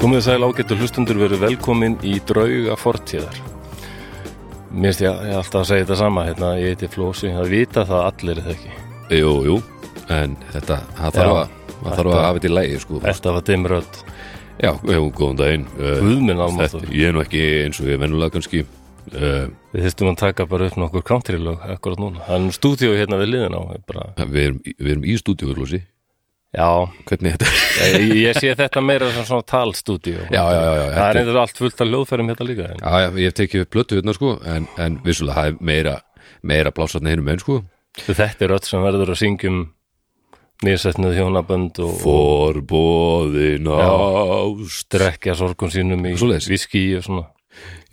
Komið sæl ágættu hlustundur verið velkomin í drauga fortíðar. Mér finnst ég ég alltaf að segja þetta sama, hérna, ég heiti Flósi, það vita það allir er það ekki. Jú, jú, en þetta, það þarf Já, að, það þarf að hafa þetta í lægi, sko. Þetta var dimmröld. Já, jú, góðan daginn. Uh, Guðminn þetta, almáttur. ég er nú ekki eins og ég er vennulega kannski. Uh, Við þurftum að taka bara upp nokkur country-lög akkurat núna. Það er nú stúdíu hérna við liðin á. ég Bara, við, erum, í- við erum í stúdíu, Lósi. já, Hvernig er þetta? ég, ég sé þetta meira sem svona talstúdíu. já, já, já, já. Það þetta er einhver allt fullt af ljóðferðum hérna líka. En, já, já, ég hef tekið upp blötu hérna, sko, en, en vissulega það er meira, meira plásatna hinum enn, sko. þetta er öll sem verður að syngjum nýrsettnið hjónabönd og, og Forbóðin ást, drekja sorgum sínum í Svoleiðis. viski og svona.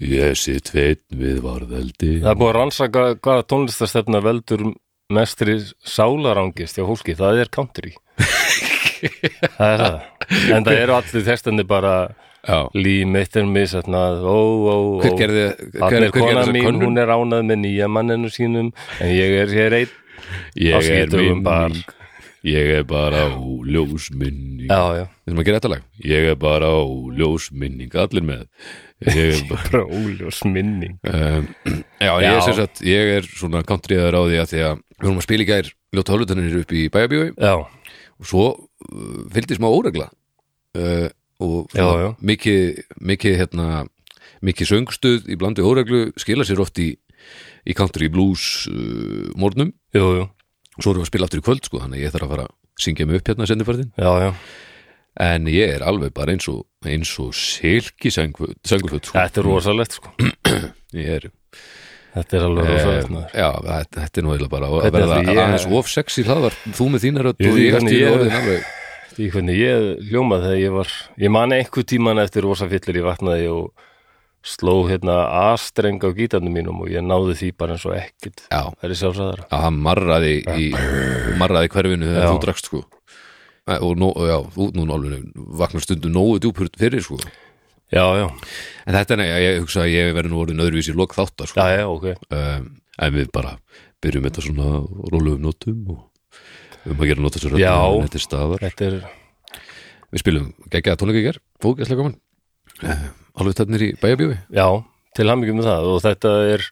ég sitt veit við varðeldi. Það er búið að rannsaka hvaða tónlistastefna veldur mestri sálarangist hjá fólki, það er country Það er það En það eru allir þestandi bara Já. Lee Mittermis, þarna, ó, ó, ó Hver gerði, hver, Þannig hver er gerði kona þessa mín, könnun? hún er ánað með nýja manninu sínum En ég er hér einn á Ég er skítugum minn, bar ég er bara óljós minning. Já, já, Við þurfum að gera þetta lag. Ég er bara óljós minning, allir með. Ég er bara... bara óljós minning Um, já, ég Já. er sem sagt, ég er svona countryðar á því að því að við vorum að spila í gær ljóta hálfutanir upp í bæjabíu Já, og svo uh, fylgdi smá óregla uh, og Já, svona já. mikið, mikið hérna, mikið söngstuð í blandu óreglu skila sér oft í, í country blues uh, morgnum jú, jú, svo erum við að spila aftur í kvöld sko, þannig að ég þarf að fara að syngja mig upp hérna sendifartin já, já en ég er alveg bara eins og eins og silki sengulfut sko. Þetta er rosalegt, sko ég er Þetta er Eh, alveg rosalegt maður. já, þetta, þetta er nú eiginlega bara Þetta að er verða því ég- aðeins of sexy hlaðvar þú með þína rödd Ég- og ég þannig eftir ég- ég... orðin alveg Því hvernig ég hljómaði þegar ég var ég man einhver tíman eftir rosa fyllir ég vaknaði og sló hérna A-streng á gítarnum mínum og ég náði því bara eins og ekkert já, það er sjálfsagðara að hann marraði í, marraði hverfinu Já. þegar þú drakst sko Æ, og nó, já, þú nú alveg vaknar stundum nógu djúpur fyrir sko en Já, já, þetta er, ég, ég hugsa að ég verði nú orðin öðruvísi lok þáttar sko já, já, ok um, en við bara byrjum þetta svona og rólum um nótum og um að gera nóta sér Já. þetta er staðar Þetta er, Við spilum geggjaða tónleika í ger, fókesslega gaman uh, Alveg tætnir í bæjabjói já, til hamingjum með það og þetta er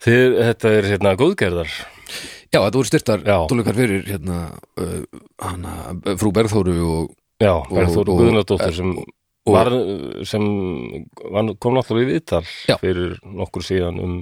þið, þetta er hérna góðgerðar Já, þetta voru styrtar Já. tónleikar fyrir hérna, uh, hana, uh, frú Bergþóru og, Já, Bergþóru og- eh, Guðnardóttur sem og- var, sem var, kom náttúrulega í viðtal Já. fyrir nokkur síðan um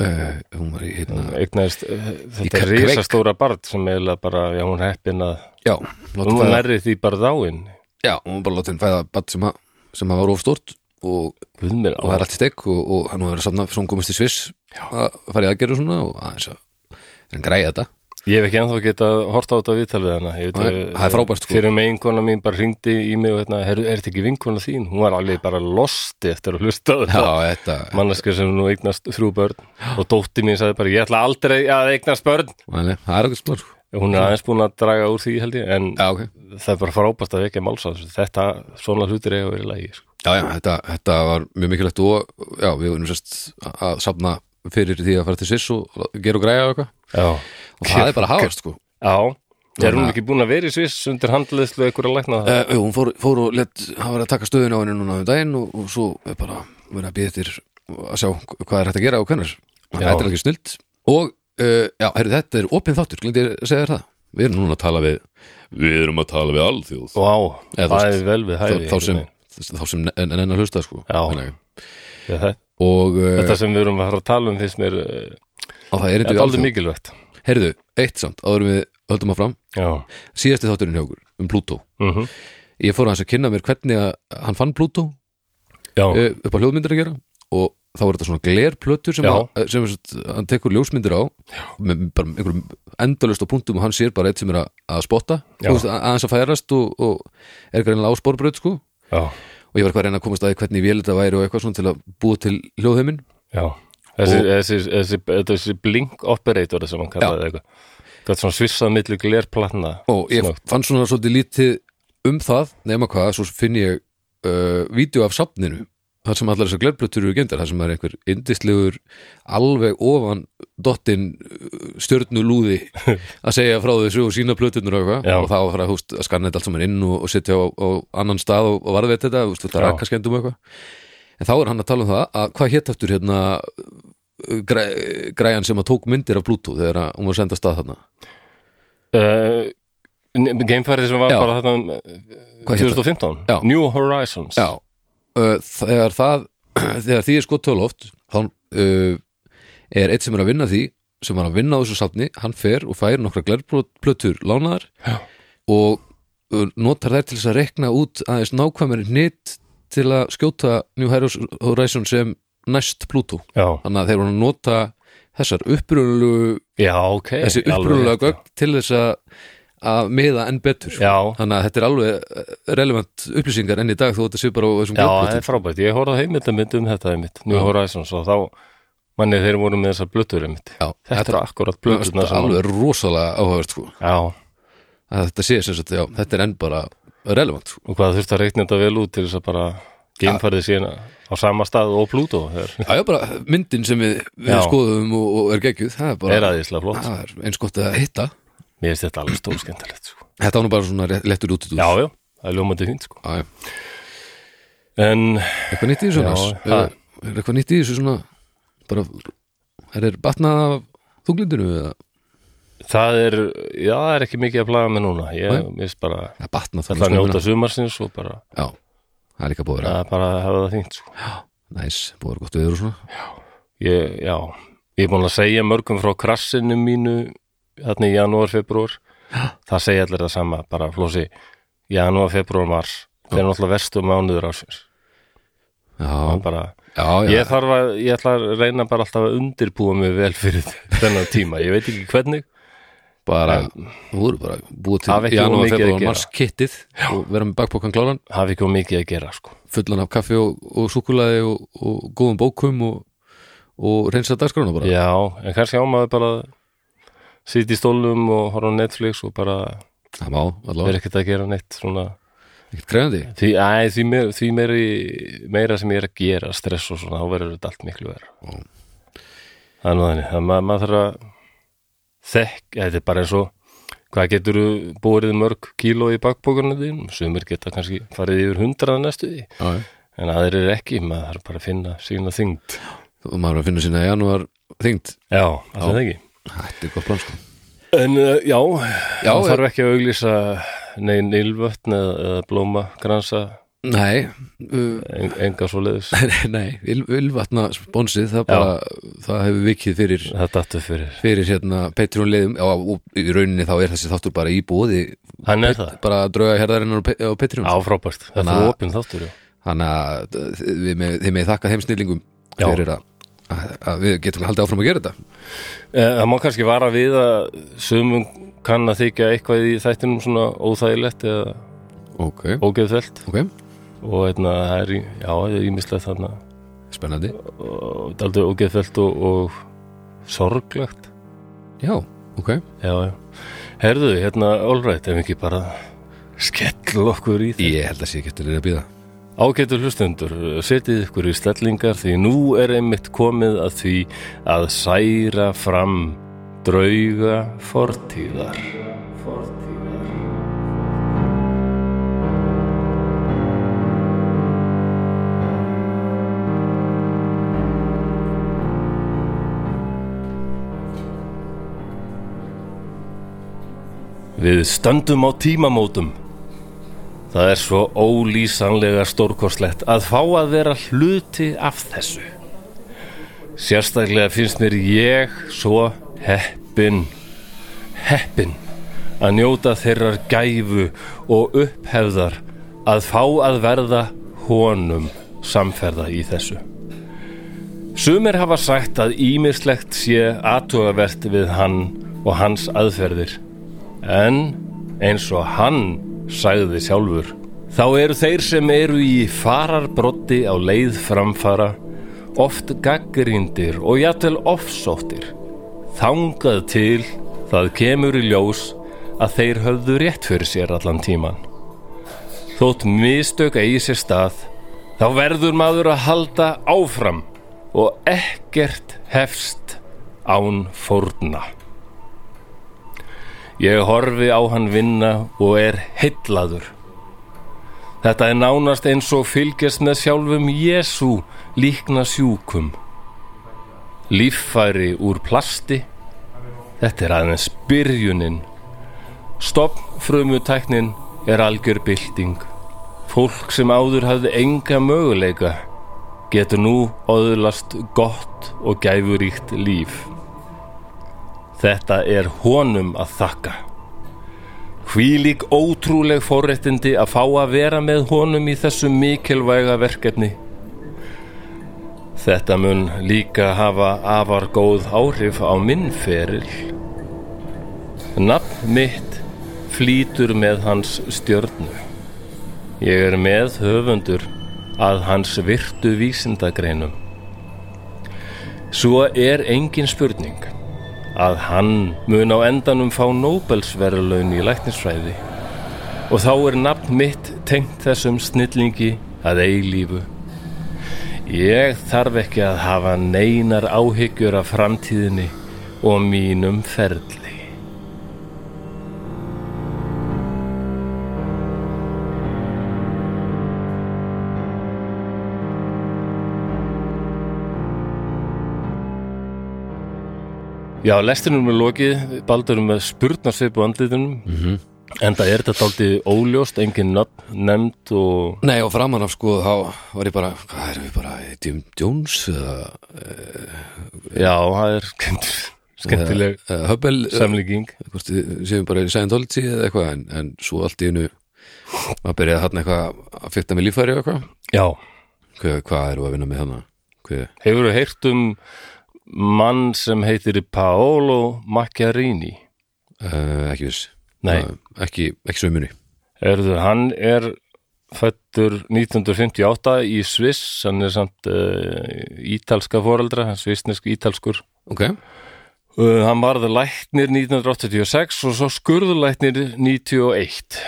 uh, hún var í hérna eignaðist eh, þetta Í Kve- risastóra barn sem eiginlega bara, já, hún er heppin að Já, Hún látum var fæða, nærrið því bara dáin já, hún var bara látum fæða batt sem, að- sem að var of stort og, Guð mér og það er allt í stekk og, og hann var að safna svo hún komist í Sviss að fara í aðgerðu svona og aðeins að hann græja þetta Ég hef ekki ennþá geta hort á þetta viðtal við hana Ég veit Nei, að- það er frábært, sko. Fyrir megin kona mín bara hringdi í mig og hérna, er, er þetta ekki vinkona þín? Hún var alveg bara losti eftir að hlusta á Já, þetta þetta Manneska sem nú eignast þrjú börn og dótti mín sagði bara, ég ætla aldrei að eignast börn Nei, Það er sko. okkur splar Hún er aðeins búin að draga úr því held ég En Já, ok það er bara frábært að vekja máls á þessu Þetta, svona hlutir eiga að vera í lagi sko. Já, já, þetta, þetta var mjög mikilvægt og já, við vorum sérst að safna fyrir því að fara til Sviss og gera og græja og eitthvað Já, og það er bara að hafast sko já Er hún Þannig að- ekki búin að vera í sviss undir handleðslu einhverja lækna það? uh, Jú, hún fór, fór og let, hann var að taka stöðun á henni núna um daginn og, og svo er bara verið að býða eftir að sjá hvað er hægt að gera og hvernig Já. þetta er ekki snilt og uh, já, heyrðu, þetta er opinn þáttur, glindi ég að segja þér það við erum núna að tala við við erum að tala við alþjóð Vá, Eða þú það veist, er vel við hæfi þá, þá sem, einhvern þá sem en, en að hlusta sko Já. Þannig. veginn. Já, það- og, uh, Þetta sem við erum að fara að tala um því sem er og það er Þetta er eitthvað aldrei mikilvægt Herðu, eitt samt, áður en við höldum að fram Já, síðasti þátturinn hjá okkur, um Plútó mm ég fór hans að kynna mér hvernig að hann fann Plútó já, eh, upp á hljóðmyndir að gera og þá var þetta svona glerplötur sem, Já. að, eh, sem að, hann tekur ljósmyndir á með bara einhverjum endalust á punktum og hann sér bara eitt sem er að, að spotta Já. þú veist, að- aðeins að færast og, og er greinlega ásporbröð sko og já, ég var eitthvað að reyna að komast að því hvernig vél þetta væri og eitthvað svona til að búa til hljóðheimin já Þessi, þessi, þessi, þessi, þessi blink operator sem hann kallaði eitthvað Þetta er svona svissað milli glerplatna og ég fann svona svolítið lítið um það nema hvað, svo finn ég uh, vídeo af safninu þar sem allar þessar glerplötur eru gendar, þar sem er einhver yndislegur alveg ofan dottinn uh, stjörnulúði að segja frá þessu og sína plötunur og Já. eitthvað og þá að fara húst, að skanna þetta allt saman inn og, og setja á, á annan stað og, og varðveit þetta, húst, þetta Já. rakkaskendum og eitthvað en þá er hann að tala um það að hvað hétt aftur hérna uh, græ, græjan sem að tók myndir af Pluto þegar að hún var senda stað þarna uh, Gamefarið sem var Já. bara þetta um, Hvað hét það? 2015 Já. New Horizons Já, uh, þegar það þegar því er skott töluft þá uh, er eitt sem er að vinna því sem var að vinna á þessu safni hann fer og fær nokkra glerplötur lánaðar Já. og uh, notar þær til þess að rekna út aðeins nákvæmari hnit til að skjóta New Horizon sem næst Pluto Já, þannig að þeir voru að nota þessar upprunalegu já ok þessi alveg upprunalegu rétt. gögn til þess að að miða enn betur sko. Já, þannig að þetta er alveg eh, relevant upplýsingar enn í dag þó þetta sé bara á þessum Já, glerplötum. það er frábært. Ég horfði á heimildamind um þetta einmitt, New Já. Horizons og þá manni þeir voru með þessar blöttur einmitt. Já, Þetta er akkurat þetta blötturna sem... alveg rosalega áhugavert sko. Já, að þetta sé sem sagt, já, þetta er enn bara relevant sko. og hvað þurfti að reikna þetta vel út til þess að bara geimfærið síðan á sama stað og Pluto er, Já, já, bara myndin sem við, við Já. skoðum og, og er geggjuð, það er bara er aðeinslega flott. það er eins gott að hitta Mér finnst þetta alveg stórskendilegt, sko. Þetta var nú bara svona rétt- lettur út í dúr Já, já, það er ljómandi fínt, sko. já, já. En, Eitthvað nýtt í þessu Já, annars ha. er, er eitthvað nýtt í þessu svona bara, það er batnað af þunglindinu eða það er, já, það er ekki mikið að plaga með núna. Ég, Nei. mér finnst bara, það er batnað það er að þunglindinu njóta sumarsins og bara, Já, það er líka búið að vera það er bara að hafa það fínt, sko. næs, búið að vera gott viður og svona ég, já, ég er búin að segja mörgum frá krassinu mínu þarna í janúar, februar það segja allir það sama, bara flósi janúar, februar, mars þeir eru náttúrulega verstu mánuður ásins Já, bara, já, já, ég þarf að, ég ætla að reyna bara alltaf að undirbúa mig vel fyrir þennan tíma, ég veit ekki hvernig bara, þú voru bara búið Hafa til ekki of janúar, mikið að februar, gera. mars kittið og vera með bakpokan kláran, hafi ekki of mikið að gera, sko fullan af kaffi og, og súkulaði og, og góðum bókum og, og reynsa dagskrána bara já, en kannski ámaður bara að sitja í stólum og horfa á Netflix og bara það má, allavega, vera ekkert að gera neitt svona, ekkert krefandi því, æ, því, meir, því meiri, meira sem ég er að gera stress og svona, þá verður þetta allt miklu verra Já. það er nú þannig það maður, maður þarf að þekk, þetta er bara eins og hvað getur bórið mörg kíló í bakbókarnu þín, sumir geta kannski farið yfir hundrað næstu því já, já. en aðrir eru ekki, maður þarf bara að finna sína þyngd og maður er að finna sinna janúar þyngd já, alltaf það ekki þetta er gott plan sko en uh, já, Já, það eh. þarf ekki að auglýsa negin ylvötn eða, eða blóma, gransa nei, uh, en, enga svoleiðis, nei, vil, vilvatna sponsið það, bara, það hefur vikið fyrir það dattu fyrir fyrir hérna Patreon liðum já, og í rauninni þá er þessi þáttur bara í bóði hann er það bara drauga herðarinnar á Pe- á Patreon Já, frábært. Þetta Þannig er að- opinn þáttur, já. þannig að uh, við með, þið með þakka þeim snillingum Já. fyrir að, að, að við getum haldið áfram að gera þetta Eh, Það má kannski vara við að sumum kann að þykja eitthvað í þættinum svona óþægilegt eða ok, ógeðfælt ok, og hérna, það er, í- já, það er ímislegt þarna spennandi og það er aldrei ógeðfælt og, og sorglegt. já, ok, Já, já. Herðu, hérna, allrætt, ef ekki bara skell okkur í það. ég held að sé ekki eftir þeirra að býða Ágætur hlustendur, setið ykkur í stellingar því nú er einmitt komið að því að særa fram drauga fortíðar. fortíðar. Við stöndum á tímamótum. Það er svo ólýsanlega stórkostlegt að fá að vera hluti af þessu. Sérstaklega finnst mér ég svo heppin, heppin að njóta þeirrar gæfu og upphefðar að fá að verða honum samferða í þessu. Sumir hafa sagt að ímislegt sé aðtugavert við hann og hans aðferðir. En eins og hann sagði sjálfur, þá eru þeir sem eru í fararbrotti á leið framfara oft gaggrindir og jafnvel ofsóttir. Þangað til það kemur í ljós að þeir höfðu rétt fyrir sér allan tíman. Þótt mistök eigi sér stað, þá verður maður að halda áfram og ekkert hefst án fórna. Ég horfi á hann vinna og er heillaður. Þetta er nánast eins og fylgjast með sjálfum Jésu líkna sjúkum. Líffæri úr plasti, þetta er aðeins byrjunin. Stopnfrumutæknin er algjör bylting. Fólk sem áður hafði enga möguleika getur nú öðlast gott og gæfuríkt líf. Þetta er honum að þakka. Hvílík ótrúleg forréttindi að fá að vera með honum í þessu mikilvæga verkefni. Þetta mun líka hafa afar góð áhrif á minn feril. Nafn mitt flýtur með hans stjörnu. Ég er með höfundur að hans virtu vísindagreinum. Svo er engin spurning að hann mun á endanum fá Nóbelsverðlaun í læknisfræði og þá er nafn mitt tengt þessum snillingi að eilífu. Ég þarf ekki að hafa neinar áhyggjur af framtíðinni og mínum ferli. Já, lestinum er lokið, baldurum með spurnarsvip á andlitunum, en það er þetta dálítið óljóst, engin nöfn nefnd og Nei og framan af sko þá var ég bara, hvað erum við bara Jim Jones eða já, það er skemmt- skemmtileg eða Hubble eða samlíking. hvort við séum bara í Scientology eða eitthvað en, en svo allt í unu maður byrjaði hann eitthvað að fyrta með líffæri og eitthvað Já, hvað, hvað eru að vinna með hana hvað, hefur þú heyrt um mann sem heitir Paolo Macchiarini? uh, ekki viss Nei, uh, ekki, ekki svo muni erðu, hann er fættur 1958 í Sviss, hann er samt uh, ítalska foreldra, svissnesk ítalskur. ok, Uh, hann varði læknir 1986 og svo skurðlæknir 91,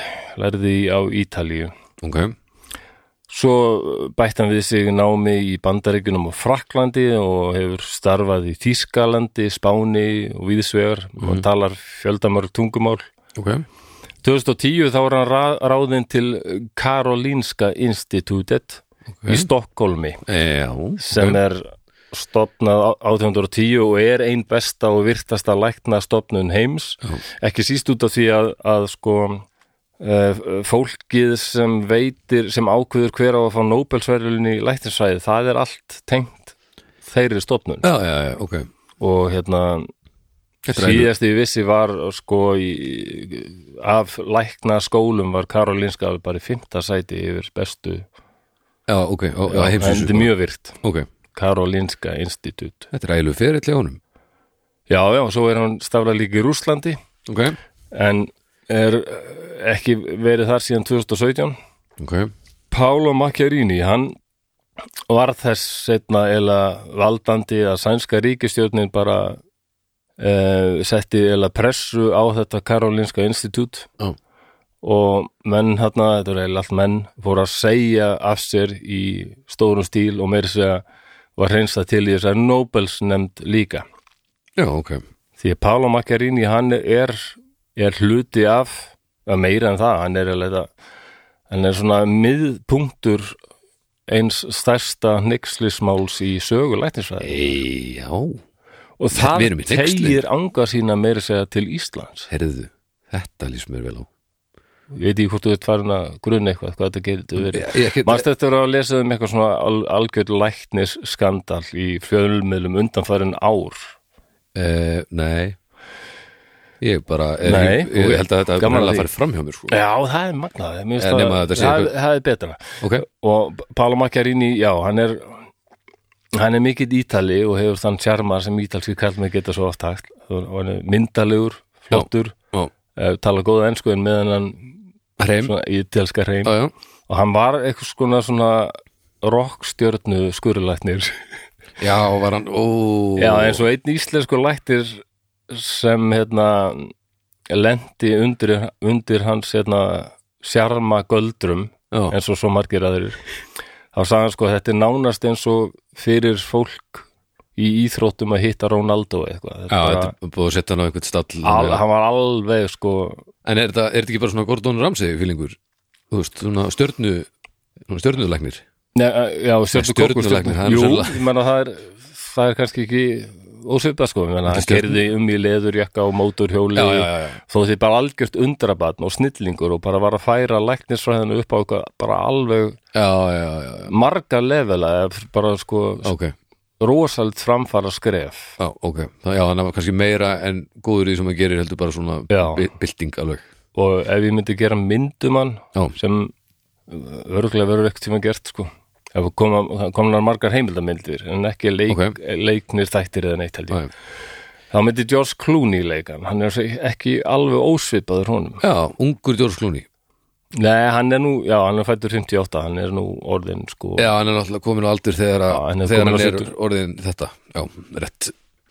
lærði á Ítalíu. ok, Svo bætti hann við sig námi í Bandaríkunum og Fraklandi og hefur starfað í Þýskalandi, Spáni og Víðsvegar og talar fjöldamörg tungumál. ok 2010 þá var hann ra- ráðinn til Karolinska Institutet í Stokkólmi e, já, sem ok. er stopnað á- 1810 og er ein besta og virtasta lækna stopnun heims ekki síst út af því að, að sko uh, fólkið sem veitir sem ákveður hver á að fá Nobelsverðlun í læknisfræði, það er allt tengt þeirri stopnun já, já, já, ok og hérna Þetta er síðast ég vissi var sko í, af lækna skólum var Karolinska bara í fymta sæti yfir bestu Já, ok, já, já, sko. en heimsins þetta er mjög virkt Ok, Karolinska Institut þetta er ægilega ferill hjá honum Já, já, svo er hann stafla líka í Rúslandi Ok, en er eh, ekki verið þar síðan 2017. ok, Paolo Macchiarini, hann var þess setna eða valdandi að sænska ríkistjórnin bara uh, setti eða pressu á þetta Karolinska Institut já, og menn hérna, þetta er eða allt menn, voru að segja af sér í stórum stíl og meiri segja var hreinsa til í þessar Nobels nefnd líka. já, ok því að Paolo Macchiarini hann er, er hluti af að meira en það, hann er að leita hann er svona miðpunktur eins stærsta nexlismáls í sögu læknisfræði Ei, já, og við það erum í hneykslin. tegir anga sína meira að segja til Íslands herðu, þetta lýst mér vel á ég veit ekki hvort þú ert farin að grunna eitthvað hvað þetta getur verið Ég, ég, Manst þetta var að lesa um eitthvað svona al, algjörð læknis skandal í fjölmiðlum undanfærin ár Uh, nei Ég bara er, Nei. ég, ég held að þetta Gaman Gaman að að því. Eh. fara fram hjá mér sko. Já, það er magnað mér finnst Eh, nema að það, þetta sé það, eitthvað- það er betra Ok, og Pála Macchiarini, já, hann er hann er mikill ítali og hefur þann sjarma sem ítalski kallmenn geta svo oft hægt og hann er myndalegur, flottur já, eh, tala góða ennsku en meðan hann hreim svona ítalska hrein Já, já, og hann var eitthvað skona svona rockstjörnu skurulæknir já, var hann ó, já, eins og einn íslensku læknir sem hérna lendi undir, undir hans hérna sjarma göldrum já, eins og svo margir aðrir þá sagði hann sko að þetta er nánast eins og fyrir fólk í íþróttum að hitta Ronaldo Já, eitthvað bara, þetta er búið að setja hann á einhvern stall al, hann var alveg sko En er þetta, er þetta ekki bara svona Gordon Ramsay fílingur? Þú veist, svona stjörnu svona stjörnulæknir Nei, eh, já, stjörnukokkur, stjörnulæknir, það er stjörnu- Jú, sennilega- ég menna það er það er kannski ekki ósvipað sko, ég menna hann Þetta er gerði um í leðurjakka og mótorhjóli Já, já, já, já. þó því bara algjört undrabatn og snillingur og bara var að færa læknisfræðinu upp á eitthvað bara alveg Já, já, já, já, marga levela eða bara sko ok rosald framfara skref Já, ok, það, já, hann var kannski meira en góður í því sem hann gerir heldur bara svona Já. bi- bylting alveg og ef ég myndi gera myndumann Já, sem örgulega verður ekkert tíma gert sko ef koma- komnar margar heimildamyndir en ekki leik, Ok. leiknir þættir eða neitt held ég já, þá myndi George Clooney leikan hann er ekki alveg ósvipaður honum já ungur George Clooney nei, hann er nú, já, hann er fættur 58 hann er nú orðin sko Já, hann er náttúrulega komin á aldur þegar, að, Já, hann er þegar kominn hann á er sjötugt. orðin þetta Já, rétt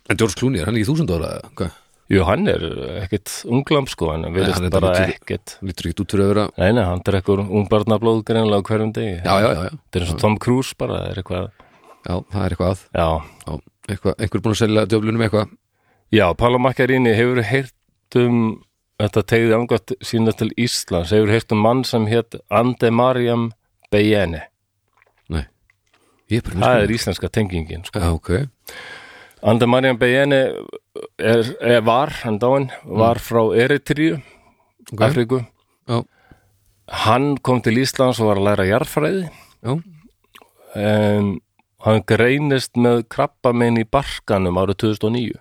En George Clooney, er hann ekki þúsund ára? eða Hvað? jú, hann er ekkert unglam sko hann hann verðist er bara bara- ekkert Hann lítur ekki út fyrir að vera nei, nei, hann drekkur ungbarnablóð greinlega hverjum degi Já, já, já, já, þetta er eins og Tom Cruise bara, það er eitthvað já það er eitthvað að já, já, eitthvað, Einhver búin að selja djöflunum eitthvað Já, Paolo Macchiarini hefur heyrt um þetta tegði angast sína til Íslands hefur heyrt um mann sem hétt Ande Mariam Bejene Nei, ég er bara það er íslenska tengingin sko. Já, ok, Ande Mariam Bejene er, er, var, hann dáin var frá Eritríu Ok. Afríku já, hann kom til Íslands og var að læra jarðfræði já, um, hann greinist með krabbamein í barkanum árið 2009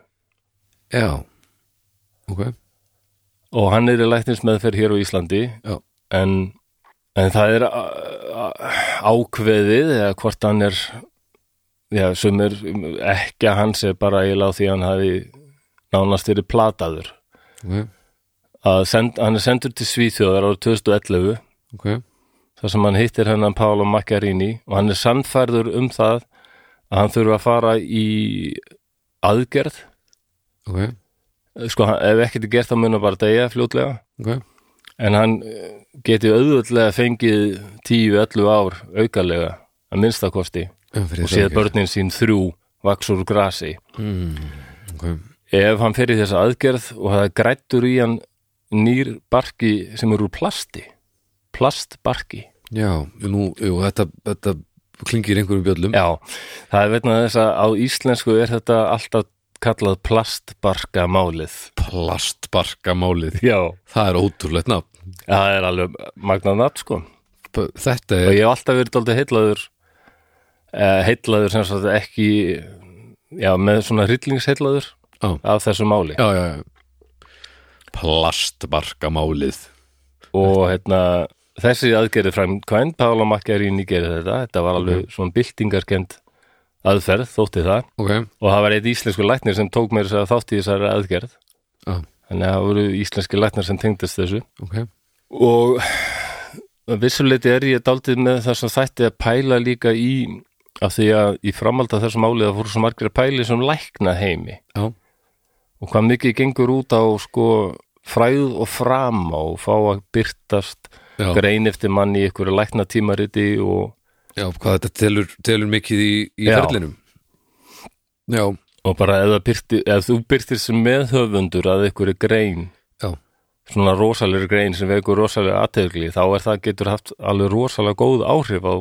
já Ok, og hann er í læknins meðferð hér á Íslandi já, en, en það er a- a- ákveðið eða hvort hann er já, sem er ekki að hans er bara eiginlega á því að hann hafi nánast verið plataður ok, að send, hann er sendur til Svíþjóðar árið 2011 ok þar sem hann hittir hennan Paolo Macchiarini og hann er sannfærður um það að hann þurfa að fara í aðgerð Ok, sko, hann- ef ekkert er gert þá mun hann bara degja fljótlega ok, en hann eh, geti auðvöldlega fengið 10-11 ár aukalega að minnstakosti um fyrir og séð börnin sín þrjú vaks úr grasi Mm, Ok, ef hann fer í þessa aðgerð og það er grættur í hann nýr barki sem eru úr plasti plastbarki já, nú, jú, þetta, þetta klingir einhverjum bjöllum já, það er veitna þess að á íslensku er þetta alltaf kallað plastbarkamálið Plastbarkamálið já, Það er ótrúlegt nafn það er alveg magnað natt sko P- þetta og er ég hef alltaf verið dálítið heitlaður eh, heitlaður sem sagt ekki já, með svona hryllingsheitlaður Já. af þessu máli já, já, já. plastbarkamálið og hérna þessi aðgerði framkvæmd, Pála Makkarín í gerði þetta, þetta var alveg svona byltingarkend aðferð, þótti það ok, og það var eitt íslensku læknir sem tók mér þess að þátt í þessari aðgerð já, þannig að það voru íslenski læknir sem tengdist þessu ok og að vissuleiti er ég daldið með þess að þætti að pæla líka í af því að í framhald af þessu máli það fóru svo margir að pæli sem lækna heimi já, og hvað mikið gengur út á sko fræð og frama og fá að byrtast já, grein eftir mann í einhverju lækna tímariti og, já hvað þetta telur, telur mikið í, í Já. ferlinum já, og bara eða, byrti, eða þú byrtir sem meðhöfundur að einhverju grein já, svona rosalegri grein sem vekur rosalega aðtegli þá er það getur haft alveg rosalega góð áhrif á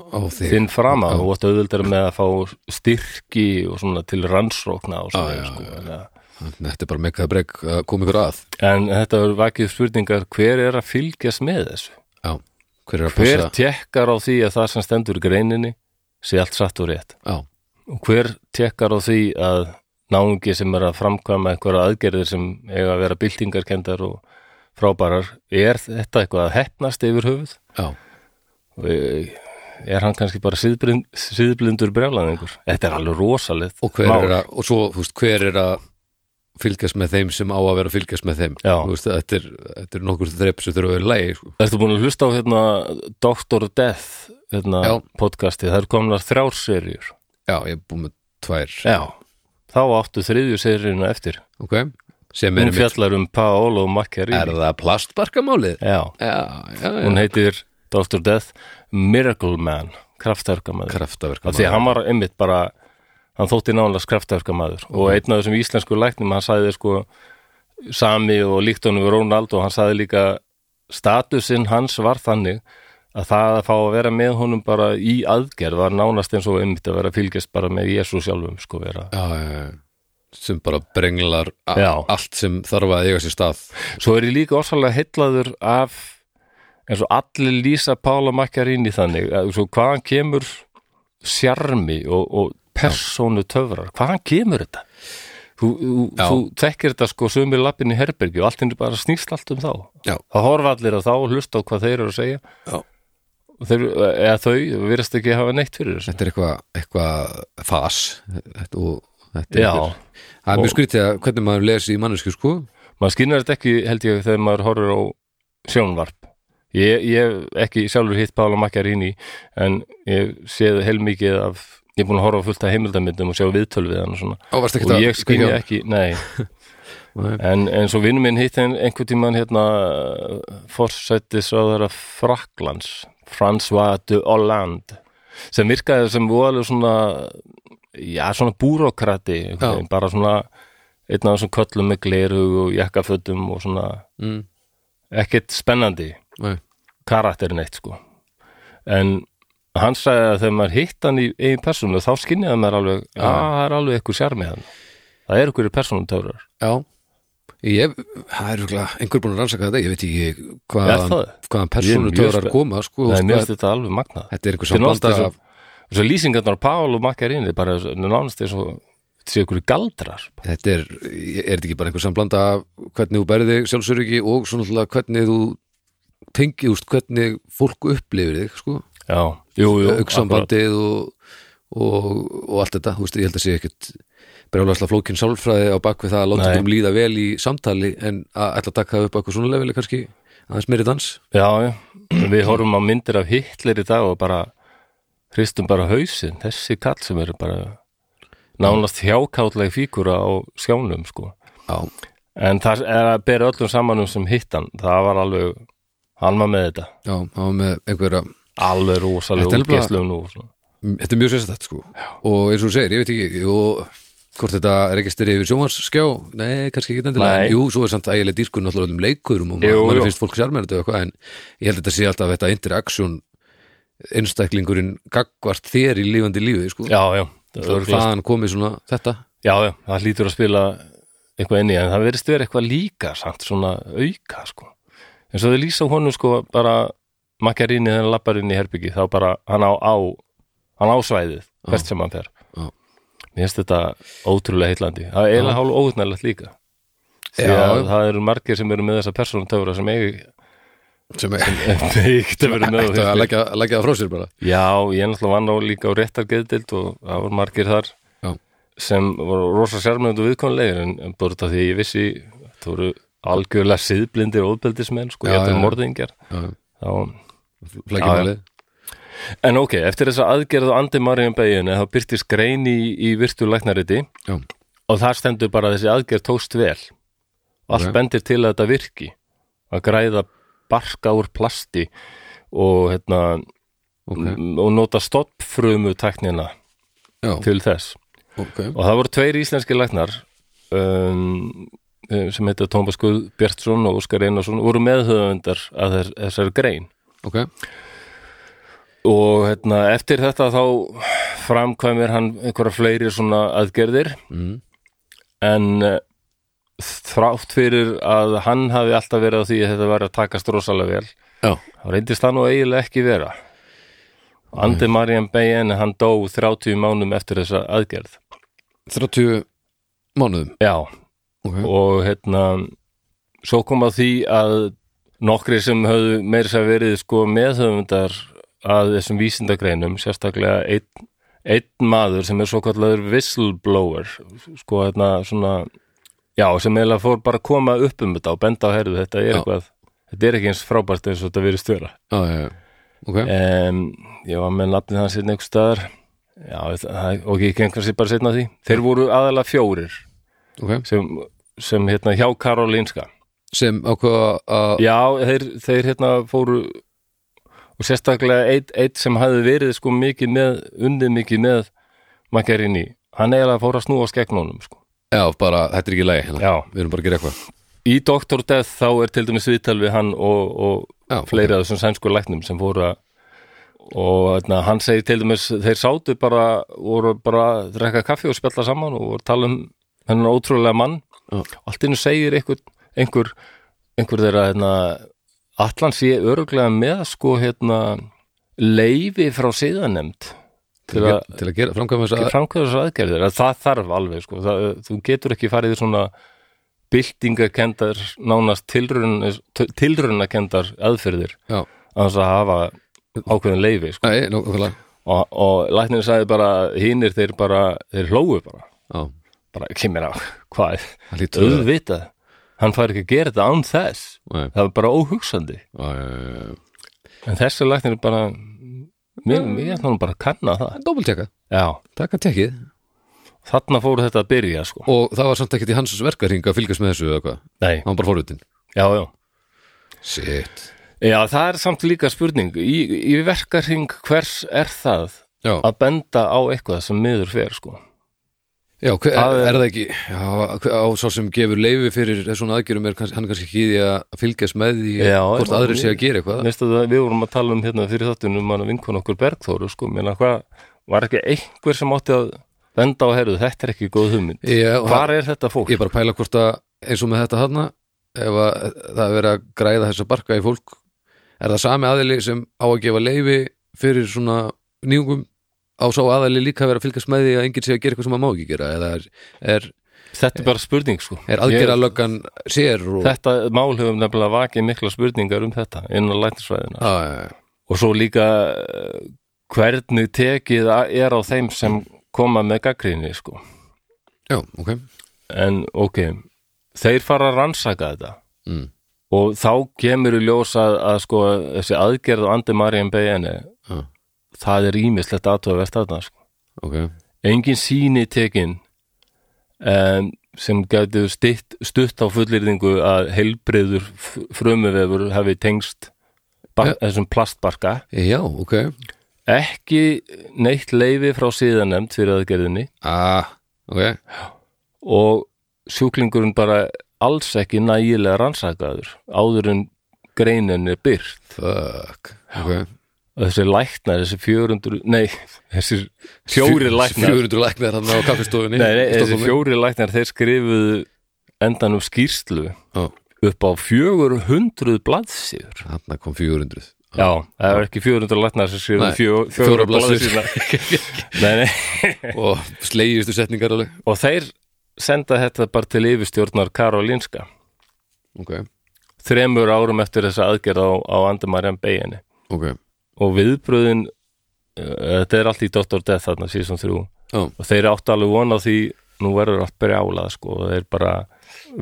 á þig þinn fram að þú vart auðvöldar með að fá styrki og svona til rannsókna og svona Já, já, sko. já. þetta er bara mekaða breg að koma ykkur að en þetta er vakið spurningar hver er að fylgjast með þessu já, hver er að hver passa tekkar á því að það sem stendur í greininni sé allt satt og rétt já, og hver tekkar á því að náungi sem er að framkvæma einhverja aðgerðir sem eiga að vera byltingarkendar og frábærar er þetta eitthvað að hefnast yfir höfuð já, Og eh, er hann kannski bara síðblind, síðblindur brjálaðingur þetta er alveg rosalegt og hver mál. er að og svo, þú veist, hver er að fylgjast með þeim sem á að vera að fylgjast með þeim Já. Þú veist, þetta er, þetta er nokkur þrepp sem þurfa að vera í lægi sko. Ertu búin að hlusta á hérna Doctor Death hérna, Já. podcasti, það er komnar þrjár serjur já, ég er búin með tvær Já Þá áttu þriðju serjuna eftir ok, sem er Hún mitt fjallar um Paolo Macchiarini Er það plastbarkamálið? Já, Já, já, já. hún heitir Dr. Death, Miracle Man kraftaverkamaður, af því að kraftaverka hann var einmitt bara, hann þótti nánlega kraftaverkamaður og einn af þessum íslensku læknum hann sagði sko sami og líkt honum við Ronald og hann sagði líka statusinn hans var þannig að það að fá að vera með honum bara í aðgerð var nánast eins og einmitt að vera að fylgjast bara með Jésu sjálfum sko vera sem bara brenglar a- Já. allt sem þarf að eiga sér stað Svo er ég líka orsalega heitlaður af eins og allir lýsa Pála Makkarín í þannig að svo hvaðan kemur sjarmi og, og persónu töfrar, hvaðan kemur þetta? Þú, þú, Já. þú tekir þetta sko sömur lappin í herbergi og allt henni bara snýst allt um þá. Já. Það horfa allir á þá og hlusta á hvað þeir eru að segja Já. Og þeir, eða þau virðast ekki hafa neitt fyrir þessu. þetta er eitthvað eitthva fas þetta, og, þetta er Já, einhver- það er mjög skrítið að hvernig maður lesi í mannesku sko maður skynnar þetta ekki held ég þegar maður horfir á sjónvarp ég, ég hef ekki sjálfur hitt Pála Makkarín í en ég séð heilmikið af ég er búin að horfa á fullt af heimildamindum og sjá viðtöl við hann og svona Ó, varstu ekkert og að- ég skynja ekki, nei Nei. en, en svo vinnum minn hitt ein- einhvern tímann hérna forsættisráðara Fraklands François de Hollande sem virkaði sem voðalega svona já, svona búrokrati Já. veginn, bara svona einn af þessum köllum með gleru og jakkafötum og svona mm, ekkert spennandi nei, karakterin eitt sko en hann sagði að þegar maður hitt hann í eigin persónu þá skynjaði maður alveg að það er alveg eitthvað sjarmið hann það er eitthvað persónum töfrar já ég, það er örugglega einhver búin að rannsaka þetta ég veit ekki Er það? hvaðan, hvaðan persónu Ég er mjög töfrar spe- koma sko, það og er hvað- mér finnst þetta alveg magnað þetta er einhver Fyrir samband náttúrulega af og svo lýsingarnar á Pál og Makkarín er bara nánast eins og þetta séu eitthvað galdrar þetta er, er þetta ekki bara einhver samblanda af hvernig þú berði sjálfsöryggi og svona alltaf hvernig þú tengi úst hvernig fólk upplifir þig sko, já, jú, jú, akkurat. auksambandið og, og, og allt þetta, þú veist, ég held að sé ekkert brjálagslega flókin sálfræði á bakvið það að láta Nei. þeim líða vel í samtali en að ætla að taka það upp á eitthvað svona leveli kannski aðeins meiri dans já, já, við horfum á myndir af Hitler í dag og bara hristum bara hausinn, þessi kall sem eru bara nánast hjákátlega fíkura á skjánum sko Já, En það er að bera öllum samanum sem hittan Það var alveg, hann var með þetta já, það var með einhverja Alveg Þetta rosalega er bara- útgeislu nú og svona. þetta er mjög sérstætt sko og eins og þú segir, ég veit ekki og hvort þetta registri yfir sjónvarsskjá nei, kannski ekki endilega, Nei. en jú, svo er samt ægilega dýrkun náttúrulega öllum leikurum og Jú, maður jú. mann finnst fólk sérmennandi og eitthvað en ég held að þetta sé alltaf þetta interaction einstaklingurinn gagvart þér í lífandi lífi sko. Já, já, það og örugglega- hvaðan komið svona þetta já, já, það hlýtur að spila eitthvað inn í En það verðist verið eitthvað líka samt svona auka sko. En svo þau lýsa honum sko bara makkarinni þegar hann lappar inn í herbyggi þá bara hann á, á hann á svæðið, hvert sem hann fer Já. Mér finnst þetta ótrúlega heitlandi Það er eiginlega hálf óutnægilegt líka Því Já. að það eru margir sem eru með þessa persónutöfra sem eigi sem er Eitt að vera með ættu að leggja að leggja það frá sér bara Já, ég náttúrulega vann á líka á réttargeðdild og það voru margir þar Já. sem voru rosa sérmjönd og viðkonlegir en, en bara út af því að ég vissi það voru algjörlega siðblindir og óðbeldismenn, sko, Já, ég já. hefði morðingjar Já, þá... flækjum Já, já. málið. En ok, eftir þessa aðgerð á Andi Maríum beginni þá byrtist grein í, í virtu læknariti Já. og þar stendur bara að þessi aðgerð tókst vel allt Ok. bendir til að þetta virki að græða barka úr plasti og hérna Ok. og nota stoppfrumu tæknina já, til þess ok og það voru tveir íslenski læknar um, sem heita Tómas Guð Bjartsson og Óskar Einarsson voru meðhöfundar að þess, þessari grein ok, og hérna, eftir þetta þá framkvæmir hann einhverja fleiri svona aðgerðir mm. en eh, þrátt fyrir að hann hafi alltaf verið á því að þetta væri að takast rosalega vel já, þá reyndist það nú eiginlega ekki vera Andi Marian Beyen hann dó 30 mánum eftir þessa aðgerð 30 mánuðum já, okay. og hérna svo kom að því að nokkri sem höfðu meira sér verið sko meðhöfundar að þessum vísindagreinum, sérstaklega einn einn maður sem er svo kallaður whistleblower sko hérna svona já sem eiginlega fór bara að koma upp um þetta og benda á herðu þetta er Já. eitthvað þetta er ekki eins frábært eins og þetta virðist vera já, já, já. ok um, ég var með nafnið hans einhver staðar já það, og ég kengur sér bara setna því þeir voru aðalega fjórir ok sem, sem hérna hjá Karolinska sem ákvaða að já, þeir, þeir hérna fóru og sérstaklega eitt, eitt sem hafði verið sko mikið með, undið mikið með Maggarini, hann eiginlega fór að snúa skegnunum sko. já, bara, þetta er ekki lægi hérna. Já. við erum bara að gera eitthvað Í Dr. Death þá er til dæmis viðtal við hann og, og Já, fleiri af þessum sænsku læknum sem fóru að og þarna, hann segir til dæmis þeir sátu bara, voru bara að drekka kaffi og spjalla saman og voru að tala um hennan ótrúlega mann Já. allt innu segir einhver einhver, einhver þeirra hérna, allan sé öruglega með sko hérna leifi frá síðanemnd til, að, til að gera, framkvæma þess ekki að framkvæða þessar aðgerðir að það þarf alveg sko. það, þú getur ekki farið í svona byltingakendar nánast tilraun, tilraunakendar aðferðir já, að þess að hafa ákveðin leifi sko. nei, nákvæmlega og, og læknir sagði bara hinnir þeir bara, þeir hlógu bara já, bara kemur á, hvað það lítur að- auðvitað, hann fær ekki að gera þetta án þess, Nei, það var bara óhugsandi já, já, já, já. en þessi læknir bara mér, mér ætla hann bara að kanna það Doppeltjekka, já, taka tekið þarna fór þetta að byrja sko, og það var samt ekkert í hans verkarhing að fylgjast með þessu eða hvað, nei, hann var bara forvitin já, já shit, Já, það er samt líka spurning í, í verkarhing hvers er það já, að benda á eitthvað sem miður fer sko já hver, það er, er- er það ekki já, hver- á svo sem gefur leifi fyrir þessum aðgjörum er kanns, hann kannski ekki í því að fylgjast með því Já, hvort já, aðrir ég- sé að gera eitthvað Veistu það, við vorum að tala um hérna fyrir þáttunum að vinkun okkur Bergþóru sko menna hvað, var ekki einhver sem átti að benda á herðu, þetta er ekki góð hugmynd já, og Hvar er þetta fólk? ég er bara að pæla hvort að eins og með þetta hana ef að það er verið að græða þessa barka í fólk er það sami aðili sem á að gefa leifi fyrir svona nýjungum á sá aðili líka að vera að fylgjast með því að enginn sé að gera eitthvað sem að má ekki gera eða er, er, Þetta er bara spurning sko er aðgera löggan sér og, Þetta mál hefur nefnilega vakið mikla spurningar um þetta innan læknisvæðina á, Ah, já, já, og svo líka eh, hvernig tekið er á þeim sem koma með gaggrinni sko já, ok en ok, þeir fara að rannsaka þetta mm, og þá kemur í ljós að, að sko, þessi aðgerð á Andi Marian BN já, E, það er ímislegt aðtöðavert þarna sko. ok engin síni tekin um, sem gætu stitt, stutt á fullyrðingu að heilbreyður frumuvefur hafi tengst bar, þessum plastbarka já, ok ekki neitt leifi frá síðanemnd fyrir aðgerðinni ah, ok, og sjúklingurinn bara alls ekki nægilega rannsakaður áður en greinin er byrt fuck ok þessi læknar, þessi 400 nei, þessi fjóri læknar 400 læknar hann á kaffistofunni nei, nei, í þessi Stokkhólmi. fjóri læknar þeir skrifuðu endanum skýrslu Já, upp á 400 blaðsýður þarna kom 400 já, það er ekki 400 læknar Nei, sem skrifuðu fjó- fjórar fjórar blaðsíður. blaðsíðurnar. nei, nei, og slegjustu setningar alveg og þeir senda þetta bara til yfirstjórnar Karolinska ok, þremur árum eftir þessa aðgerð á, á Andamarjan beginni ok, og viðbröðin eh, þetta er allt í Dr. Death þarna síðan þrjú já, og þeir áttu alveg von á því nú verður allt brjálað sko og þeir bara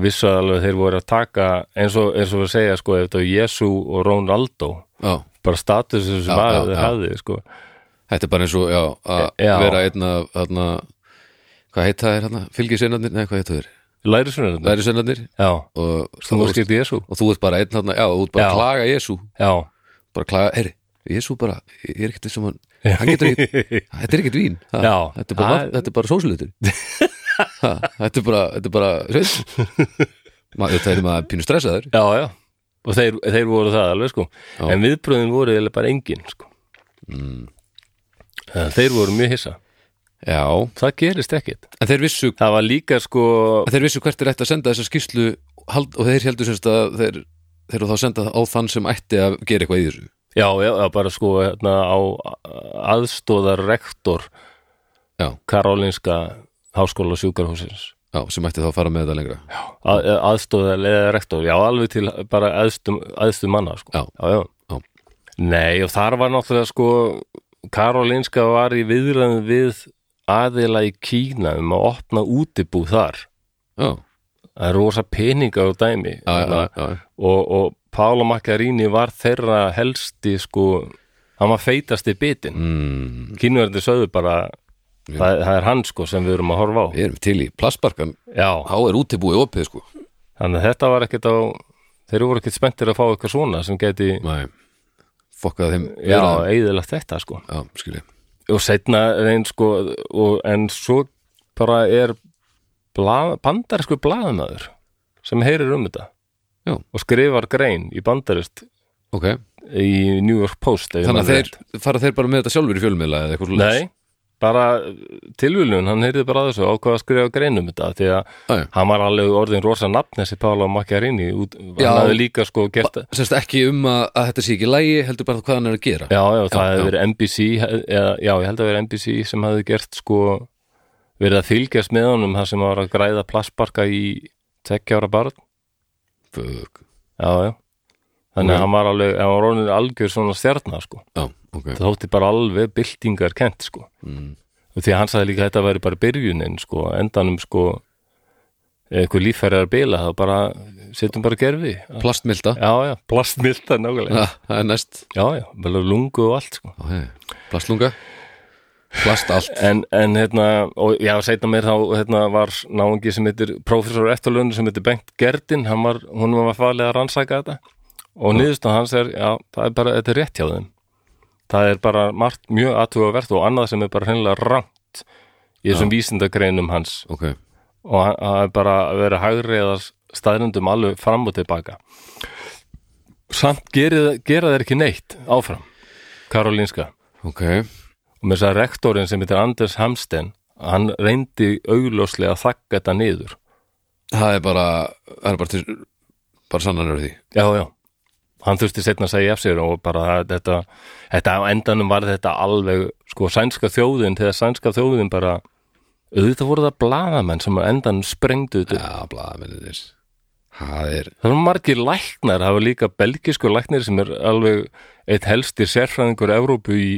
vissu alveg að þeir voru að taka eins og, eins og við segja sko ef þetta var Jesu og Ronaldo já bara status Já, sem ja, já, þeir já. hafði sko þetta er bara eins og, já, að E- já. vera einn af þarna, hvað heita þeir hérna fylgisveinarnir, nei, hvað heita þeir læri svona þetta lærisveinarnir já, og, þú voru skipt Jesu og þú ert bara einn þarna, já, þú ert bara Já. að klaga Jésu já, bara klaga, heyri, Jésu bara ég er ekkert þessum hann, hann getur ekkert þetta er ekkert vín, ha, Já. þetta er bara, Það- vatn- þetta er bara sósulitur Ha, þetta er bara, þetta er bara sveins maður, þetta er maður pínu stressaður já, já og þeir, þeir voru það alveg sko Já. en viðbröðin voru eða bara engin sko mm. þeir voru mjög hissa já, það gerist ekkit en þeir vissu það var líka sko En þeir vissu hvert er ætti að senda þessa skýrslu hald, og þeir heldur semst að þeir, þeir eru þá að senda það á þann sem ætti að gera eitthvað í þessu Já, já, já, bara sko hérna, á aðstóðar rektor Já. Karolinska háskóla sjúkarhúsins Já, sem ætti þá að fara með þetta lengra Já, að, aðstóðar leða rektor já, alveg til bara aðstum, aðstum manna sko. Já. Já, Já. Nei, og þar var náttúrulega sko Karolinska var í viðræðum við aðila í Kína um að opna útibú þar já, það er rosa peningar og dæmi já, Þannig að- já, og, og Pála Macchiarini var þeirra helsti sko, hann var feitasti bitin Mm, kínverðandi sögðu bara það, það er hann sko sem við erum að horfa á Við erum til í plastbarkan já, Há er útibúið opið sko þannig að þetta var ekkert á þeir voru ekkert spenntir að fá eitthvað svona sem geti Nei, fokkað þeim já, viðræðum. eiginlega þetta sko já, skilji og setna reyn sko og, en svo bara er bla, bandarisku blaðamaður sem heyrir um þetta Já. og skrifar grein í bandarist ok, í New York Post ef ég þannig man að rétt. þeir fara þeir bara með þetta sjálfur í fjölmiðla eða eitthvað svoleiðis? Nei, bara tilvílun, hann heyrði bara að þessu og ákvað að skrifa grein um þetta því að Æ, hann var alveg orðin rosa nafn þessi Pála Macchiarini, út, Já. hann hafði líka sko gert semst ekki um að, að þetta sé ekki lægi heldur bara hvað hann er að gera Já, já, það hefði já. verið NBC eða, já, ég held að verið NBC sem hefði gert sko verið að fylgjast með honum þar sem hann var að græða plassbarka í tekjára barn Fuck. Já, já Þannig Ok. að hann var alveg, hann var orðin algjör svona stjarnar sko, já, ok það þótti bara alveg byltingar kent sko, mm. og því að hann sagði líka að þetta væri bara byrjunin sko, á endanum sko ef eitthvað líffæri er að bila, þá bara setjum bara gerfi, plastmilda já, já, plastmilta nákvæmlega, Ha, það er næst já, já, bara lungu og allt sko Ó, hei. plastlunga plast allt en, en hérna, og já, segna mér þá hérna var náungi sem heitir prófessor eftirlun sem heitir Bengt Gerdin hann var, hún var farlega að rannsaka þetta og niðurstu hans er, já, það er bara þetta er rétt hjá þeim það er bara margt mjög aðtugavert og annað sem er bara hreinlega rangt í þessum vísindagreinum hans ok, og hann- það er bara að vera hægri eða staðrendum alveg fram og tilbaka samt gera, gera þeir ekki neitt áfram Karolínska ok og með þess að rektorinn sem heitir Anders Hamsten hann reyndi augljóslega að þakka þetta niður það er bara, það er bara til bara sannanur því já, já, hann þurfti setna að segja af sér og bara það- þetta, þetta á endanum var þetta alveg sko sænska þjóðin, þegar sænska þjóðin bara auðvitað voru það blaðamenn sem á endanum sprengdu þetta já, blaðmennir það er, það eru margir læknar, það var líka belgisku læknir sem er alveg eitt helsti sérfræðingur Evrópu í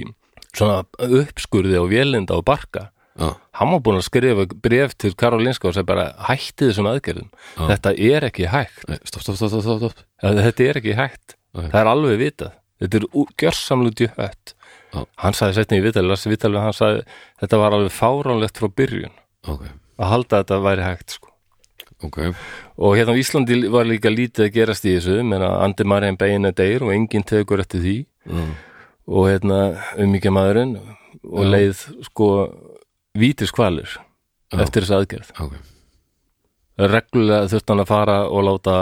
svona uppskurði og vélinda og barka já, hann var búin að skrifa bref til Karolinska og segi bara hætti þessum aðgerðum þetta er ekki hægt nei, stopp, stopp, stopp, stopp, stopp, stopp. Eða þetta er ekki hægt, Nei. það er alveg vitað þetta er ú- gjörsamlega djöfett Já. hann sagði setni í vitali, las vitali hann sagði þetta var alveg fáránlegt frá byrjun ok, að halda að þetta væri hægt sko. ok og hérna á Íslandi var líka lítið að gerast í þessu menna Andi Marjan Beina deyr og enginn tegur eftir því mm. og hérna umíkja maðurinn og Já. leið sko vítiskvalir Já. eftir þessa aðgerð ok, reglulega þurfti hann að fara og láta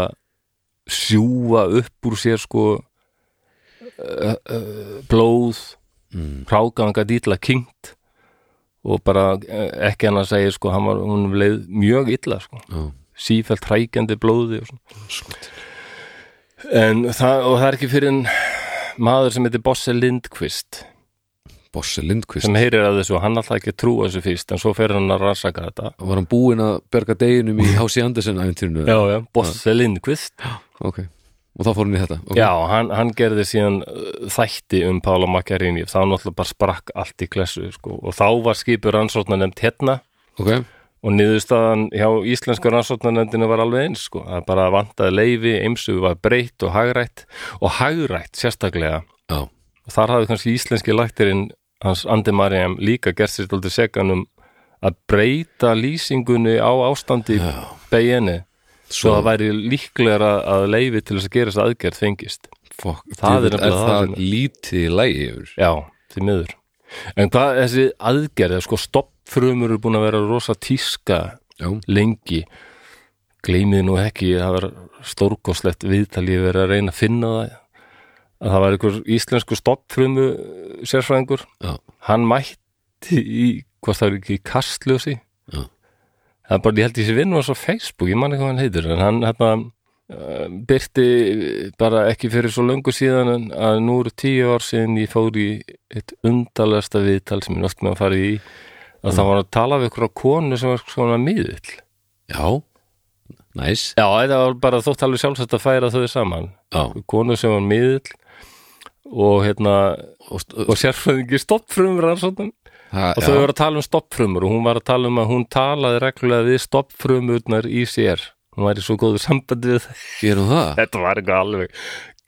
sjúfa upp úr sér sko uh, uh, blóð Mm. hrákanga dýtla kingt og bara eh, ekki hann að segja sko hann var, hún leið mjög illa sko já, sífælt hrækjandi blóði og, svona. skot en það, og það er ekki fyrir en maður sem heitir Bosse Lindqvist Bosse Lindqvist, sem heyrir að þessu og hann alltaf ekki að trúa þessu fyrst en svo fer hann að rannsaka þetta var hann búinn að berga deginum í Hási Andersen æventýrinu já, já, Bosse Lindqvist ok, og þá fór hann í þetta okay. Já, hann, hann gerði síðan uh, þætti um Pála Macchiarini þá náttúrulega bara sprakk allt í klessu sko. og þá var skipur rannsóknar nefnd hérna ok, og niðurstaðan hjá íslensku rannsóknar nefndinu var alveg eins sko. það bara vantaði leifi, eimsu var breytt og hagrætt og hagrætt sérstaklega já, og þar hafði kannski íslenski læktirinn hans Andi Mariam líka gert sér tóldi seganum að breyta lýsingunni á ástandi Já. BN-i svo Svo- það væri líklegra að leifi til þess að gera þess aðgerð fengist fokk, Það djöfull, er nefnilega það það sem- lítið í lægi yfir Já, því miður. En hvað þessi aðgerð, eða sko stoppfrumur eru búin að vera rosa tíska já, lengi. Gleimið nú ekki, það var stórkoslegt viðtal ég verið að reyna að finna það. Að það var einhver íslensku stoppfrumu eh, sérfræðingur. já, Hann mætti í, hvað það er ekki, í kastljósi. Já. Það er bara, ég held ég sé vinnu hans á Facebook, ég man ekki hvað hann heitir, en hann hérna eh, byrti eh, bara ekki fyrir svo löngu síðan en að nú eru tíu ár síðan ég fór í eitt undalegasta viðtal sem ég nátt með að fara í að það var að tala við ykkur á konu sem var svona miðill já næs, Já, þetta var bara þótt alveg sjálfsagt að færa þau saman já konu sem var miðill og hérna og, og sérfræðingi stoppfrumur rannsóknum ha, og þau voru að tala um stoppfrumur og hún var að tala um að hún talaði reglulega við stoppfrumurnar í sér hún var í svo góðu sambandi við það gerum það þetta var eitthvað alveg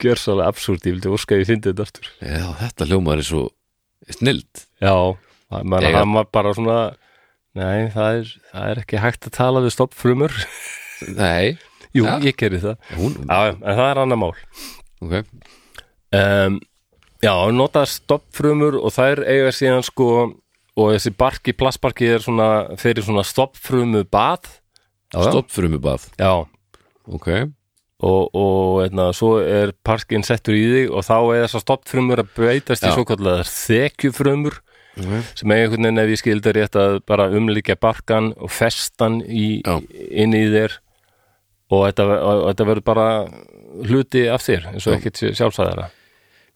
gjörsalega absúrt, ég vildi óska að ég fyndi þetta aftur já, þetta hljómar er svo snild já, man, Eiga- hann var bara svona nei, það er, það er ekki hægt að tala við stoppfrumur nei, jú, Ja. ég gerði það hún, já, já, en það er annar mál ok um, Já, hann notaði stopfrumur og þær eiga síðan sko og þessi barki, plastbarki er svona fyrir svona stopfrumu bað já, já. Stopfrumubað, já. ok og, og eitna, svo er parkin settur í þig og þá er þessar stopfrumur að breytast í Já. svo kallar þekjufrumur Ok. sem eiga einhvern veginn ef ég skildur rétt að bara umlíkja barkan og festan í, Já. inn í þér og þetta, og þetta verður bara hluti af þér eins og ekkert sjálfsæðara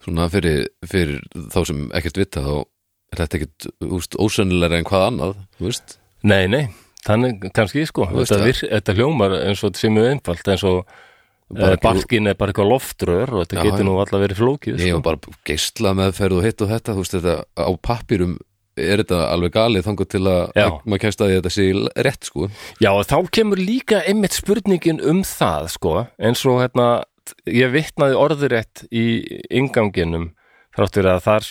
Svona fyrir, fyrir þá sem ekkert vita þá er þetta ekkert úst, ósennilega en hvað annað, þú veist Nei, nei, þannig kannski sko veist þetta, það. vir, þetta hljómar eins og sem er einfalt eins og Bara bara, barkin er bara eitthvað loftrör og þetta Já, getur já. nú alltaf verið flókið Ég sko. var bara geisla meðferð og hitt og þetta, þú veist þetta á pappýrum er þetta alveg galið þangur til að Já. að maður kemst að því að þetta sé l- rétt sko Já, og þá kemur líka einmitt spurningin um það sko, eins og hérna ég vitnaði orðurétt í inganginum þráttur að þar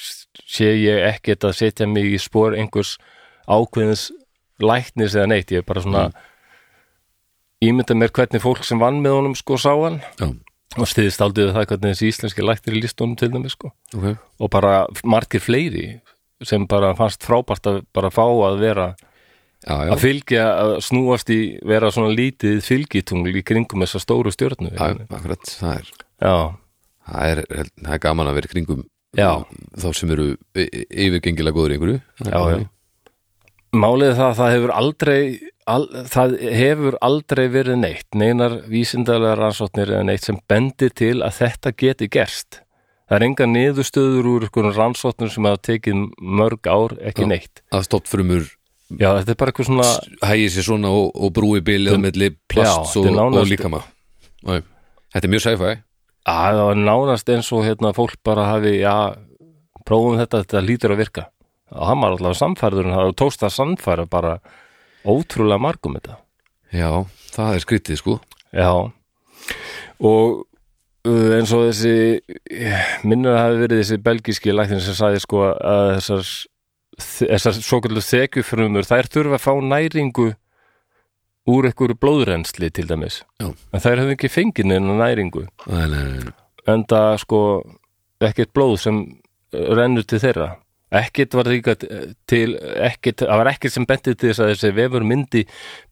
sé ég ekkert að setja mig í spór einhvers ákveðins læknis eða neitt, ég er bara svona Mm. ímynda mér hvernig fólk sem vann með honum sko sá hann Já, og stiðist aldrei við það hvernig þessi íslenski læknir líst honum til dæmis sko ok og bara margir fleiri sem bara fannst frábært að bara fá að vera Já, já, að fylgja, að snúast í vera svona lítið fylgitungl í kringum þessa stóru stjörnu já, akkurat, það er já, það er, það er gaman að vera í kringum Já. þá sem eru y- y- yfirgengilega góður í einhverju já, já. Málið er það að það hefur aldrei al, það hefur aldrei verið neitt neinar vísindalega rannsóknir eða neitt sem bendir til að þetta geti gerst. Það er enga niðurstöður úr ykkur rannsóknir sem hafa tekið mörg ár, ekki Já. neitt. að stoppfrumur Já, þetta er bara eitthvað svona hægir sér svona og, og brúi bilið melli plasts og, Já, þetta er nánast- og líkama Æ, Þetta er mjög sci-fi að það var nánast eins og hérna fólk bara hafi, já, prófum þetta, þetta lítur að virka. Og hann var allavega samfærður en það tókst að samfæra bara ótrúlega margum þetta. Já, það er skrítið sko Já, og uh, eins og þessi, eh, minnur að hafi verið þessi belgíski læknir sem sagði sko að þessar, þessar svokullu þekjufrumur, þær þurfa að fá næringu úr einhverju blóðrensli til dæmis. Já. En þær höfðu ekki fengið neina næringu. Nei, nei, nei, nei. enda sko ekkert blóð sem eh, rennur til þeirra ekkert var líka t- til ekkert, það var ekkert sem bentið til þess að þessi vefur myndi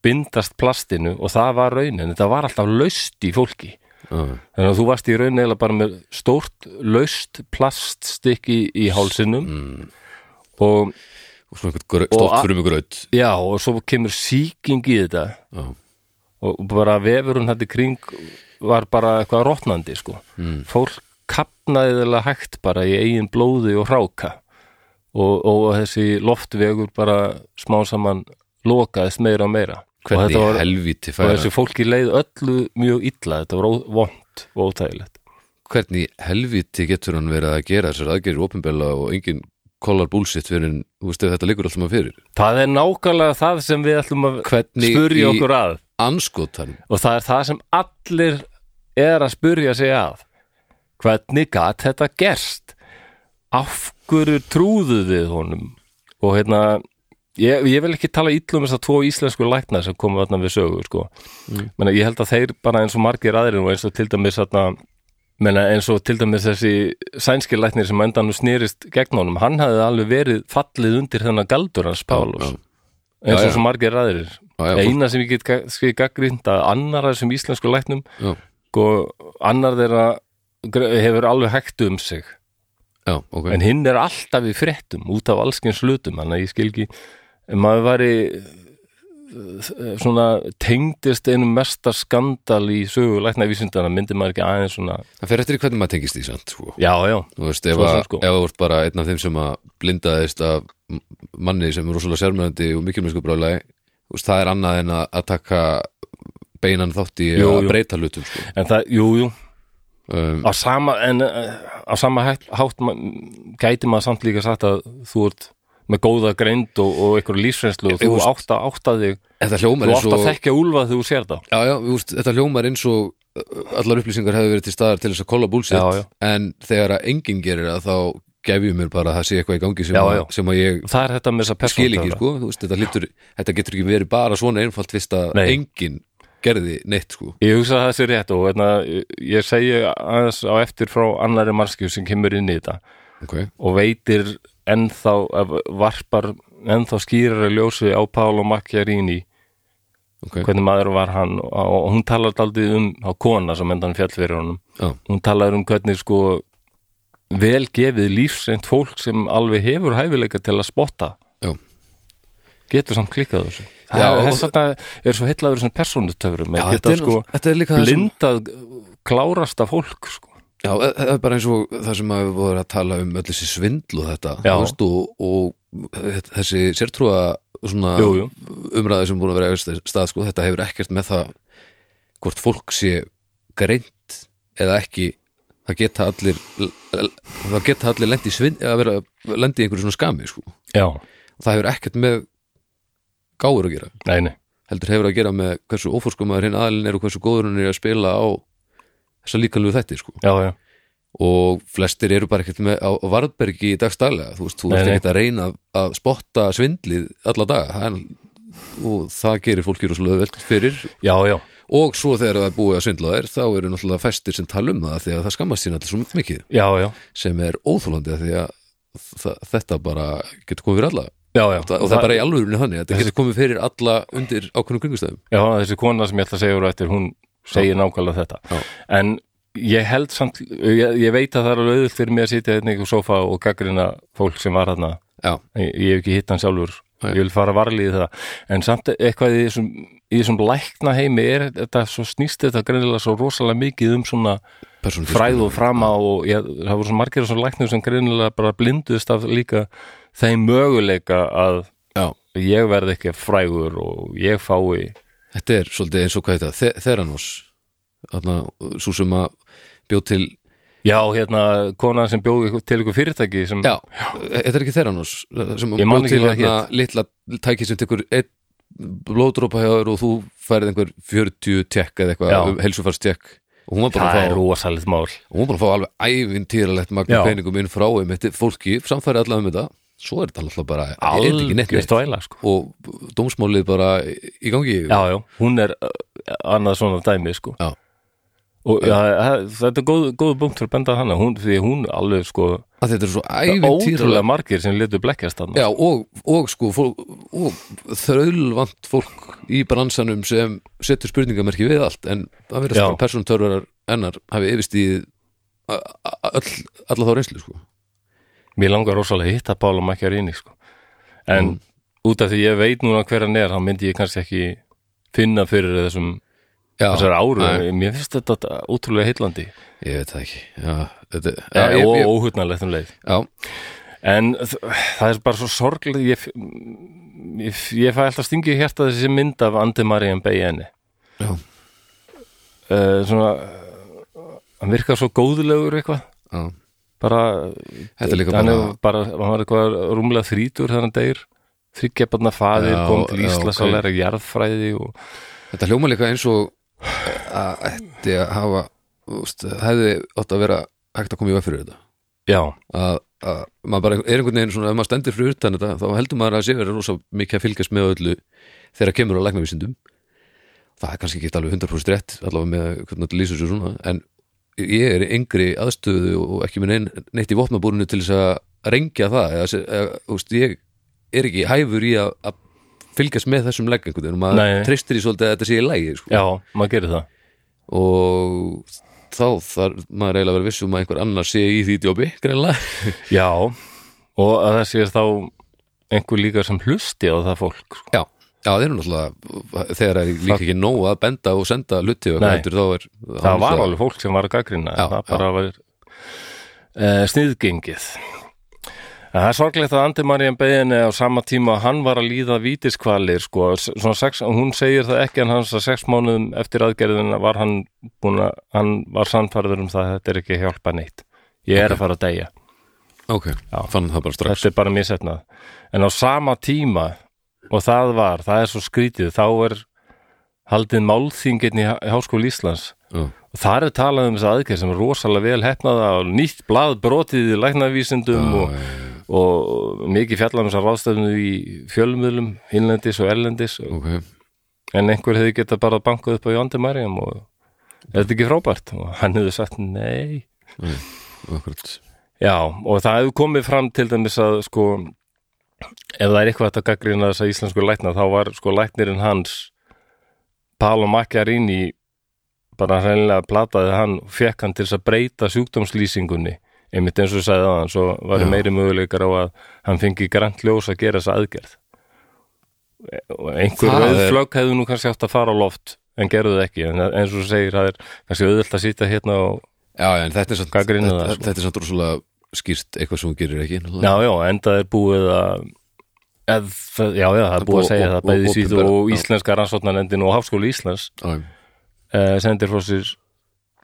bindast plastinu og það var raunin, þetta var alltaf laust í fólki, Já, þannig að þú varst í raunin eða bara með stórt laust plaststykki í hálsinum mm, og Og svona einhvern Og a- stoppfrumu gröð já, og svo kemur sýking í þetta Já, og bara vefurinn hætti kring var bara eitthvað rótnandi sko. Mm. fólk kapnaðiðlega hægt bara í eigin blóði og hráka og, og þessi loftvegur bara smá saman lokaðist meira og meira og, hvernig þetta var, helvíti og færa þessi fólki leið öllu mjög illa þetta var ó- vont og óþægilegt Hvernig í helvíti getur hann verið að gera þessar aðgerir opinbella og engin kollar búlsitt fyrir en, þú veist, ef þetta liggur alltaf maður fyrir það er nákvæmlega það sem við ætlum að Hvernig spurja í- okkur að Anskotan og það er það sem allir er að spurja sig að hvernig gat þetta gerst af hverju trúðu við honum og hérna ég, ég vil ekki tala ítlum þess að tvo íslensku lækna sem komu þarna við sögu sko. mm. menna, ég held að þeir bara eins og margir aðrir og eins og til dæmis þarna menna, eins og til dæmis þessi sænski læknir sem á endanum snýrist gegn honum hann hafði alveg verið fallið undir þennan galdur hans Pálos Já, eins Já, og já. svo margir aðrir Já, já, eina sem ég get skil gaggrind að annar sem íslensku læknum já, og Sko, annar þeirra gre- hefur alveg hægt um sig já, ok en hinn er alltaf í fréttum út af allskins hlutum þannig að ég skil ekki ef maður væri eh, svona tengdist einum mesta skandal í sögu læknavísindana myndi maður ekki aðeins svona Það fer eftir í hvernig maður tengist því samt sko. já, já, Þú veist, ef Svo að sem sko. ef að þú ert bara einn af þeim sem að blindaðist af m- manni sem er rosalega sérmjöndi og mikilmennsku brálega veist, það er annað en að, að taka beinan þátt í Jú, að jú. breyta hlutum sko. en það, jú, jú um, á sama, en eh, á sama hætt, hátt ma- gæti maður samt líka sagt að þú ert með góða greind og, og einhver lífsreynslu og þú Jú, veist. átt að átta þig Þetta hljómar Þú eins átt að og þekkja úlfa þegar þú sér það já, já, þú veist, Þetta hljómar eins og uh, allar upplýsingar hefur verið til staðar til þess að kolla Já, já. búlsitt en þegar að enginn gerir það þá gef ég mér bara að það sé eitthvað í gangi sem, Já, að, já. sem að ég Það er þetta með þessa skil ekki persónutöfra sko. Þú veist, þetta, lítur, þetta getur ekki verið bara svona einfalt fyrst að Nei. enginn gerði neitt sko. Ég hugsa að það hérna, sé rétt og veitna, ég segi aðeins á eftir frá annari mannskjöf sem kemur inn í þetta ok, og veitir ennþá ef- varpar ennþá skýrara ljósi á Paolo Macchiarini ok hvernig maður var hann og, og hún talar daldið um á kona sem endan fjall fyrir honum Já, hún talar um hvernig sko vel gefið lífsreint fólk sem alveg hefur hæfileika til að spotta já, getur samt klikkað á þessu Já, Það- og- þess vegna er svo heillaður svona persónutöfrum já að geta sko þetta er líka það sem- blindað klárasta fólk sko. Já, það það er bara eins og það sem að við vorum að tala um öll þessi svindl og þetta Já. þú veist, og, og þessi sértrúa svona jú, jú. umræði sem búin að vera að eiga stað sko, þetta hefur ekkert með það hvort fólk sé greint eða ekki það geta allir það geta allir lendi svind að vera lendi í einhverju svona skami sko. já, það hefur ekkert með gáur að gera nei, nei heldur hefur að gera með hversu ófórskumaður hinn aðalinn er og hversu góður hann er að spila á þessa líkanlegu þætti sko já, já, og flestir eru bara ekkert með á á varðbergi í dagstælega þú veist, þú Nei, ert nei. ekkert að reyna að- að spotta svindlið alla daga Það er- og það gerir fólki rosalega vel fyrir já, já, og svo þegar það er búið að svindla þær þá eru náttúrulega fæstir sem tala um það af því að það skammast sín allir svo mikið já, já, sem er óþólandi því að það, þetta bara getur komið fyrir alla já, já. og það, og það er bara í alvörunni þannig þetta getur komið fyrir alla undir ákveðnum kringustæðum Já, þessi kona sem ég ætla að segja úr á eftir, hún segir nákvæmlega þetta. Já. En ég held samt, ég, ég veit að það er alveg auðvöld fyrir mig að sitja hérna í einhver sofa og gaggrina fólk sem var þarna. já, Ég, ég hef ekki hitt hann sjálfur, Nei. ég vil fara varlið það. En samt eitthvað í þessum, í þessum lækna heimi er þetta svo snýst þetta greinilega svo rosalega mikið um svona persónulega fræð og frama og ég, það voru svo margir af svona læknum sem greinilega bara blinduðist af líka þeim möguleika að já, ég verði ekki frægur og ég fái Þetta er svolítið eins og hvað þetta, Þe- Theranos þarna, svo sem að bjóð til, Já, hérna, konan sem bjóði ykkur- til ykkur fyrirtæki sem, já, þetta er ekki Theranos sem að Mm. Ég man bjó ekki til hvað það hérna litla tæki sem tekur einn blóðdrópa hjá þér og þú færið einhver 40 tekk eða Já. eitthvað, um helsufarstekk og hún var bara það er að fá, rosalegt mál og hún var bara að fá alveg ævintýralegt Já. magnum peningum inn frá um þetta fólki, samfærið allavega um þetta svo er þetta alltaf bara, ég er ekki neitt Algjör neitt stvæla, sko og dómsmálið bara í gangi Já, já, hún er uh, annað svona dæmi, sko Já. Og já, það- þetta er góð, góð punkt fyrir að benda á hana, hún, því hún alveg, sko að þetta er svo ævintýralegt Ótrúlega margir sem letu blekkjast þarna Já, og, og sko fólk, og þrölvant fólk í bransanum sem setur spurningamerki við allt en það verður Já. svona persónutörvarar ennar hafi yfirst í all, alla þá reynslu sko. Mér langar rosalega að hitta Pála Macchiarini, sko En Mm. út af því ég veit núna hver hann er, þá myndi ég kannski ekki finna fyrir þessum, Já, þessar áru Nei. Mér finnst þetta ótrúlega heitlandi ég veit það ekki Já, þetta, Já, já, og ég, ég, óhugnarlegt um leið já, En þ- það er bara svo sorglega, ég, f- ég, f- ég fæ alltaf stingið hérta þessi mynd af Andi Marian Beijenni. já, Uh, svona, eh, hann virkar svo góðlegur eitthvað, já bara, Þetta er líka hann bara er bara, hann var eitthvað rúmlega þrítur þegar hann deyr, þryggjabarna faðir, Já, kom til já, Íslas ok. að læra jarðfræði og, Þetta hljóma líka eins og að ætti að hafa þú veist, hefði átt að vera hægt að koma í veg fyrir þetta já, að, að maður bara er einhvern veginn svona ef maður stendur fyrir utan þetta þá heldur maður að sé verið rosa mikið að fylgjast með öllu þegar kemur á læknavísindum það er kannski ekki alveg 100% rétt allavega með hvernig þetta lýsur sér svona en ég er í yngri aðstöðu og ekki minn neitt í vopnabúrinu til þess að rengja það eða, se- eða, úst, ég er ekki hæfur í að, að fylgjast með þessum legg einhvern veginn og maður Nei. treystir í svolítið að þetta sé í lægi sko. já, maður gerir það. og þá þarf maður eiginlega að vera viss um að einhver annar sé í því djópi greinlega Já, og að það sé þá einhver líka sem hlusti á það fólk, sko. Já, já þeir eru náttúrulega þegar er líka ekki nóg að benda og senda lutti og Nei. hvað heldur þá er það var alveg fólk sem var að gaggrina Já, það bara var uh, sniðgengið En Það er sorglegt að Andi Marían beðinni á sama tíma að hann var að líða vítiskvalir sko, s- svona sex, hún segir það ekki en hans að sex mánuðum eftir aðgerðina var hann búin að, hann var sannfærður um það að þetta er ekki að hjálpa neitt ég er að fara að deyja Ok, fann það bara strax þetta er bara misetnað en á sama tíma og það var, það er svo skrítið þá er haldið málþingin í Há- Háskóli Íslands Já, og þar er talað um þess aðgerð sem er rosalega vel hefnaða og nýtt blað brotið í læknavísindum og, og mikið fjallar um þess að ráðstefnu í fjölmiðlum innlendis og erlendis ok en einhver hefði getað bara bankað upp á Jóndi Mariam og er þetta ekki frábært? og hann hefði sagt nei akkurat. Já, og það hefur komið fram til dæmis að sko ef það er eitthvað hægt að gaggrina þess að íslensku lækna þá var sko læknirinn hans Paolo Macchiarini bara hreinlega plataði hann og fekk hann til þess að breyta sjúkdómslýsingunni einmitt eins og ég sagði aðan svo var Já. meiri möguleikar á að hann fengi grænt ljós að gera þessa aðgerð og einhver Það er- auðflögg hefðu nú kannski átt að fara á loft en gerðu það ekki, en eins og þú segir það er kannski auðvelt að sýta hérna og Já, já, en þetta er samt, Gagnrýna þetta, það, sko. þetta er samt rosalega skýrt eitthvað sem hún gerir ekki náttúrulega. Já, já, enda er búið að eð, það- Já, já, það er búið að segja Og- það og- bæði og- síð opinbera, og já. íslenska rannsóknarnendin og Háskóli Íslands Já, uh, sendir frá sér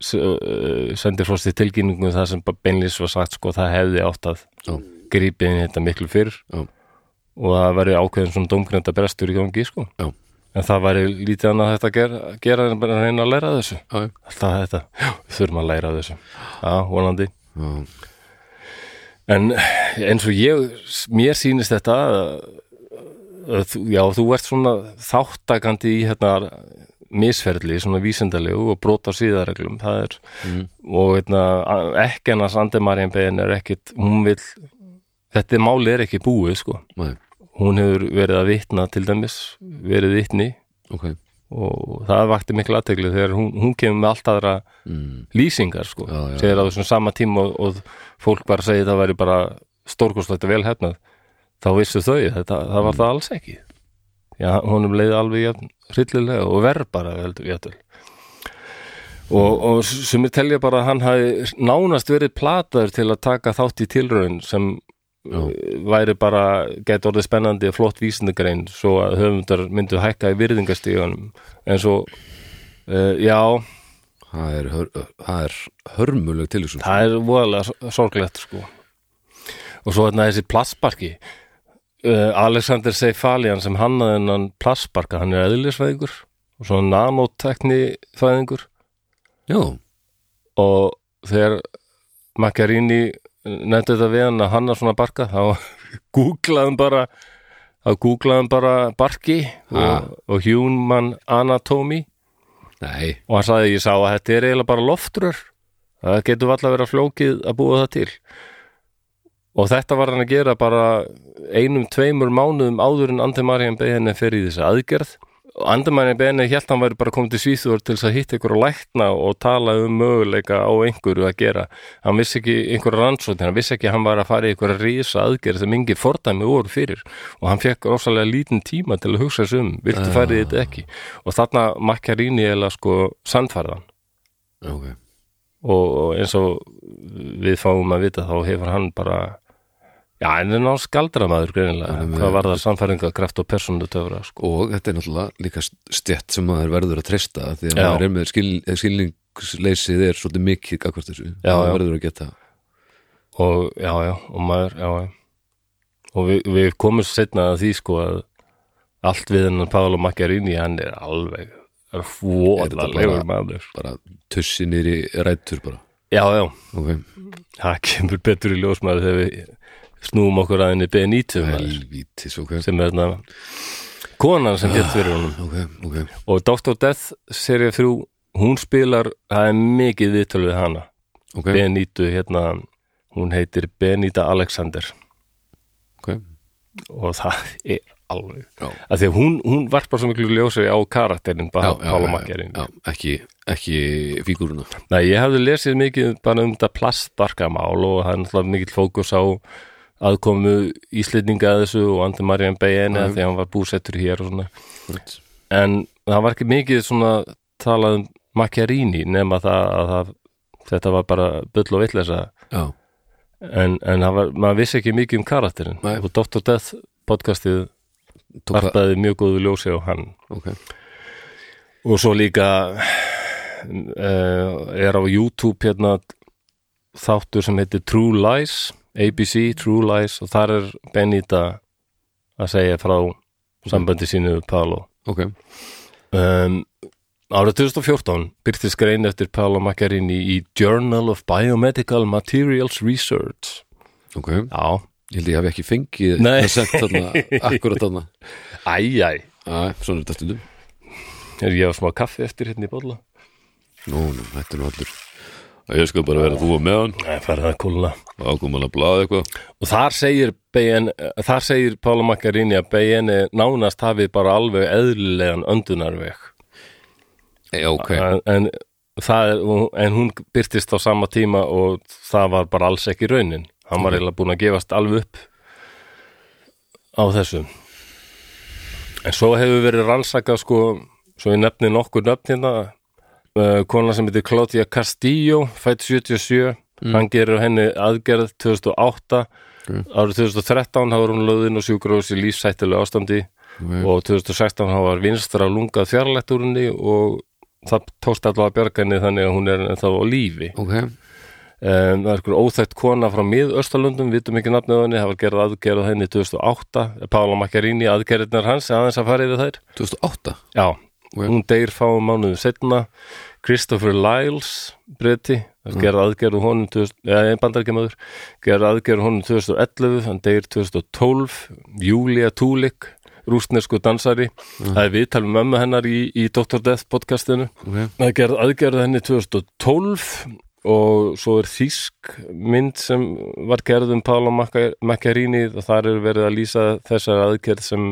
s- eh, sendir frá sér tilkynningu um það sem bara beinlis var sagt sko, það hefði átt að já, grípið inn í þetta miklu fyrr já, og það væri ákveðin svona dómgrenda brestur í gangi sko. já, en það væri lítið annað þetta að gera, gera en bara að reyna að læra af þessu já, já. alltaf þetta, já, við þurfum að læra af þessu Já, vonandi já. En eins og ég, mér sýnist þetta að- að þú- já, þú ert svona þáttakandi í hérna misferðli, svona vísindalegu og brot á síðareglum, það er Mm, og hérna, ekki annars Andemarín Bein er ekkit, hún vil þetta máli er ekki búið, sko Nei, hún hefur verið að vitna til dæmis, verið vitni ok og það vakti mikla aðtegli þegar hún, hún kemur með allt aðra mm. lýsingar sko, Já, já. segir að þessum sama tíma og, og fólk var að segja það væri bara stórkostlegt og velhefnað þá vissu þau, þetta, það var það alls ekki já, honum leiði alveg jafn, hryllilega og verð bara heldur, jafnvel og, og sumir telja bara að hann hafi nánast verið plataður til að taka þátt í tilraun sem Já, væri bara gæti orðið spennandi og flott vísindagrein svo að höfundar myndu hækka í virðingastíðunum en svo uh, já, það er, hör, það er hörmuleg tilhugsun það er voðalega sor- sorglegt sko og svo þarna þessi plassparki uh, Alexander Seifalian sem hannaði hennan plassparka, hann er eðlisfæðingur og svona nanotekni fæðingur Já, og þegar Macchiarini eh, nefndi þetta við hann að hanna svona barka þá googlaðum bara þá googlaðum bara barki Ha. og, og human anatomy nei, og hann sagði ég sá að þetta er eiginlega bara loftrör það getur alltaf verið flókið að búa það til og þetta var hann að gera bara einum, tveimur mánuðum áður en Andemarian Behenni fer í þessa aðgerð og Andemarian Behenni held hann væri bara komið til Svíþjóður til þess að hitta ykkur að lækna og tala um möguleika á einhverju að gera hann vissi ekki einhverja rannsókn hann vissi ekki að hann var að fara í einhverja rísa aðgerð sem engin fordæmi voru fyrir og hann fekk rosalega lítinn tíma til að hugsa sig um viltu færið þetta ekki og þarna Macchiarini eða sko sannfærðan ok og og eins og við fáum að vita þá hefur hann bara já, hann er ná skaldramæður greinilega, Hann er hvað með- var það samfæringakraft og persónutöfra, sko Og þetta er náttúrulega líka stjætt sem maður verður að treysta því að Já. maður er með skil, skilningsleysið er svolítið mikið gagvart þessu Já, Maður já. verður að geta og já, já, og maður, já, já og við, við komum setna að því, sko að allt við hennan Pála Macchiarini, hann er alveg Er þetta bara- fóðalegur maður bara tussi nýri rætur bara já, já, Ok, það kemur betur í ljós maður þegar við snúum okkur að henni Benitum maður helvítis, ok sem er þarna konan sem hétt fyrir honum Ok, ok og Dr. Death serið þrjú hún spilar, það er mikið viðtöl við hana, Ok, Benítu hérna, hún heitir Beníta Alexander ok og það er alveg Já. að því að hún, hún varpar svo miklu ljósi á karakterinn, bara Pála Makkerinn já, ekki, ekki fígúruna Nei, ég hafði lesið mikið bara um þetta plastbarkamál og það er náttúrulega mikill fókus á aðkomu íslendinga að þessu og Andi Marian Beyen Já. að því að hann var búsettur hér og svona Right. en það var ekki mikið svona talað um Macchiarini nema það að það, þetta var bara bull og vitleysa Já, en, en það var, maður vissi ekki mikið um karakterin Nei. og Dr. Death podcastið tók það varpaði mjög góðu ljósi á hann Ok, og svo líka uh, er á YouTube hérna þáttur sem heitir True Lies ABC True Lies og þar er Benita að segja frá sambandi sínu við Paolo ok Um, árið 2014 byrtist grein eftir Paolo Macchiarini í Journal of Biomedical Materials Research. Ok, Já, ég held ég hafi ekki fengið Nei. það sent þarna, akkurat þarna æj, æj, Æ, svona er þetta stundum er ég að smá kaffi eftir hérna í bolla? Nú, nú, þetta er nú allur Ég skal bara vera þú og með hann Það er farið að kúlna og ákvæm hann að blaða eitthvað og þar segir, BN, þar segir Pála Makkarini að BN nánast hafið bara alveg eðlilegan öndunarveg Já, ok en, en, það er, en hún byrtist á sama tíma og það var bara alls ekki raunin hann var eiginlega búin að gefast alveg upp á þessu en svo hefur verið rannsakað sko, svo ég nefni nokkur nöfn hérna uh, kona sem heitir Claudia Castillo fætt 77 hann gerur henni aðgerð 2008 árið 2013 hafa hún löðin og sjúkrós í lífsættilegu ástandi og 2016 hafa var vinstra lungað fjarlætt úr henni og það tókst allavega að bjarga henni þannig að hún er ennþá á lífi Ok, Um, það er einhver óþægt kona frá miðaustalundum, vitum ekki nafnið á henni, það var gerð aðgerð á henni 2008, Pála Makkarini, aðgerðirnar hans, aðeins að fara yfir þær. 2008 Já, Ok. hún deyr fáum mánuðum setna, Christopher Lyles, breyti, það var gerð aðgerð á honum, 2000 eða ja, bandarkemaður, gerð aðgerð á honum 2011, hann deyr 2012, Júlia Túlik, rústnesku dansari, það er viðtalum mömmu hennar í, í Dr. Death podcastinu Ok, Það gerð aðgerð henni 2012 og svo er þýsk mynd sem var gerð um Pála Makkarini og þar er verið að lýsa þessar aðgerð sem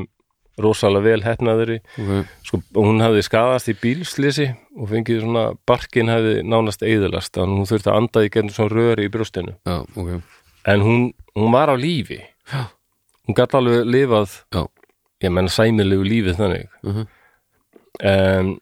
rosalega vel hefnaðri. ok Sko, hún hafði skadast í bílslisi og fengið svona, barkin hafði nánast eðalast, þannig að hún þurfti að anda í gerðin svona röri í brjóstinu. Já, ok En hún, hún var á lífi. Já. Hún gæti alveg lifað Já, ég menna sæmilegu lífið þannig Mhm. en,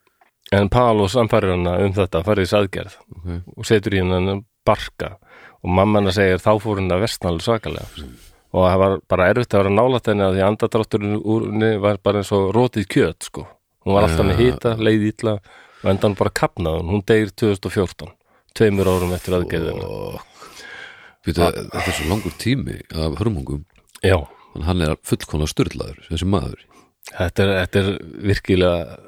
en Pálo samfærir hana um þetta farið þess aðgerð Ok. og setur í hennan barka og mamma hana segir þá fór henni að versna alveg svakalega og það var bara erfitt að vera nálætt henni að því andadrátturinn úr henni var bara eins og rótið kjöt sko hún var alltaf með hita, leið ítla og endan bara kapnaði hún, hún deyr 2014 tveimur árum eftir aðgerðina Býtu, Ah. þetta er svo langur tími af hörmungum já, Þannig hann er fullkona styrlaður, þessi maður þetta er, þetta er virkilega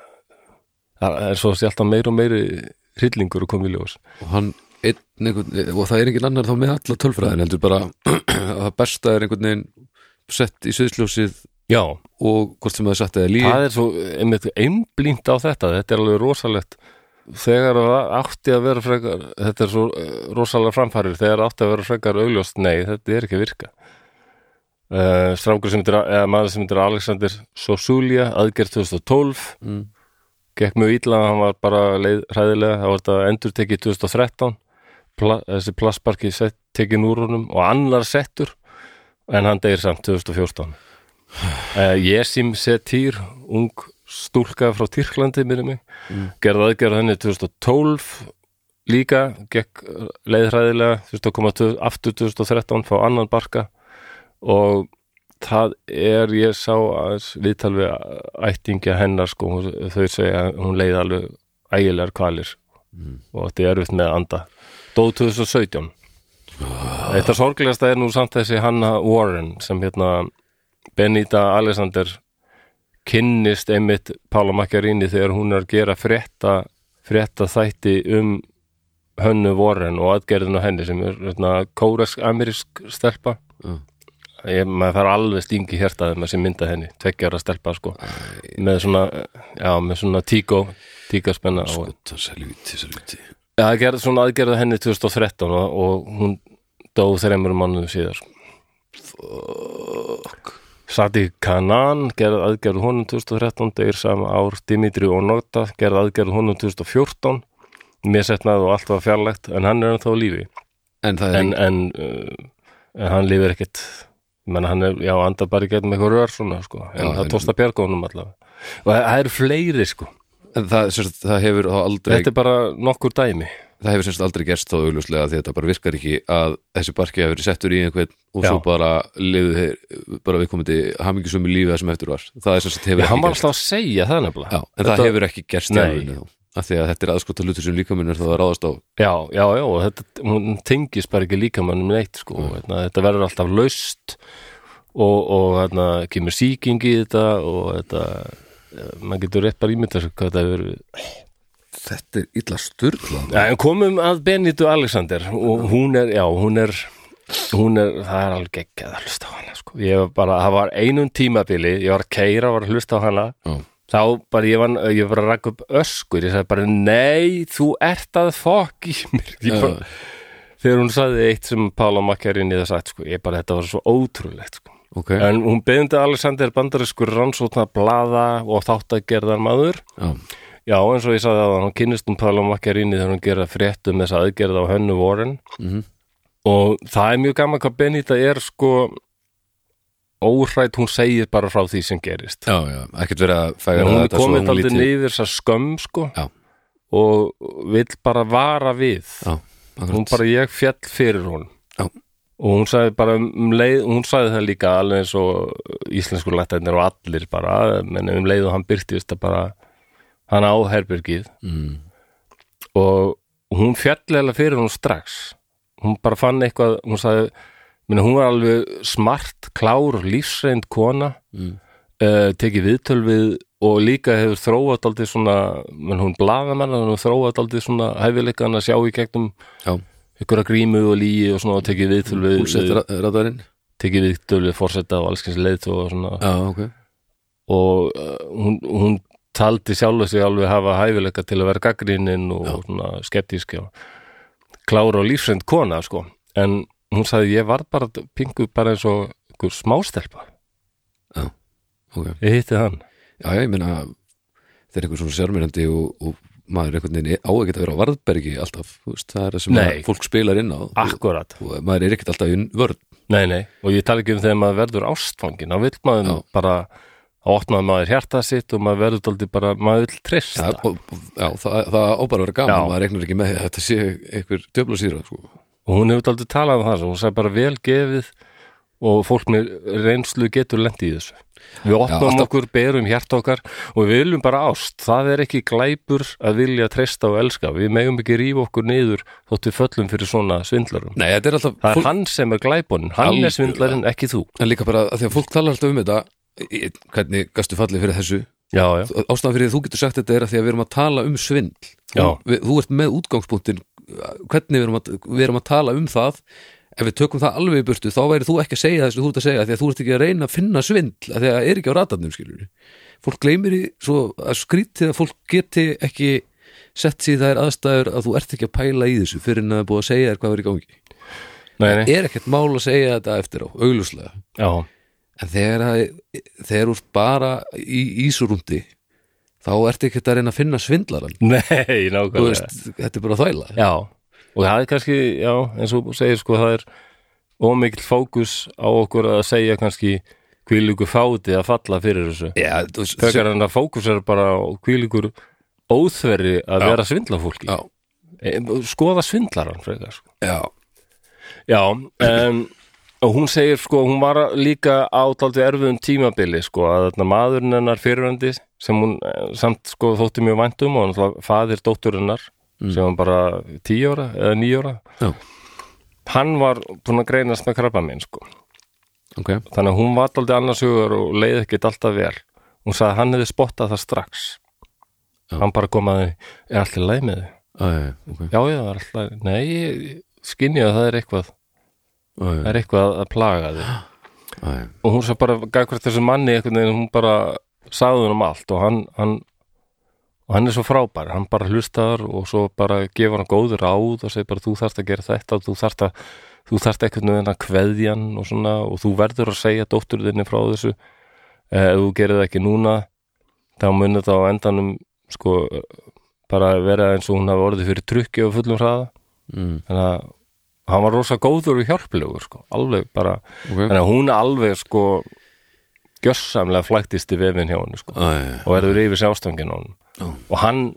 það er svo sé alltaf meir og meiri hryllingur að koma í ljós og hann einn, einhvern, og það er engin annar þá með alla tölfræðin heldur bara að það besta er einhvern veginn sett í sviðsljósið Já, og hvort sem það er sett eða líf það er svo einmitt einblínt á þetta, þetta er alveg rosalegt þegar það átti að vera frekar, þetta er svo eh, rosalega framfærir, þegar átti að vera frekar augljóst, nei, þetta er ekki að virka uh, strákur sem myndir eða maður sem myndir Alexander Sosulia aðgerð 2012 Mm. gekk mjög illa, hann var bara leið, hræðilega, það var þetta endur tekið 2013 Pla, þessi plassparki sett, tekin úr honum og annar settur en hann deyr samt 2014 uh, Yesim Setir ung stúlka frá Tyrklandi minni mig, mm. gerði aðgerð henni 2012 líka gekk eh, leiðræðilega 2002, aftur 2013 fá annan barka og það er, ég sá að viðtal við ættingja hennar sko, hún- þau segja að hún leiði alveg ægilegar kvalir og þetta er erfitt með að anda dó 2017 Þetta sorglegasta er nú samt þessi Hanna Warren sem hérna Benita Alexander kynnist einmitt Pála Makkarini þegar hún er að gera frétta, frétta þætti um hönnu Warren og aðgerðinu henni sem er hérna, kóresk-amerísk stelpa Já. ég, maður þarf alveg stingi hértað með sem mynda henni, tveggjara stelpa sko. með svona, já, með svona tíko, tíkaspenna og Selvíti, selvíti Já, það gerði svona aðgerða henni 2013 og, og hún dó þreymur mannuðum síðar. sko. Fuck. Sati Kanan gerði aðgerðu honum 2013, degir sama ár Dimitri Onogda gerði aðgerðu honum 2014, mér setnaði og allt var fjarlægt, en hann er ennþá á lífi. En það er En, en, uh, en hann lífir ekkit, menn hann er, já, andar bara í getum eitthvað rör svona, sko, en Já, en- það tósta bjargónum allavega. Og það það eru fleiri, sko. En það, sem sagt, það hefur þá aldrei Þetta er bara nokkur dæmi. það hefur semst aldrei gerst þá augljóslega því að þetta bara virkar ekki að þessi barki hefur verið settur í einhvern og svo Já. bara liðu þeir bara viðkomandi hamingjusum í lífi það sem eftir var það er semst hefur Já, hann ekki var gerst alltaf að segja það nefnilega. Já, en það Þetta- hefur ekki gerst í Nei. alvörunni þá. af því að þetta er aðskota hlutur sem líkaminn er þá að ráðast á Já, já, já, og þetta, hún tengist bara ekki líkamannum neitt, sko, hérna, þetta verður alltaf laust og, og hérna, kemur sýkingi í þetta og þetta, eh, maður getur rétt bara ímynda sig hvað þetta hefur verið. Þetta er illa sturla Já, en komum að Benito Alexander og hún er, já, hún er, hún er, það er alveg ekki að hlusta á hana, sko, ég var bara, það var einum tímabili, ég var að keira, var að hlusta á hana Já, þá bara ég var, ég var að rakka upp öskur ég sagði bara nei, þú ert að fokk í mér ég bara, þegar hún sagði eitt sem Pála Makkarin í þess að sko, ég bara þetta var svo ótrúlegt sko. ok, já, en hún beðndi Alexander bandariskur rannsóknar blaða og þáttagerðar maður Já, eins og ég sagði að hann kynnist um Pála Makkarini þegar hún gera frétt um þessa aðgerð á hönnu Warren Mhm. og það er mjög gaman hvað Benita er sko óhrætt, hún segir bara frá því sem gerist já, já, ekkert verið að Já, færa hún er þetta svo komið hún aldrei lítið niður þess að skömm sko Já. og vill bara vara við já, hún akkurat, bara ég fjall fyrir hún Já. og hún sagði bara um leið hún sagði það líka alveg eins og íslenskur lættæðnir og allir bara menn um leið og hann byrtist að bara hann á herbergið mm, og hún fjallilega fyrir hún strax hún bara fann eitthvað hún, sagði, minna, hún var alveg smart, klár, lífsreind kona Mm. eh, tekið viðtöl við og líka hefur þróað aldrei svona, menn hún blaðamenn hún hefur þróað aldrei svona hæfileikan að sjá í gegnum já, ykkur að grímu og líi og svona og tekið viðtöl við, hún setur radarinn tekið viðtöl við fórseta og allskins leið og svona já, ok, og uh, hún, hún taldi sjálf sig alveg hafa hæfileika til að vera gaggrininn og svona skeptísk og klára og lífsrend kona sko, en hún sagði ég var bara pingu bara eins og einhver smástelpa, ok ég hitti hann já, já, ég meina þeir eru einhver svona sjármyrandi og, og maður einhvern veginn á ekkert að vera á varðbergi alltaf, þú veist, það er það sem Nei. Ah. að fólk spilar inn á og, akkurat, og maður er ekkert alltaf í vörn nei nei og ég tala ekki um þegar maður verður ástfangin þá vill maður Já. bara þá opnaði maður hjarta sitt og maður verður daldið bara, maður vill trista já, og, og- já það, það á bara að vera gaman Já. maður reiknar ekki með því að þetta sé einhver döfla síra sko. og hún hefur daldið talað um það svo, hún sagði bara vel gefið og fólk með reynslu getur lendi í þessu við opnum alltaf- okkur, berum hjart okkar og við viljum bara ást, það er ekki glæpur að vilja treysta og elska við megum ekki rífa okkur niður þótt við föllum fyrir svona svindlarum nei, þetta er alltaf það er fólk- hann sem er glæpun, hann Algjörlega. er svindlarinn ekki þú, En líka bara að því að fólk talar alltaf um þetta í- hvernig gastu fallið fyrir þessu já já ástæðan fyrir því að þú getur sagt þetta er að því að við erum að tala um svindl þú, Já. við, þú ert með útgangspunktin hvernig við erum, að, við erum að tala um það ef við tökum það alveg í burtu þá væri þú ekki að segja þessu þú ert að segja af því að þú ert ekki að reyna að finna svindl af því að það er ekki á ratarnum skilur fólk gleymir í svo að skrítið að fólk geti ekki sett sér í þær aðstæður að þú ert ekki að pæla í þessu fyrir en að það er búið að segja þér hvað er í gangi nei, nei. er ekkert mál að segja þetta eftir á, augljóslega já, en þegar, að, þegar úr bara í ísurúndi þá ertu ekkert að reyna að finna svindlaran nei, þú nákvæmlega veist, þetta er bara þvæla Já, og það er kannski, já, eins og þú segir sko, það er ómikil fókus á okkur að segja kannski hvílíku fáti að falla fyrir þessu. já, þú veist, Þegar hann að fókus er bara á hvílíkur óþveri Já. að vera svindla fólki. já, Skoða svindlaran, frekar, sko. já, Já, um, og hún segir sko, hún var að- líka á dálítið erfiðum tímabili sko, að þarna maðurinn hennar fyrirvandi sem hún eh, samt sko þótti mjög vænt um og hann faðir dótturinnar Mm. sem hann bara tíu ára eða níu ára já, hann var búin að greinast með krabba minn sko. ok þannig að hún var aldrei annars hugar og leið ekkert alltaf vel hún sagði að hann hefði spottað það strax Já. hann bara kom að því er allir leið með því? Æ, okay. já, já, það er allir, nei, ég skinni að það er eitthvað það Æ, er eitthvað að plaga því æ, og hún sagði bara, gækvært þessu manni einhvern veginn, hún bara sagði hún um allt og hann, hann og hann er svo frábær, hann bara hlustar og svo bara gefur hann góð ráð og segir bara þú þarft að gera þetta og þú þarft að þú þarft einhvern veginn að kveðja hann og svona og þú verður að segja dóttur þinni frá þessu eh, ef þú gerir það ekki núna þá munir það á endanum sko bara vera eins og hún hafi orðið fyrir trukki og fullum hraða mm, þannig að hann var rosa góður og hjálplegur sko, alveg bara ok þannig að hún alveg sko gjössamlega flæktist í vefin hjá hann sko, Æ, og verður yfir sér ástangin á hann Já. og hann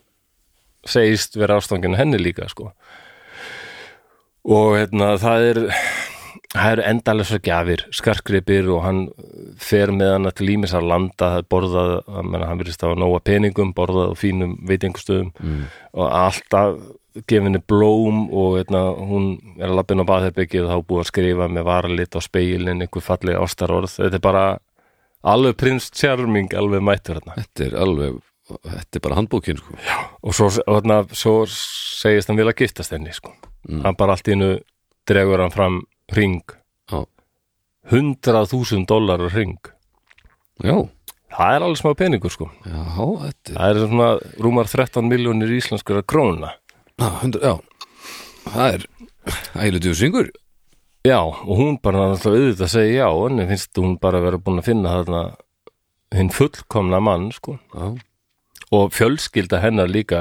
segist vera ástangin henni líka sko og hérna það er það eru endalessa gjafir, skarkripir og hann fer með hana til ímis að landa, borðað að menna, hann virðist að nóa peningum, borðað á fínum veitingustöðum mm. og alltaf gefinni blóm og hérna, hún er að lappin á baðherbyggið og þá búið að skrifa með varalit á speilin einhver falleg ástarorð, þetta er bara alveg prins Charming alveg mættur hérna þetta er alveg þetta er bara handbókin sko. já, og svo, og þarna, svo segist hann vil að giftast henni sko. hann bara allt í innu dregur hann fram ring já, 100.000 dólarar ring já, það er alveg smá peningur sko Já, þetta er það er svona rúmar 13 miljónir íslenskara krónuna Já, hundra, já Það er ægilega syngur Já, og hún bara alltaf auðvitað að segja já, en finnst hún bara vera búin að finna þarna hinn fullkomna mann, sko. Já, Og fjölskylda hennar líka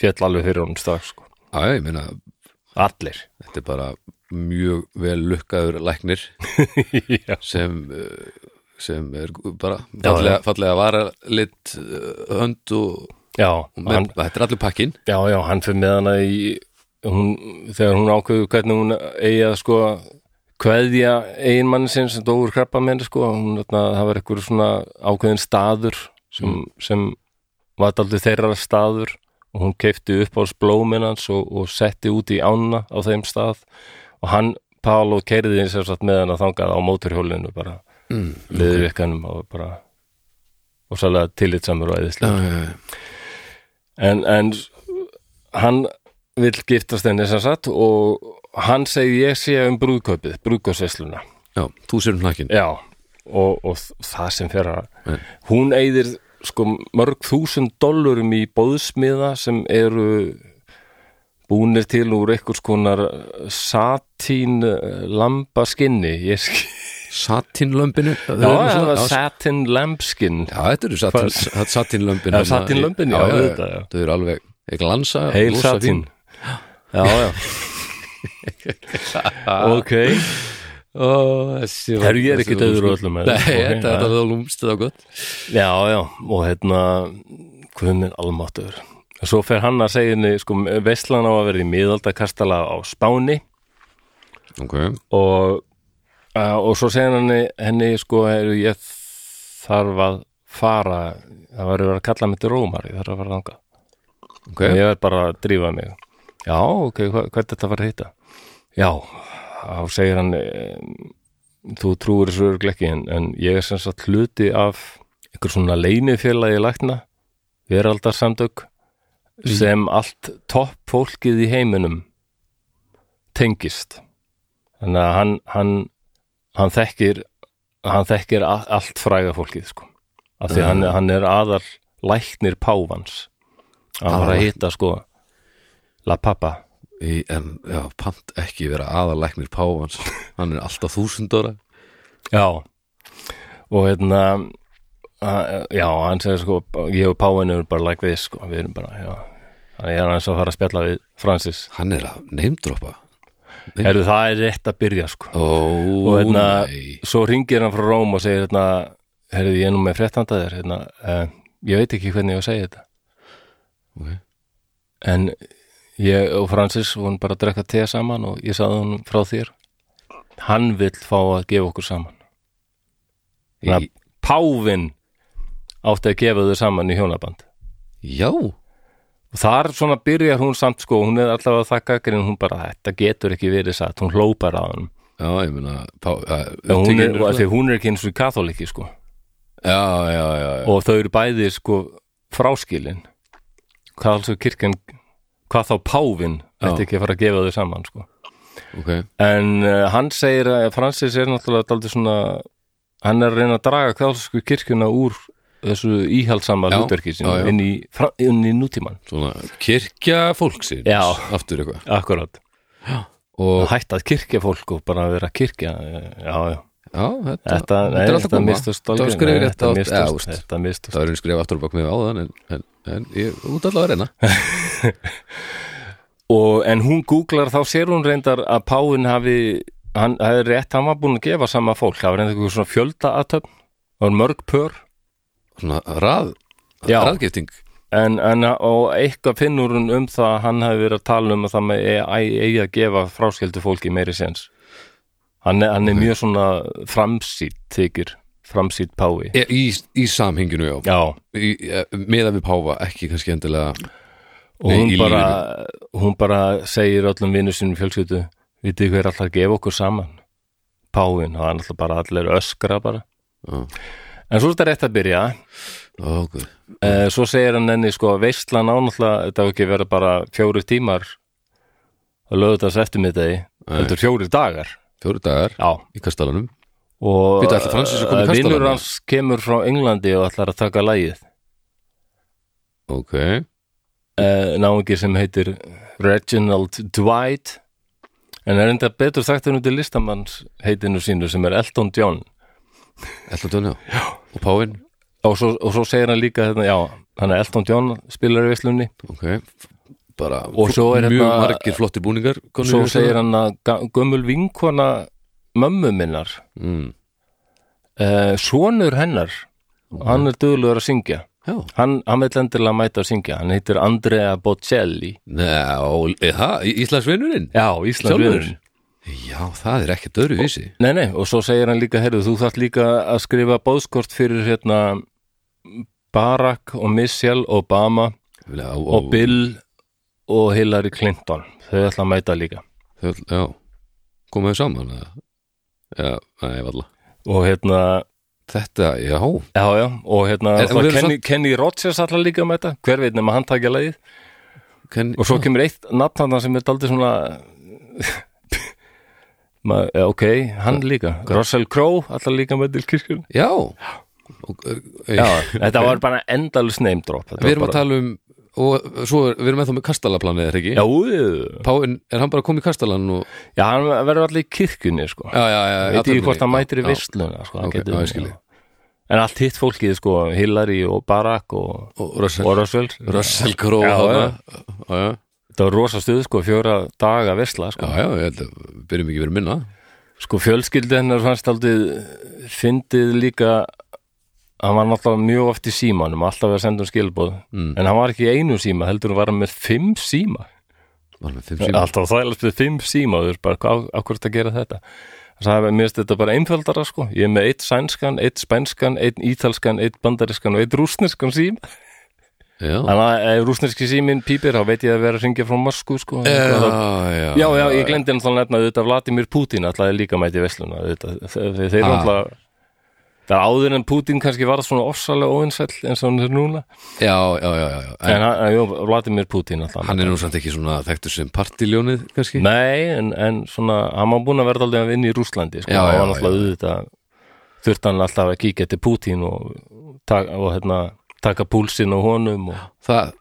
fjall alveg fyrir honum strax, sko. já, ég meina Allir. Þetta er bara mjög vel lukkaður læknir já. sem eh, sem er bara Já, fallega, já. fallega vara lit hönd og Já, með, hann, þetta er allir pakkin já, já, hann fyrir með hana í, hún, þegar hún ákveður hvernig hún eigi að, sko, kveðja eiginmanni sinn sem dóur krabba með henni, sko. Hún, þarna, það var eitthvað svona ákveðin staður sem, sem var aldrei þeirra staður og hún keipti upp á hans og, og setti út í ána á þeim stað og hann, Pálo, keiriði eins og satt með hann að þangað á móturhjólinu bara Mm, liður ykkanum og bara og svolítið tillitsamur og eðislega Já, en, en hann vill giftast henni sem sagt og hann segi ég sé um brúðkaupið, brúðkaupsveisluna þú sér um hnakkin Já, og, og þ- það sem fer að Mm. hún eigðir sko mörg þúsund dollurum í bóðsmiða sem eru búnir til úr einhvers konar satín eh, lambaskinni ég skil Satinlömbinu Já, sko. það var satin lambskinn Já, þetta eru satin, satinlömbin Já, satínlömbin, já, já, auðvitað, já. Þau eru alveg, ég glansa heil glossa satín fín. Já, já Ok, Ó, þessi var- Herru, ég er þessi ekki var dauður sko- á öllum, Nei, eða? Ok, þetta já. er það lúmst, þetta var gott já, já og hérna hvað minn almáttur Svo fer hann að segja henni, sko, veistlan á að vera í miðaldakastala á Spáni Ok, og, uh, og svo segir hann henni, henni sko, heru, ég þarf að fara það var að vera að kalla mig til Rómar ég þarf að fara þangað ok og ég verð bara að drífa mig já, ok, hva, hvað þetta var að heita já, þá segir hann eh, þú trúir þessu örugglega ekki en, en ég er sem sagt hluti af einhver svona leinifélagi lækna veraldarsamtök sem allt topp fólkið í heiminum tengist þannig að hann hann, hann þekkir hann þekkir a- allt fræga fólkið sko. af því hann, hann er aðal læknir Pávans hann var að Aðallæknir. hitta sko La Papa Í- En, já, pant ekki vera aðalæknir Pávans Hann er alltaf þúsund ára Já og hérna a- já, hann segir sko ég og Pávin erum bara like this sko, við erum bara, já þannig ég er aðeins að fara að spjalla við Francis Hann er að neymdropa Herðu, það er rétt að byrja sko Ó, og hérna, nei svo ringir hann frá Róm og segir hérna, herðu, ég er nú með fréttanda þér hérna, uh, ég veit ekki hvernig ég á að segja þetta Ok. en ég og Francis vorum bara að drekka te saman og ég sagði hann frá þér hann vill fá að gefa okkur saman Í- Þannig að Pávin átti að gefa þau saman í hjónaband Já, og þar svona byrjar hún samt sko hún er allavega að þakka grinn hún bara þetta getur ekki verið satt, hún hlópar á hann já, ég meina Pá, eh, að, og hún er, og af því að hún er ekki eins og katholiki sko Já, já, já, já og þau eru bæði sko fráskilin hvað alveg kirkjan hvað þá Pávin ætti ekki að fara að gefa þau saman sko Ok, En uh, hann segir að Francis er náttúrulega daldið svona hann er að reyna að draga kjálsku kirkjuna úr þessu íhaldsama Já, hlutverki sinu já, já. inn í, fra- inn í nútíman svona kirkja fólksins Já. Aftur eitthvað Akkurat, Og, og hætt að kirkja fólk og bara að vera að kirkja eh, Já, já, já, þetta, þetta, nei, er alltaf þetta koma mistust Þetta var algjörlega, skrifið rétt þetta átt eða, þú mistust, veist, þetta mistust. Það var einn skrif aftur á bak með áðan En, en, en ég út allavega að reyna Og en hún googlar þá sér hún reyndar að Páin hafi hann hefði rétt, hann var búin að gefa sama fólk það var reyndar eitthvað svona fjölda aðtöfn það var mörg pör Svona rað, Já. raðgifting en, en og eitthvað finnur hún um það að hann hafi verið að tala um að það með eigi að gefa fráskildu fólki meiri sens hann er, hann er mjög svona framsýtt þykir, framsýtt pái Í, í, í samhenginu, já, já, og Í, eh, Meðan við páfa, ekki kannski endilega hún Nei, í bara hún bara segir öllum vinnu sínum í fjölskyldu, vitið hver alltaf að gefa okkur saman páin, og hann alltaf bara allir öskra bara Já. en svo er þetta rétt að byrja Ó, guð. Mm. Eh, svo segir hann henni sko að veistlan ánáttúrulega þetta hefur ekki verið bara fjóri tímar að lögðu þessu eftirmiðdegi heldur fjóri dagar Fjóru dagar já, í kastalanum og Bíddu, ætli Francis er kominn í að vinur kastalann? hans kemur frá Englandi og ætlar að taka lægið Ok, uh, náungi sem heitir Reginald Dwight en er enda betur sagt en út í listamanns heitinu sínu sem er Elton John ætla tjónu já Og Páinn, og svo, og svo segir hann líka þetta, já, hann er Elton John spilar í veislunni ok Bara Og svo er mjög hérna- margir flotti búningar konur svo í þessu. segir hann að ga- gömul vinkona mömmu minnar mm. uh, sonur hennar hann er duglegur að syngja Já, hann, hann vil endilega mæta að syngja hann heitir Andrea Bocelli Ná, eða, Íslandsvinurinn já, Íslandviðurinn Já, það er ekkert öðru vísi Nei, nei, og svo segir hann líka, heyrðu, þú þarft líka að skrifa bóðskort fyrir hérna Barack og Michelle Obama Já, og Bill og Hillary Clinton. Þau ætla að mæta líka. Þau, öll- já, komaðu saman eða? Já, nei, valla Og hérna, Þetta, já, já, já, og hérna, En- en það við erum Kenny, Kenny Rogers ætla líka að mæta, hver veit nema hann takja lagið. Ken, Og svo kemur eitt nafn hann sem er daldið svona... Ma, ja, ok, hann líka Russell Crowe, alltaf líka með til kirkjum já og, e, Já, þetta var bara endalus name drop Þetta Við erum var að tala um og svo er- við erum ennþá með kastalaplanið, er ekki? bara- Já, Páinn, er hann bara komið í kastalan og Já, hann verður allir í kirkjunni sko. Já, já, já, veit athöfninni. ekki hvort hann mætir í Já, vissluna sko. hann Ok, já, ég skil já. en allt hitt fólkið sko, Hillary og Barack og, Og Russell, og Russell Russell Crowe Já, þarna. já. já, já, þetta var rosa stuð, sko, fjóra daga vissla já, sko. já, ég held að við byrjum ekki verið minna sko, fjölskyldi hennar fannst aldrei fyndið líka hann var náttúrulega mjög oft í símanum alltaf að senda um skilbóð Mm. en hann var ekki í einu síma, heldur hann var með fimm síma Var með fimm síma alltaf þælast við fimm síma þú veist bara, hvað- á hverju þetta gera þetta það sagði, mér finnst þetta bara einfaldara sko ég er með eitt sænskan, eitt spænskan, eitt ítalskan eitt bandariskan og eitt rúsneskan síma Já, þannig að ef rúsneski símin pípir þá veit ég að vera að syngja frá Moskú sko já, já, já, já, ég glemdi hann þá nefna auðvitað Vladimir Putin alltaf er líka mæti í vesluna auðvitað. Þe- þe- þeir Ah. alltaf það er áður en Putin kannski varð svona ofsalega óinsæll eins og hann er núna já, já, já, já, já. En, en, en jú, Vladimir Putin alltaf hann er nú samt ekki svona þekktur sem partiljónið, kannski Nei, en, en svona, hann var búin að verða alveg að vinna í Rúslandi, sko, Já, hann já, var alltaf auðvitað, þurfti hann alltaf að kíkja til Pútín og, taka, og hérna, taka púlsinn á honum og Það,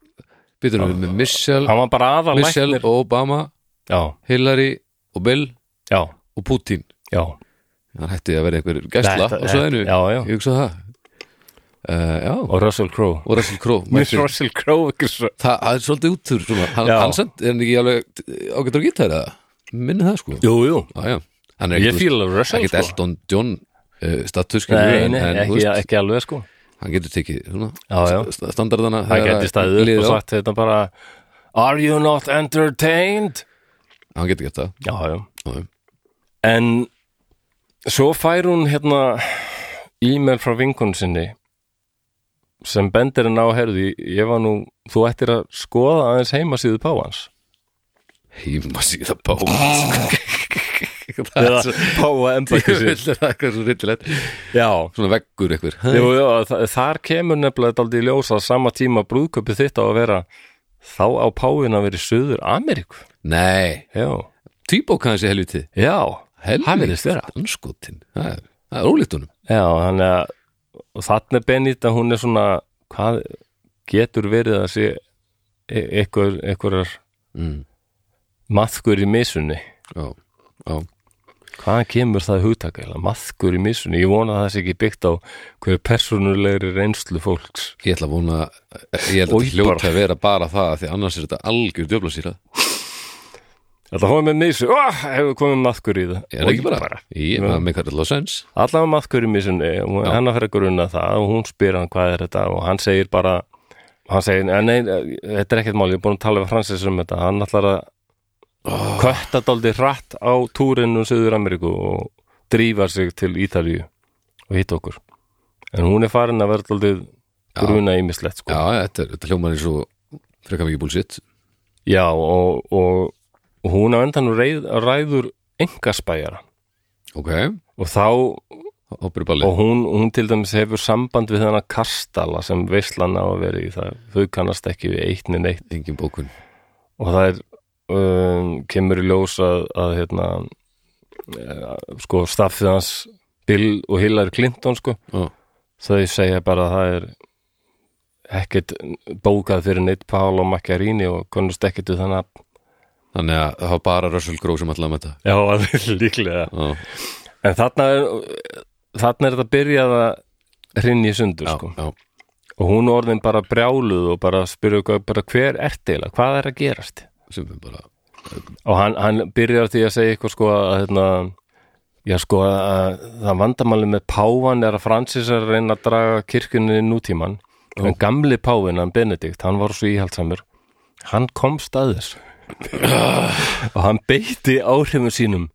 byrjum við með Michelle hann var bara Michelle aðalæknir. og Obama, Já, Hillary og Bill já, og Putin já. hann hætti að vera einhver gæsla Þetta- á svæðinu Já, já, ég hugsa það uh, já, og Russell Crowe. og Russell Crowe Miss mætti- Russell Crowe, ekki svo. það það er svolítið úttur svona. hann, Já. hann sent, er hann ekki alveg ágættur að geta þetta minni það sko Jú, jú, já, já. hann er ég ekki fíla Russell, ekkert sko. Elton John uh, status skilur við, Nei, en, nei, en þú ekki, veist, ekki alveg, sko. hann getur tekið svona, Já, já. st- standardana Það þegar geti að staðið upp liðið og á. sagt þetta bara, are you not entertained? hann getur gert það Já, já. Já, já. En svo fær hún hérna e-mail frá vinkun sinni sem bendir henn á herði ég var nú, þú ættir að skoða aðeins heimasíðu Páans heima síða bá það Ah. eða er svo Páa Ég vil embættisins að það er eitthvað svo ryllilegt Já, Svona veggur einhver jú, jú, þa- þar kemur nefnilega þetta aldrei í ljós að sama tíma brúðköpið þitt á að vera þá á Páin að vera í Suður Ameríku Nei, Já, týbóka hans í helviti já, Hann Helviti virðist vera. anskotin Það er, það er ólíkt honum já þannig að og þannig Benita hún er svona hvað getur verið að sé e- einhver, einhverjar mm. maðkur í misunni Já, já, hvaðan kemur það hugtakalega, maðkur í misunni ég vona að það sé ekki byggt á hverju persónulegri reynslu fólks ég ætla að vona Ég held að þetta Oj, hljóta bara. að vera bara það Því annars er þetta algjör djöfla síra þetta hóðum með misu, oh, hefur komið maðkur í það Er það ekki Oj, bara? Ég maður með hvað alltaf sens allavega maðkur í misunni og Já. hennar fyrir að grunna það og hún spyr hann hvað er þetta og hann segir bara hann segir, "Eh, nei, eh, þetta er ekkert mál ég er búin að tala við Francis um þetta, hann ætlar að Ah. oh. kötta daldi hratt á túrinu Suður Ameríku og drífa sig til Ítalíu og hitta okkur en hún er farin að vera daldi gruna Já, ímislegt sko. þetta, er- þetta hljómar eins og Frekar mikið búlsitt já og, og, og hún á endanum reið, ræður engaspæjara Ok, og þá hoppur í balli og hún, hún til dæmis hefur samband við þennan kastala sem veislan á að vera í það þau kannast ekki við eitt neinn eitt Engin bókun og það er um, kemur í ljós að, að hérna eh, sko staffið hans Bill og Hillary Clinton sko Já. þau segja bara að það er ekkert bókað fyrir neitt Paolo Macchiarini og konust ekkert við þannig að þannig að það var bara Russell Crowe sem allavega með þetta Já, alveg líklega Já. En þarna er, þarna er þetta byrjað að hrinja í sundur Já, sko já. og hún orðin bara brjáluð og bara spyrja okkur bara hver ert eiginlega, hvað er að gerast sem er bara og hann, hann byrjar því að segja eitthvað sko að hérna, já sko að það vandamáli með páfan er að Francis er að reyna að draga kirkjunni inn í nútíman en gamli páfin, hann Benedikt, hann var svo íhaldsamur hann komst að þessu og hann beitti áhrifum sínum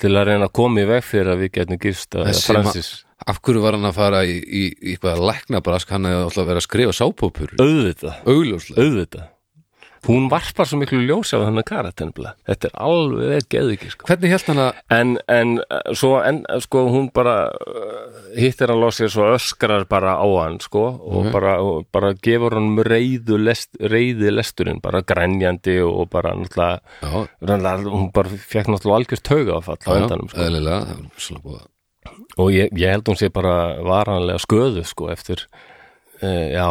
til að reyna að koma í veg fyrir að við getum gist að Þessi Francis af hverju var hann að fara í, í, í eitthvað læknabrask hann hefði alltaf verið að skrifa sápópur auðvitað augljóslega auðvitað hún varpar svo miklu ljósi á þennan karatinn þetta er alveg geðvikið sko. hvernig held hann að en, en eh, svo en, eh, sko, hún bara eh, hittir hann losið svo öskrar bara á hann sko, og, bara, og bara gefur hann reyðu lest, reyði lesturinn bara grænjandi og bara náttúrulega já, rannlega, hún bara fekk náttúrulega algjörst tauga á fall á já, endanum sko. eðlilega það var svona búið að- og ég, ég held hún sé bara varanlega sköðu sko eftir uh, já,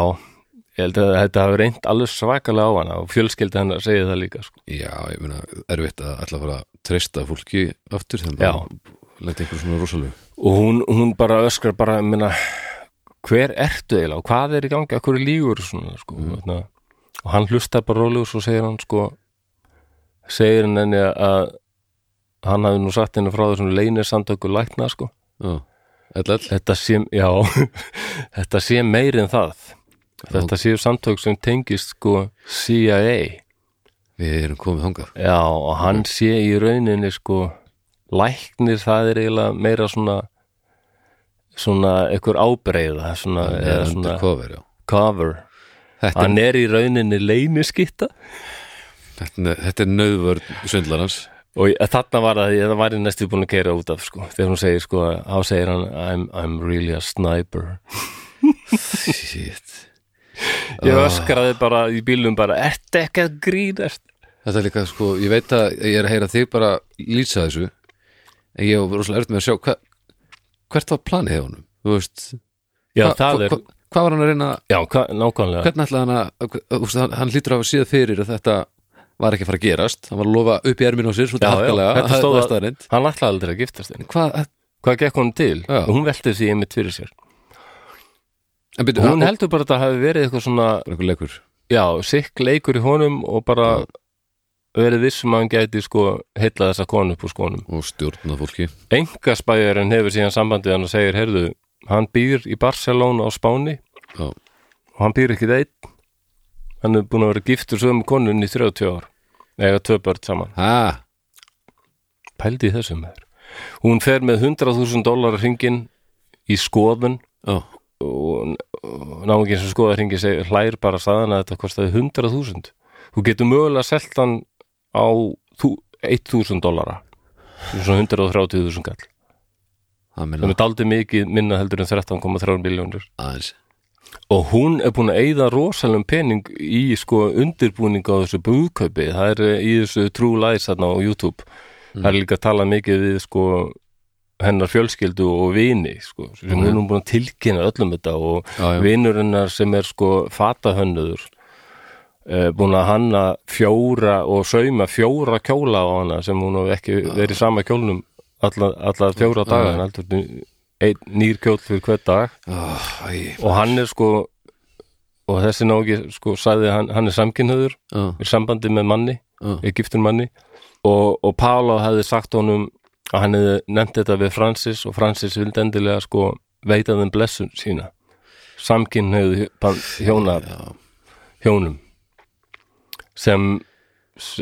ég held að þetta hafi reynt alveg svakalega á hana og fjölskyldi hennar segið það líka sko. já, ég meina, erfitt að alltaf fara að treysta fólki aftur þannig Já. að lendi einhver svona rosalegu og hún, hún bara öskrar bara ég meina, hver ertu eiginlega og hvað er í gangi, af hverju lígur svona, sko, mm. og hann hlustar bara rólegur og svo segir hann sko segir hann henni að hann hafi nú sagt henni frá þessum leynisamtöku lækna sko já, eðlilega þetta sé, já, þetta sé meir en það þetta séu samtök sem tengist sko CIA Við erum komið þangað já, og hann sé í rauninni sko læknir það er eiginlega meira svona svona einhver ábreyða svona, eða svona undercover, já cover Þetta hann er í rauninni leyniskitta Þetta, þetta er nöðvörn svindlarans og ég- þarna var það, ég það var ég næstu búin að gera út af sko, þegar hún segir sko þá segir hann, I'm, I'm really a sniper Shit. ég öskraði bara í bílum bara, ertu ekki að grínast Þetta er líka sko, ég veit að ég er að heyra þig bara lýsa þessu en ég var rosalega erfitt með að sjá hva, hvert var planið hjá honum Þú veist, Já, hva- það hva- er, hva- hvað var hann að reyna já, hva, nákvæmlega hvernig ætlaði hann að, að úst, hann, hann lítur að hafa síða fyrir að þetta var ekki að fara að gerast hann var að lofa upp í erminu á sér já, svolítið já, harkalega þetta það stóð var að, staðreynd. hann ætlaði aldrei að giftast henni Hvað- Hvað gekk hún til? Já. Hún velti því einmitt fyrir sér en byrju, Hún hann- heldur bara að það hafi verið eitthvað svona bara einhver leikur Já, sikk leikur í honum og bara verið vissum að hann gæti sko heilla þessa konu upp úr skónum og stjórna fólki Engaspæjarinn hefur síðan sambandið hann og segir, heyrðu, hann býr í Barcelona á Spáni Já. og hann býr ekki þeir Hann er búin að vera giftur sömu konunni í 30 ár eða tvö börn saman ha, pældi í þessum meður hún fer með 100.000 dólar hringin í skoðun já, og náungin sem skoða hringin segir, hlær bara staðan að þetta kostaði 100.000 þú getur mögulega selt hann á þú- 1.000 dólara sem er svona 130.000 kall það það meina er daldið mikið minna heldur en 13,3 miljónir aðeins og hún er búin að eyða rosalum pening í sko undirbúning á þessu búðkaupi, það er eh, í þessu True Lies þarna á YouTube það er líka að tala mikið við sko hennar fjölskyldu og vini sko, sem hún er búin að tilkynna öllum þetta og Já, já. vinur hennar sem er sko fatahönnuður eh, búin að hanna fjóra og sauma fjóra kjóla á hana sem hún hef ekki verið í sama kjólnum alla, alla fjóra daga en heldur ný- einn nýr kjól fyrir hver dag oh, æ, og hann er sko og þessi nági sko sagði hann, hann er samkynhöður já, í sambandi með manni já, Egyptur manni og, og Pála hefði sagt honum að hann hefði nefnt þetta við Francis og Francis vildi endilega sko veita þeim blessun sína samkynhauð hjóna hjónum sem s-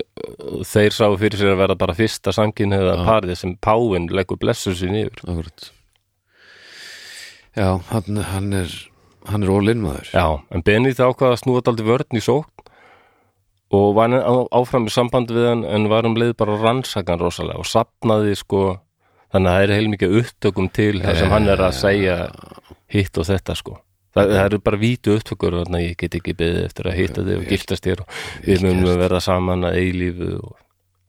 þeir sáu fyrir sér að vera bara fyrsta samkynhauða parið sem Páin leggur blessun sín yfir akkurat Já, hann, hann er hann er ólinn maður Já, en Benedikt ákvaða að snúa daldi vörn í sókn og var hann á- áfram í samband við hann en var um leið bara að rannsaka hann rosalega og sapnaði sko þannig að það er heilmikið upptökum til þar sem hann er að segja hitt og þetta sko Þa, það eru bara vítu upptökur þannig að ég get ekki beðið eftir að hitta þig og giftast þér og við munum að verða saman að eilífu og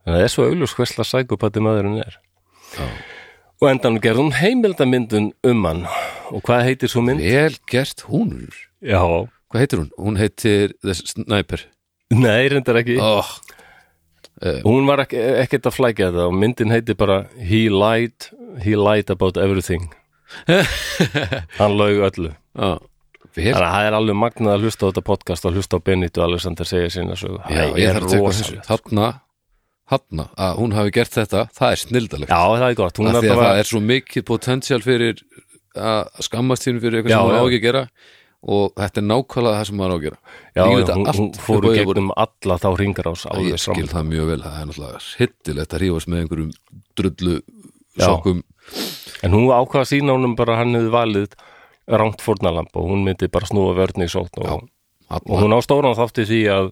þannig að það er svo augljós hversla sækupati maðurinn er Já. og endan gerði hún heimildamyndun um hann og hvað heitir svo mynd? Vel gert hún Já, Hvað heitir hún? Hún heitir The Sniper nei, reyndar ekki oh, Hún var ekki, ekkert að flækja þetta og myndin heitir bara He lied, he lied about everything Hann laug öllu ah, Vel Þannig að það er alveg magnað að hlusta á þetta podcast og hlusta á Benito Alexander segja sína sögu Já, Það ég er þarf að teka þessu rosalegt. sko. Hafna, hafna að hún hafi gert þetta, það er snildalegt Já, það er gott Hún af er því að bara, það er svo mikið potential fyrir að skammast þín fyrir eitthvað Já, sem maður á já. ekki að gera og þetta er nákvæmlega það sem maður á að gera já, Ég veit hún, að allt hún upp fór á í yfir- gegnum alla þá ringar ás Ég alveg fram skil það mjög vel, það er náttúrulega hittilegt að rífast með einhverjum drullu sokkum En hún ákvaða sína honum bara að hann hefði valið rangt fórnalamb og hún myndi bara snúa vörni í sókn og, hafna. og hún á stóran þátti því að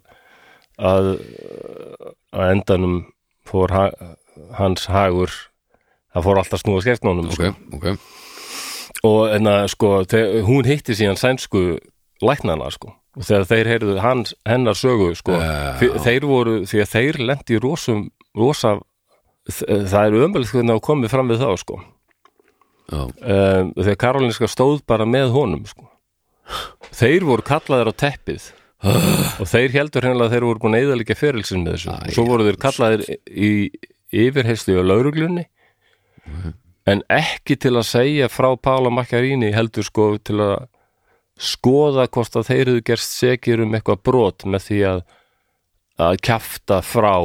að, að endanum fór ha, hans hagur það fór alltaf snúa skert honum Ok, ok, og en að sko þe- hún hitti síðan sænsku læknana sko og þegar þeir heyrðu hans, hennar sögu sko Já. uh, þeir voru, því að þeir lendi í rosum, rosa þ- það er ömjöld hvernig að komið fram við þá sko já, um, þegar Karolinska stóð bara með honum sko. þeir voru kallaðir á teppið og þeir heldur hennilega að þeir voru búin að eða líka ferilsinn með þessu og svo voru þeir kallaðir í yfirheyslu á lauruglunni en ekki til að segja frá Pála Makkaríni heldur sko til að skoða hvort að þeir hefðu gerst segir um eitthvað brot með því að að kjafta frá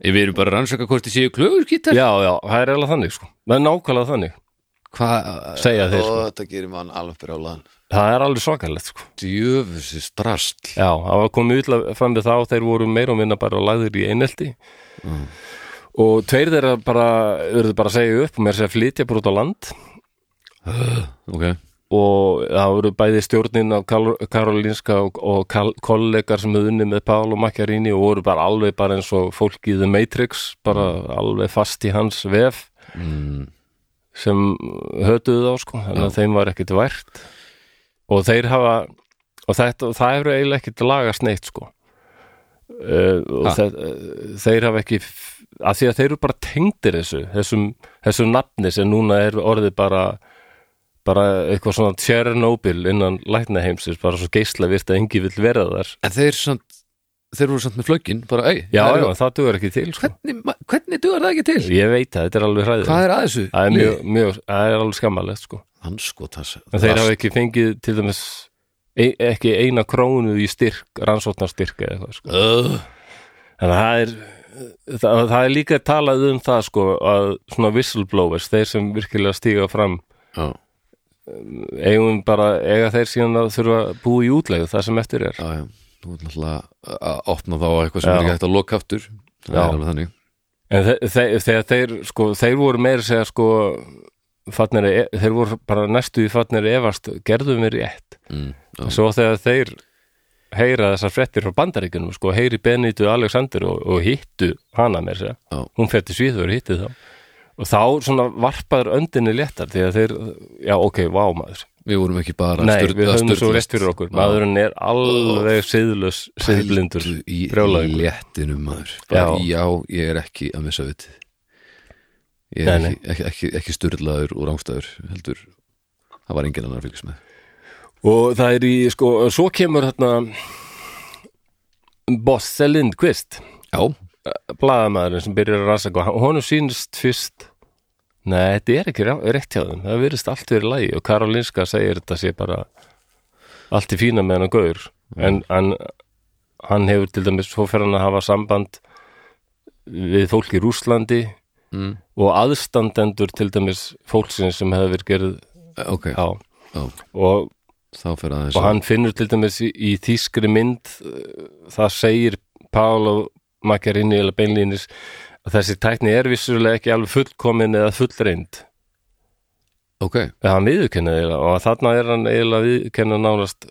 Ég við erum bara að rannsaka hvort þið séu klögur gítar já, já, það er eiginlega þannig sko það er nákvæmlega þannig, Hvað, segja þeir og sko. þetta gerir mann alveg brjálaðan það er alveg svakalegt sko djöfusi strast Já, það var komið illa fram við þá þeir voru meira og minna bara lagðir í einelti og tveir þeirra bara verður bara að segja upp með þess að flytja bara út á land Ok, og það voru bæði stjórnin af Kal Karolinska og, og kal kollegar sem höfðu unni með Pál og Makkaríni og voru bara alveg bara eins og fólk í The Matrix bara alveg fast í hans vef Mm. sem hötuðu þá sko þannig að þeim var ekkit vært og þeir hafa og, þetta, og það hefur eiginlega ekkit lagast neitt sko uh, og Ha. þeir, uh, þeir hafa ekki f- að því að þeir eru bara tengdir þessu þessum, þessum nafni sem núna er orðið bara bara eitthvað svona Chernobyl innan læknaheimsins, bara svo geislavirt að engi vill vera þar en þeir samt þeir voru samt með flöggin, bara, ei já, það já, eru- það dugur ekki til sko. hvernig, ma- hvernig dugar það ekki til? ég veit það, þetta er alveg hræðið Hvað er að þessu? það er, mjög, mjög, það er alveg skammalegt sko. Hann sko þess en þeir hafa ekki fengið til dæmis e ekki eina krónu í styrk rannsóknarstyrk eða eitthvað sko. uh, en það er það, það er líka talað um það sko, að svona whistleblowers, þeir sem virkilega stíga fram Já, eigum bara, eiga þeir síðan að þurfa að búa í útlegu það sem eftir er já, já Nú er náttúrulega að opna þá á eitthvað sem Já. er ekki hægt að loka aftur Það er Já. alveg þannig En þe þe þegar þeir, sko, þeir voru meira að segja, sko, farnir, að e þeir voru bara næstu í farnir að efast, gerðu mér rétt. mm, já. Svo þegar þeir heyra þessar fréttir frá bandaríkunum, sko, heyri Benitu Alexander og, og hittu hana mér segja. Já. Hún fætti svíður og hitti þá. Og þá svona varpaður öndinni léttar því að þeir, já, ok, vá maður. Við vorum ekki bara Nei, styrla, við höfum svo rétt fyrir okkur. Maðurinn er alveg siðlös, siðblindur, í brjólaðingur. léttinum maður bara, Já. já. ég er ekki að missa viti Ég er Nei, nei. ekki, ekki, ekki, ekki styrlaður og rángstæður heldur Það var enginn annar að fylgjast með og það er í, sko, svo kemur þarna Bosse Lindqvist Já, blaðamæðurinn sem byrjar að rannsaka og honum sýnist fyrst Nei, þetta er ekki rá- rétt hjá þeim það virðist allt verið lægi og Karolinska segir þetta sé bara allt í fína með hann að gaur en hann, hann hefur til dæmis svo fer hann að hafa samband við fólk í Rússlandi Mm. og aðstandendur til dæmis fólksins sem hefur verið gerð Eh, ok, á Já. og þá fyrir aðeins og hann finnur til dæmis í, í þýskri mynd uh, það segir Pála Makarinni eða beinlínis að þessi tækni er vissulega ekki alveg fullkomin eða fullreind Ok, eða hann viðurkenna eiginlega og þarna er hann eiginlega viðurkenna nánast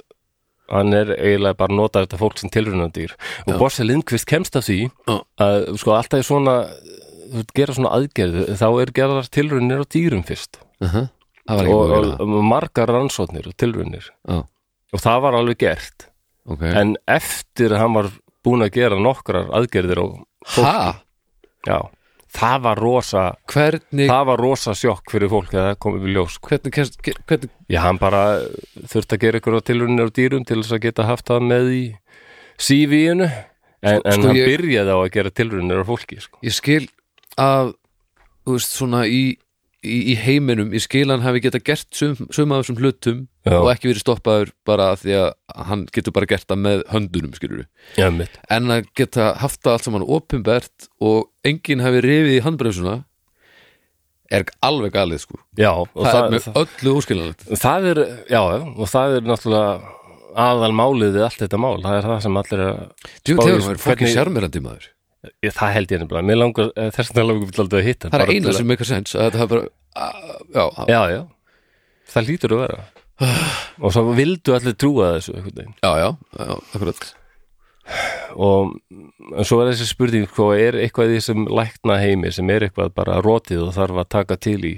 hann er eiginlega bara að nota þetta fólk sem tilrunandýr og Bosse Lindqvist kemst að því Já. að sko alltaf er svona þú veist, gera svona aðgerð þá er gerðar tilrunir á dýrum fyrst uh -huh. það var ekki og, búið að og, gera og margar rannsóknir og tilrunir það Já, og það var alveg gert ok en eftir að hann var búin að gera nokkrar aðgerðir og Ha? já, það var rosa hvernig, það var rosa sjokk fyrir fólk þegar það kom upp í ljós sko. hvernig, kemst- ge- hvernig já, hann bara eh, þurfti að gera ykkur á tilrunir á dýrum til þess að geta haft það með í CV-inu en, en sko, hann ég- byrjaði á að gera tilrunir á fólki sko. ég skil að þú veist svona í, í, í heiminum, ég skil að hann hafi geta gert sum, sum af þessum hlutum Já. og ekki verið stoppaður bara af því að hann getur bara gert það með höndunum skilur já, mitt, en að geta haft það allt saman opinbert og enginn hafi rifið í handbremsuna er alveg galið sko já og það, það, er með öllu óskilanlegt það er, já, já, og það er náttúrulega aðal málið við allt þetta mál, það er það sem allir að Djúk Spáðu hefur þessu, maður fokkin hvernig- sjarmerandi maður ég, það held ég nefnilega, mér langar eh, þess vegna langar við alltaf að hitta hann, það er bara eina til að- sem meikar sens að þetta hafi bara að, já, já, já, já, það lítur að vera og svo vildu allir trúa þessu einhvern veginn já, já, já, akkurat og en svo er þessi spurning hvað er eitthvað í þessum lækna heimi sem er eitthvað bara rotið og þarf að taka til í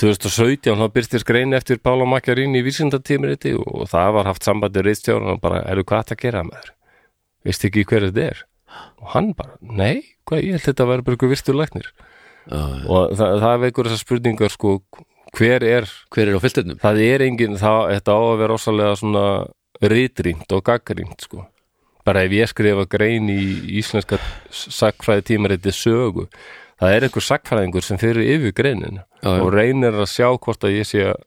2017 þá byrstist grein eftir Pála Makjarín í vísindatímiriti og það var haft sambandi reistjórn og bara, eru hvað þetta að gera maður veist ekki hver þetta er og hann bara, nei, hvað ég held þetta að vera bara ykkur virtur læknir já, já. og það, það veikur þessar spurningar sko, hver er hver er á filtirnum? það er engin, það, þetta á að vera ósalega svona rýtrýmt og gaggrýmt sko. bara ef ég skrifa grein í íslenska sakfræði tímariti sögu það er einhver sakfræðingur sem fyrir yfir greinin Já, já. og reynir að sjá hvort að ég sé að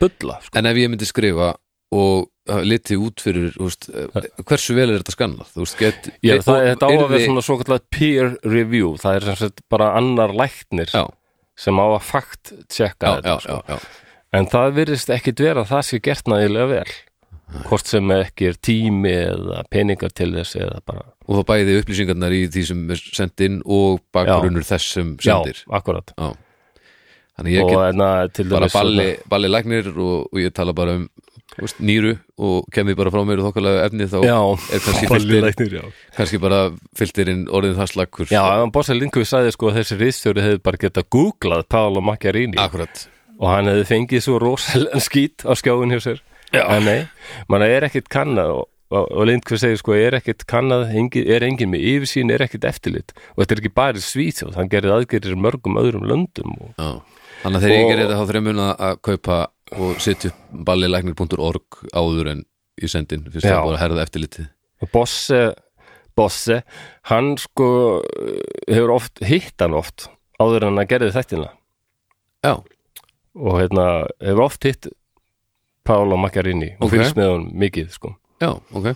bulla sko. en ef ég myndi skrifa og uh, liti út fyrir þú veist, eh, hversu vel er þetta skannað þú veist, get, ég, eh, það, og þetta á að vera yrði- svona svo kallat peer review það er sem sagt bara annar læknir já, sem á að fakt já, tjekka já, þetta já, sko. já. en það virðist ekkit vera að það sé gert nægilega vel hvort sem ekki er tími eða peningar til þess eða bara og þá bæði upplýsingarnar í því sem er sendt inn og bakgrunnur þess sem sendir Já, akkurat já. þannig ég og get enna til bara dæmis balli, balli læknir og, og ég tala bara um þú veist, nýru og kem ég bara frá mér og þokkalega efni þá Já, er kannski balli fylltir, læknir, já kannski bara fylltir inn orðin það slakkur Já, en Bossa Lindkvist sagði sko að þessi riðstjóri hefði bara getað googlað Paolo Macchiarini akkurat og hann hefði fengið svo rosalega skít á skjáin hjá sér Já. en nei, mann er ekkit kannað og, og, og Lindkvist segir sko er ekkit kannað engi, er engin með yfirsýn, er ekkit eftirlit og þetta er ekki bara í Svíþjóð, hann gerði aðgerðir í mörgum öðrum löndum og já. þannig að þegar ég Og- gerir þetta þá þremun að kaupa og setja upp ballilæknir.org áður en ég sendin fyrst Já. það bara að herða eftirlitið Bosse Bosse, hann sko eh, hefur oft, hitt hann oft áður en hann gerði þættina já, og hérna hefur oft hitt Pála Macchiarini og Ok. fylgst með honum mikið sko. já, ok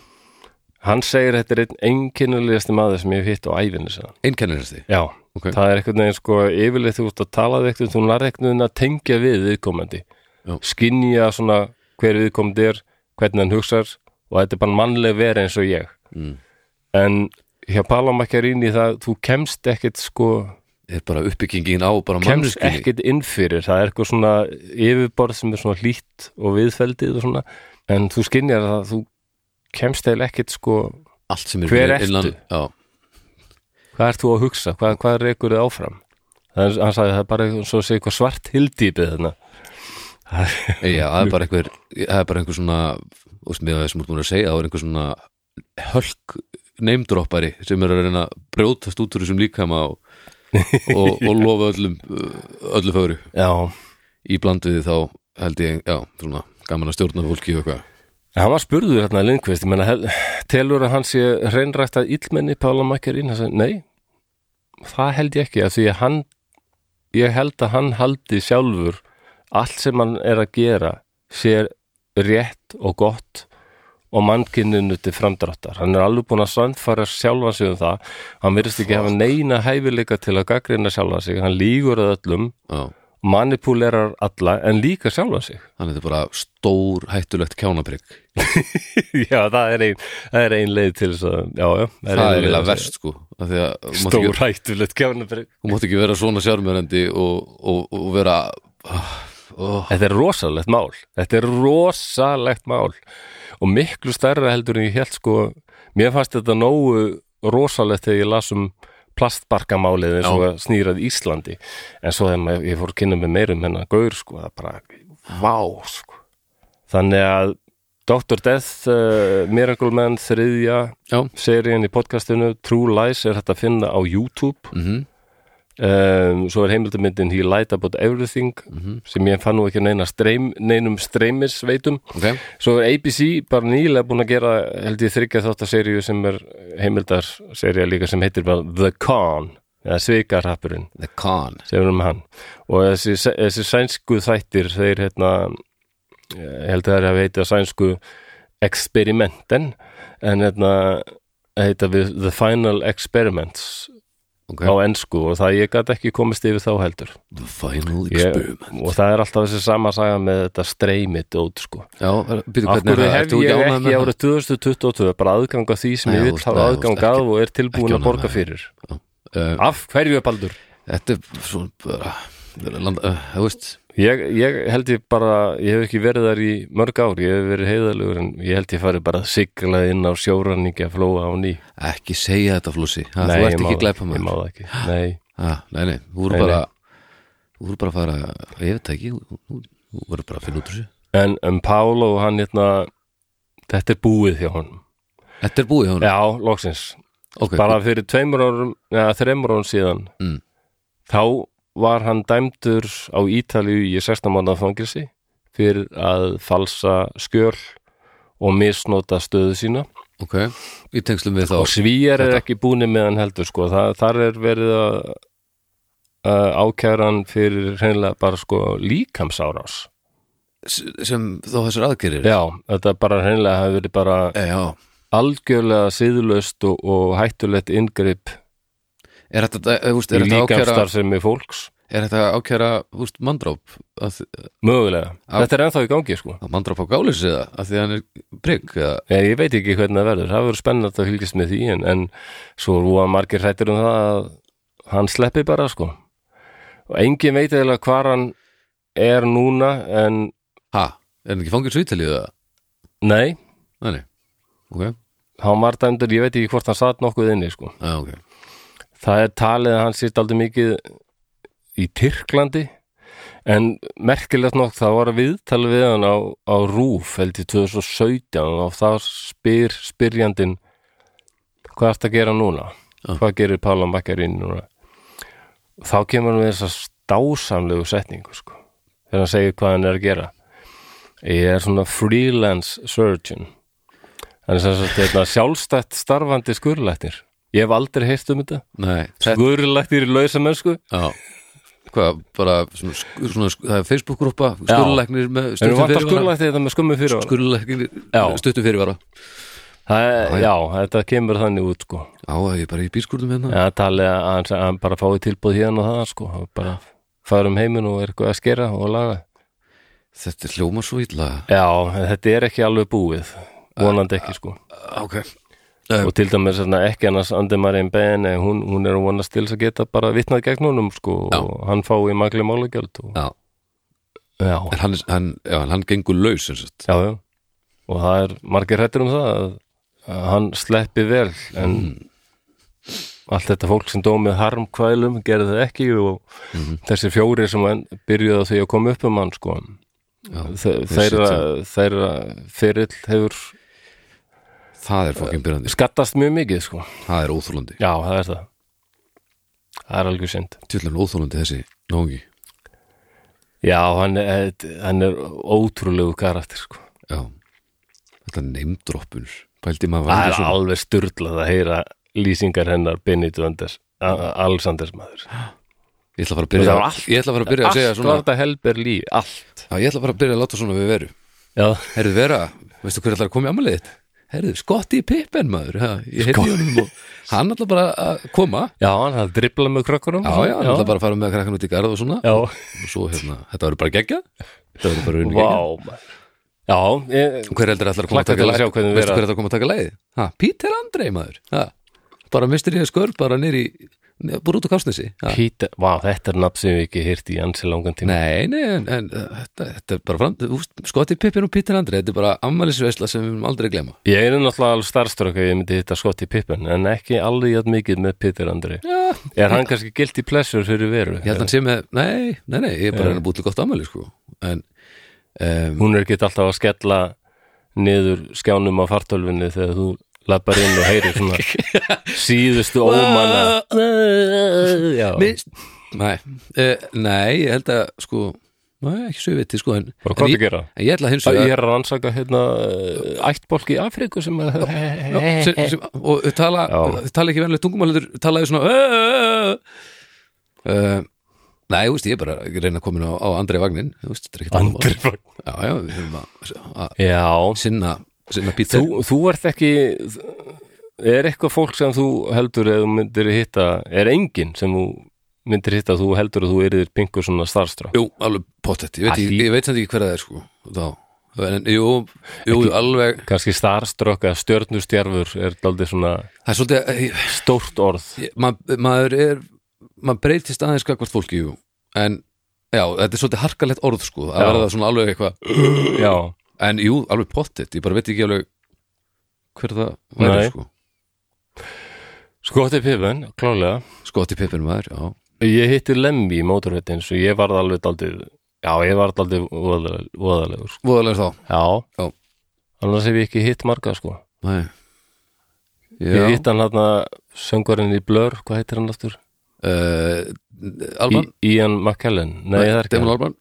hann segir þetta er einn einkennilegasti maður sem ég hef hitt á ævinni sinna einkennir því, já, ok það er einhvern veginn sko yfirleitt þú ert að tala við eitthvað þú nærði einhvern veginn að tengja við viðkomandi Já. skinja svona hver viðkomandi er hvernig hann hugsar og þetta er bara mannleg verið eins og ég Mm. en hjá Pála Macchiarini það þú kemst ekkit sko er bara uppbyggingin á bara kemst manneskjunni ekkit inn fyrir það er eitthvað svona yfirborð sem er svona hlýtt og viðfeldið og svona en þú skinjar það að þú kemst eða ekkit sko allt sem er Hver fyrir innan ertu? já, hvað ert þú að hugsa, hvað, hvað reykur þið áfram það er, hann sagði það er bara svo sé eitthvað svart hildýpið þarna Ei, já, það er bara einhver það er bara einhver svona úst, með það sem út búin að segja, það er einhver svona hölk neymdroppari sem er að reyna að brjótast út úr þessum líkama og, og, og lofa öllum uh, öllu fögru já, í blandiði þá held ég, já, svona gaman að stjórna fólki og eitthvað En hann var spurður hérna Lindqvist, ég menna hel- telur að hann sé reynrætt að illmenni Pála Makkarín, hann sagði, nei það held ég ekki, af því að hann ég held að hann haldi sjálfur allt sem hann er að gera sé rétt og gott og mannkinninu til framdráttar, hann er alveg búin að sandfara sjálfa sig um það, hann virðist ekki hafa neina hæfileika til að gaggrina sjálfa sig, hann lígur að öllum já, manipulerar alla en líka sjálfa sig þannig þetta er bara stór hættulegt kjánaprygg Já, það er ein, það er ein leið til þess að, já, já. það er ein leið til eiginlega þess að- verst sko af því að þú mátt ekki- Stór hættulegt kjánabrygg. þú mátt ekki vera svona sjármjörendi og, og, og vera ah, oh, Þetta er rosalegt mál. Þetta er rosalegt mál. Og miklu stærra heldur en ég held sko, mér fannst þetta nógu rosalegt þegar ég las um plastbarkamálið eins og að snýrað Íslandi. En svo þegar maður, ég fór að kynna með meirum hennar gaur sko, það bara, vá sko. Þannig að Dr. Death, uh, Miracle Man, þriðja já, seríin í podcastinu True Lies er hægt að finna á YouTube mhm um, svo er heimildamyndin He Light About Everything sem ég fann nú ekki neina streym, neinum streymisveitum ok, svo er ABC bara nýlega búin að gera held ég þryggja þáttaseríu sem er heimildarsería líka sem heitir bara The Con eða Svikarhappurinn the con sem er um hann og þessi, þessi sænsku þættir þeir hérna ég held að það er að veita sænsku experimenten en hérna heita við The Final Experiments ok, á ensku og það ég gat ekki komist yfir þá heldur the final ég, og það er alltaf þessi sama saga með þetta streymi dót sko já, byrju af hvernig er hverju það, hef ertu ég ekki ánægð ekki með það? árið 2022 bara aðganga því sem Nei, ég þú vil ert- hafa nei, þú ert aðganga ekki- að og er tilbúin ekki að ánægð borga með fyrir Eh, af hverju Baldur? þetta er svona bara þetta er land- eh, þú veist Ég, ég held ég bara, ég hef ekki verið þar í mörg ár, ég hef verið heiðalugur en ég held ég farið bara að sigla inn á sjóranningja flóa á ný. ekki segja þetta flósi, ha, þú ég ert má ekki það- glæpa Ég má það ekki, nei. Ah, nei, nei, þú voru Nei, bara Þú voru bara að fara, ég veit það ekki Þú þú- þú voru bara að finna út úr þessu En, en Pálo, hann hérna, þetta er búið hjá honum. Þetta er búið hjá hún Já, loksins. ok, Bara fyrir tveimur árum, eða þreimur árum síðan, Mm. þá var hann dæmdur á Ítalíu í 16 mannað fangilsi fyrir að falsa skjöl og misnota stöðu sína. ok, í tengslum við þá og svíjar er ekki búni með hann heldur sko. Þa, þar er verið að uh, ákæra hann fyrir hreinlega bara sko líkamsárás S- sem þá þessar aðgerir já, þetta bara hreinlega hafi verið bara Eh, já. algjörlega siðlust og, og hættulegt inngrip Er þetta, eh, þú veist, í er þetta ákæra líkamstarfsemi fólks Er þetta ákæra, þú veist, mandróp að, mögulega, Já. þetta er ennþá í gangi sko að mandróp á gális eða, að því að hann er prigg eða, Ég, ég veit ekki hvernig það verður, það verður spennandi að fylgjast með því en, en svo rúa margir hrættir um það að hann sleppi bara sko og engin veit eða hvar hann er núna en ha, er hann ekki fangir svo ítalið eða Nei, Nei, nei, ok, hann var dæmdur, ég veit ekki hvort hann satt nokkuð inni sko. já, Ah, ok Það er talið að hann sýrt aldrei mikið í Tyrklandi en merkilegt nokk það var að viðtala við hann á, á Rúf held í 2017 og þá spyr spyrjandinn hvað ertu að gera núna? Já. Hvað gerir Pála Makkarín núna? Þá kemur hann við þessa stásamlegu setningu sko, þegar hann segir hvað hann er að gera. Ég er svona freelance surgeon þannig sem sagt, hérna, sjálfstætt starfandi skurlættir. Ég hef aldrei heyrt um þetta. Nei, þetta, Skurlættir í lausa mennsku. já Hvað, bara, svona, skur- svona, skur- það er Facebook-grúppa, skurlæknir með En við stuttum vantar fyrirvara. skurlættir þetta með skummi fyrir hann. skurðlæknir Já. stuttum fyrirvara Það, já, þetta kemur þannig út sko. Já, ég er bara í bílskurðum hérna Það talið að hann, að hann bara fái tilbúð hérna og það sko. Og bara fara um heiminn og er eitthvað að skera og laga. Þetta hljóma svo illa Já, en þetta er ekki alveg búið. Vonandi ekki sko. Ok og til dæmis svona, ekki annars Andemarin Ben eh, hún, hún er að vonast til þess að geta bara vitnað gegn honum sko Já. og hann fái magli málugjöld og... Já, já, en hann, hann, já, en hann gengur laus sem sagt. já, já og það er margir hrættur um það að, að hann sleppi vel en allt þetta fólk sem dómið harmkvælum gerði það ekki og þessi fjóri sem hann byrjuði á því að koma upp um hann sko Já, Þe- þeirra, þeirra ferill hefur Það er fokkin byrjandi skattast mjög mikið sko Það er óþólandi já, það er það það er alveg synd Tjöldan óþólandi þessi Nóngi Já, hann er, hann er ótrúlegu karakter sko. Já Þetta neymdroppun Pældi maður Það væri er svona alveg styrlað að heyra lýsingar hennar Benito Anders, A- Alexanders maður Ég ætla að fara að Það byrja var að- Ég ætla að fara að byrja að segja Allt svona var þetta helber líf, allt Já, Ég ætla að fara að byrja að láta svona við veru Já, Herðu vera, veistu hver ætlar að koma í ammælið þitt? Herðu, skotti í pippen maður ha, Ég heyrði í honum og Hann ætla bara að koma já hann hafði driblað með krökkunum Já, já, hann ætla bara að fara með krakkan út í garð og svona já. og svo hérna, þetta verður bara geggja þetta verður bara unni geggja Vá, maður. já ég, Hver heldur ætlar að koma Hlakka til að sjá hvernig Veistu vera- hver ætlar að koma að taka leið? Ha, Peter Andrei maður ha, bara mistur ég skör bara nýri búr út á kásnesi ha. Peter, vá, þetta er nafn sem við ekki hýrt í ansi langan tíma Nei, nei, en, en uh, þetta, þetta er bara fram Skoti Pippin og Peter Andrei, þetta er bara ammælisveisla sem við mun aldrei glema Ég er náttúrulega alveg starfströkk ef ég myndi hitta skott í pippen en ekki alveg jætt mikið með Peter Andri Já, Er hann kannski guilty pleasure fyrir veru? ég held hann sé með, nei, nei, nei, ég er bara að reyna að búið til gott ammæli sko. en um, hún er ekki alltaf að skella niður skjánum á fartölfunni þegar þú lappar inn og heyrir svona síðustu ómanna Já, Mist Nei, uh, nei, ég held að sko Nei, ekki svo ég viti sko en, bara en hvað ég, að gera? en ég ætla hins Ég vegar er að rannsaka hérna eh, ættbólk í Afríku sem að Já, Eh, sem, sem, og þau tala, Já. þau tala ekki venlega tungumálendur talaði svona "Ö, ö, ö, ö." uh, Nei, þú veist, ég er bara að reyna að koma inn á, á Andrei Vagnin Þú veist, þetta er ekki Andri Vagn. Já, já, við höfum að, að Já, sinna, sinna Pítur þú, þú ert ekki er eitthvað fólk sem þú heldur eða þú myndir hitta, er enginn sem þú myndir hitta að þú heldur að þú erðir pingur svona starstrá Jú, alveg pottet, ég veit, Að ég, því- ég veit samt ekki hver það er sko þá, en, jú, jú, alveg kannski starströkk eða stjörnustjærfur er daldið svona það er svolítið, ég, stórt orð ég, ma, maður er maður breytist aðeins skakvart fólki jú. en já, þetta er svolítið harkalegt orð sko, að Já. verða svona alveg eitthvað já, en jú, alveg pottet, ég bara veit ekki alveg hver það væri Nei. sko skotið pifun, klálega skoti pippin maður, já, ég hitti Lemmi í mótorvettin svo ég varð alveg daldið já, ég varð daldið voðalegur, voðalegur sko. voðalega þá já, Já. annars hef ég ekki hitt marga sko Nei. ég já, hitt hann hann söngvarinn í Blur, hvað heitir hann aftur? uh, Alban, Í- Ian McKellen, nei það er ekki Demon hann. Alban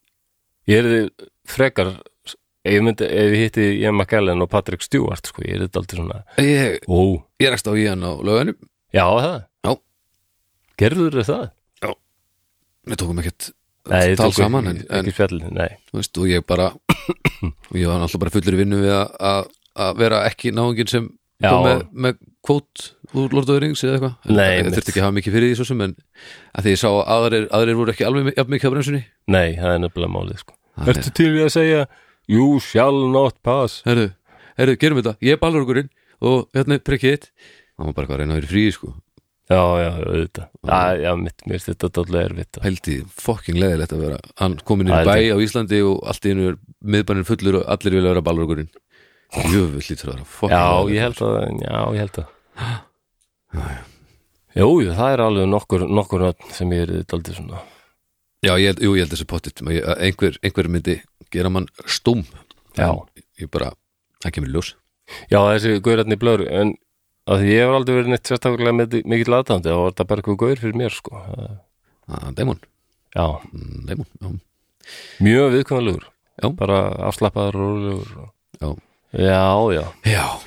ég er frekar ég myndi, ef ég hitti Ian McKellen og Patrick Stewart, sko, ég er þetta aldrei svona ég, ó, ég rakst á í hann á lögðanum já það Já. gerður þau það? við tókum ekkert Nei, tal saman en, ekki, en ekki fjallin, nei, þú veist, og ég bara og ég var náttúrulega bara fullur í vinnu við að- að að vera ekki náungin sem Já. kom með, með kvót úr Lord of the Rings eða eitthvað Nei, ég einmitt. þurfti ekki að hafa mikið fyrir því svo sem en að því ég sá að aðrir, aðrir voru ekki alveg jafn mikið á bremsunni nei, það er nefnilega málið sko. Það er- ertu til í að segja you shall not pass herru, herru, gerum þetta, ég er balurgurinn og hérna er prikkið þitt það var bara eitthvað að reyna að vera í frí sko já, já, auðvitað, já, já, mitt, mér finnst þetta dállega erfitt pældi fokking leðilegt að vera hann komin í Það er bæ á Íslandi og allt í einu er miðbænin fullur og allir vilja vera balurgurinn jöfull lítur að vera fokking já, leiðilegt. ég held að, já, ég held að jú, jú, það er alveg nokkur, nokkur nöfn sem ég er þetta aldrei svona Já, ég held, jú, ég held þessi pottit að einhver, einhver myndi gera mann stúm Já. En Ég bara, það kemur í ljós Já, þessi gaurarni blöru en að því ég hef aldrei verið neitt sérstaklega með- mikill aðdáðandi og var þetta bara eitthvað gaur fyrir mér sko Það- Ah, Demon, Já, mm, demon já. mjög viðkvæmlegur Já. bara afslappaður og rólegur og- Já. Já, já, já,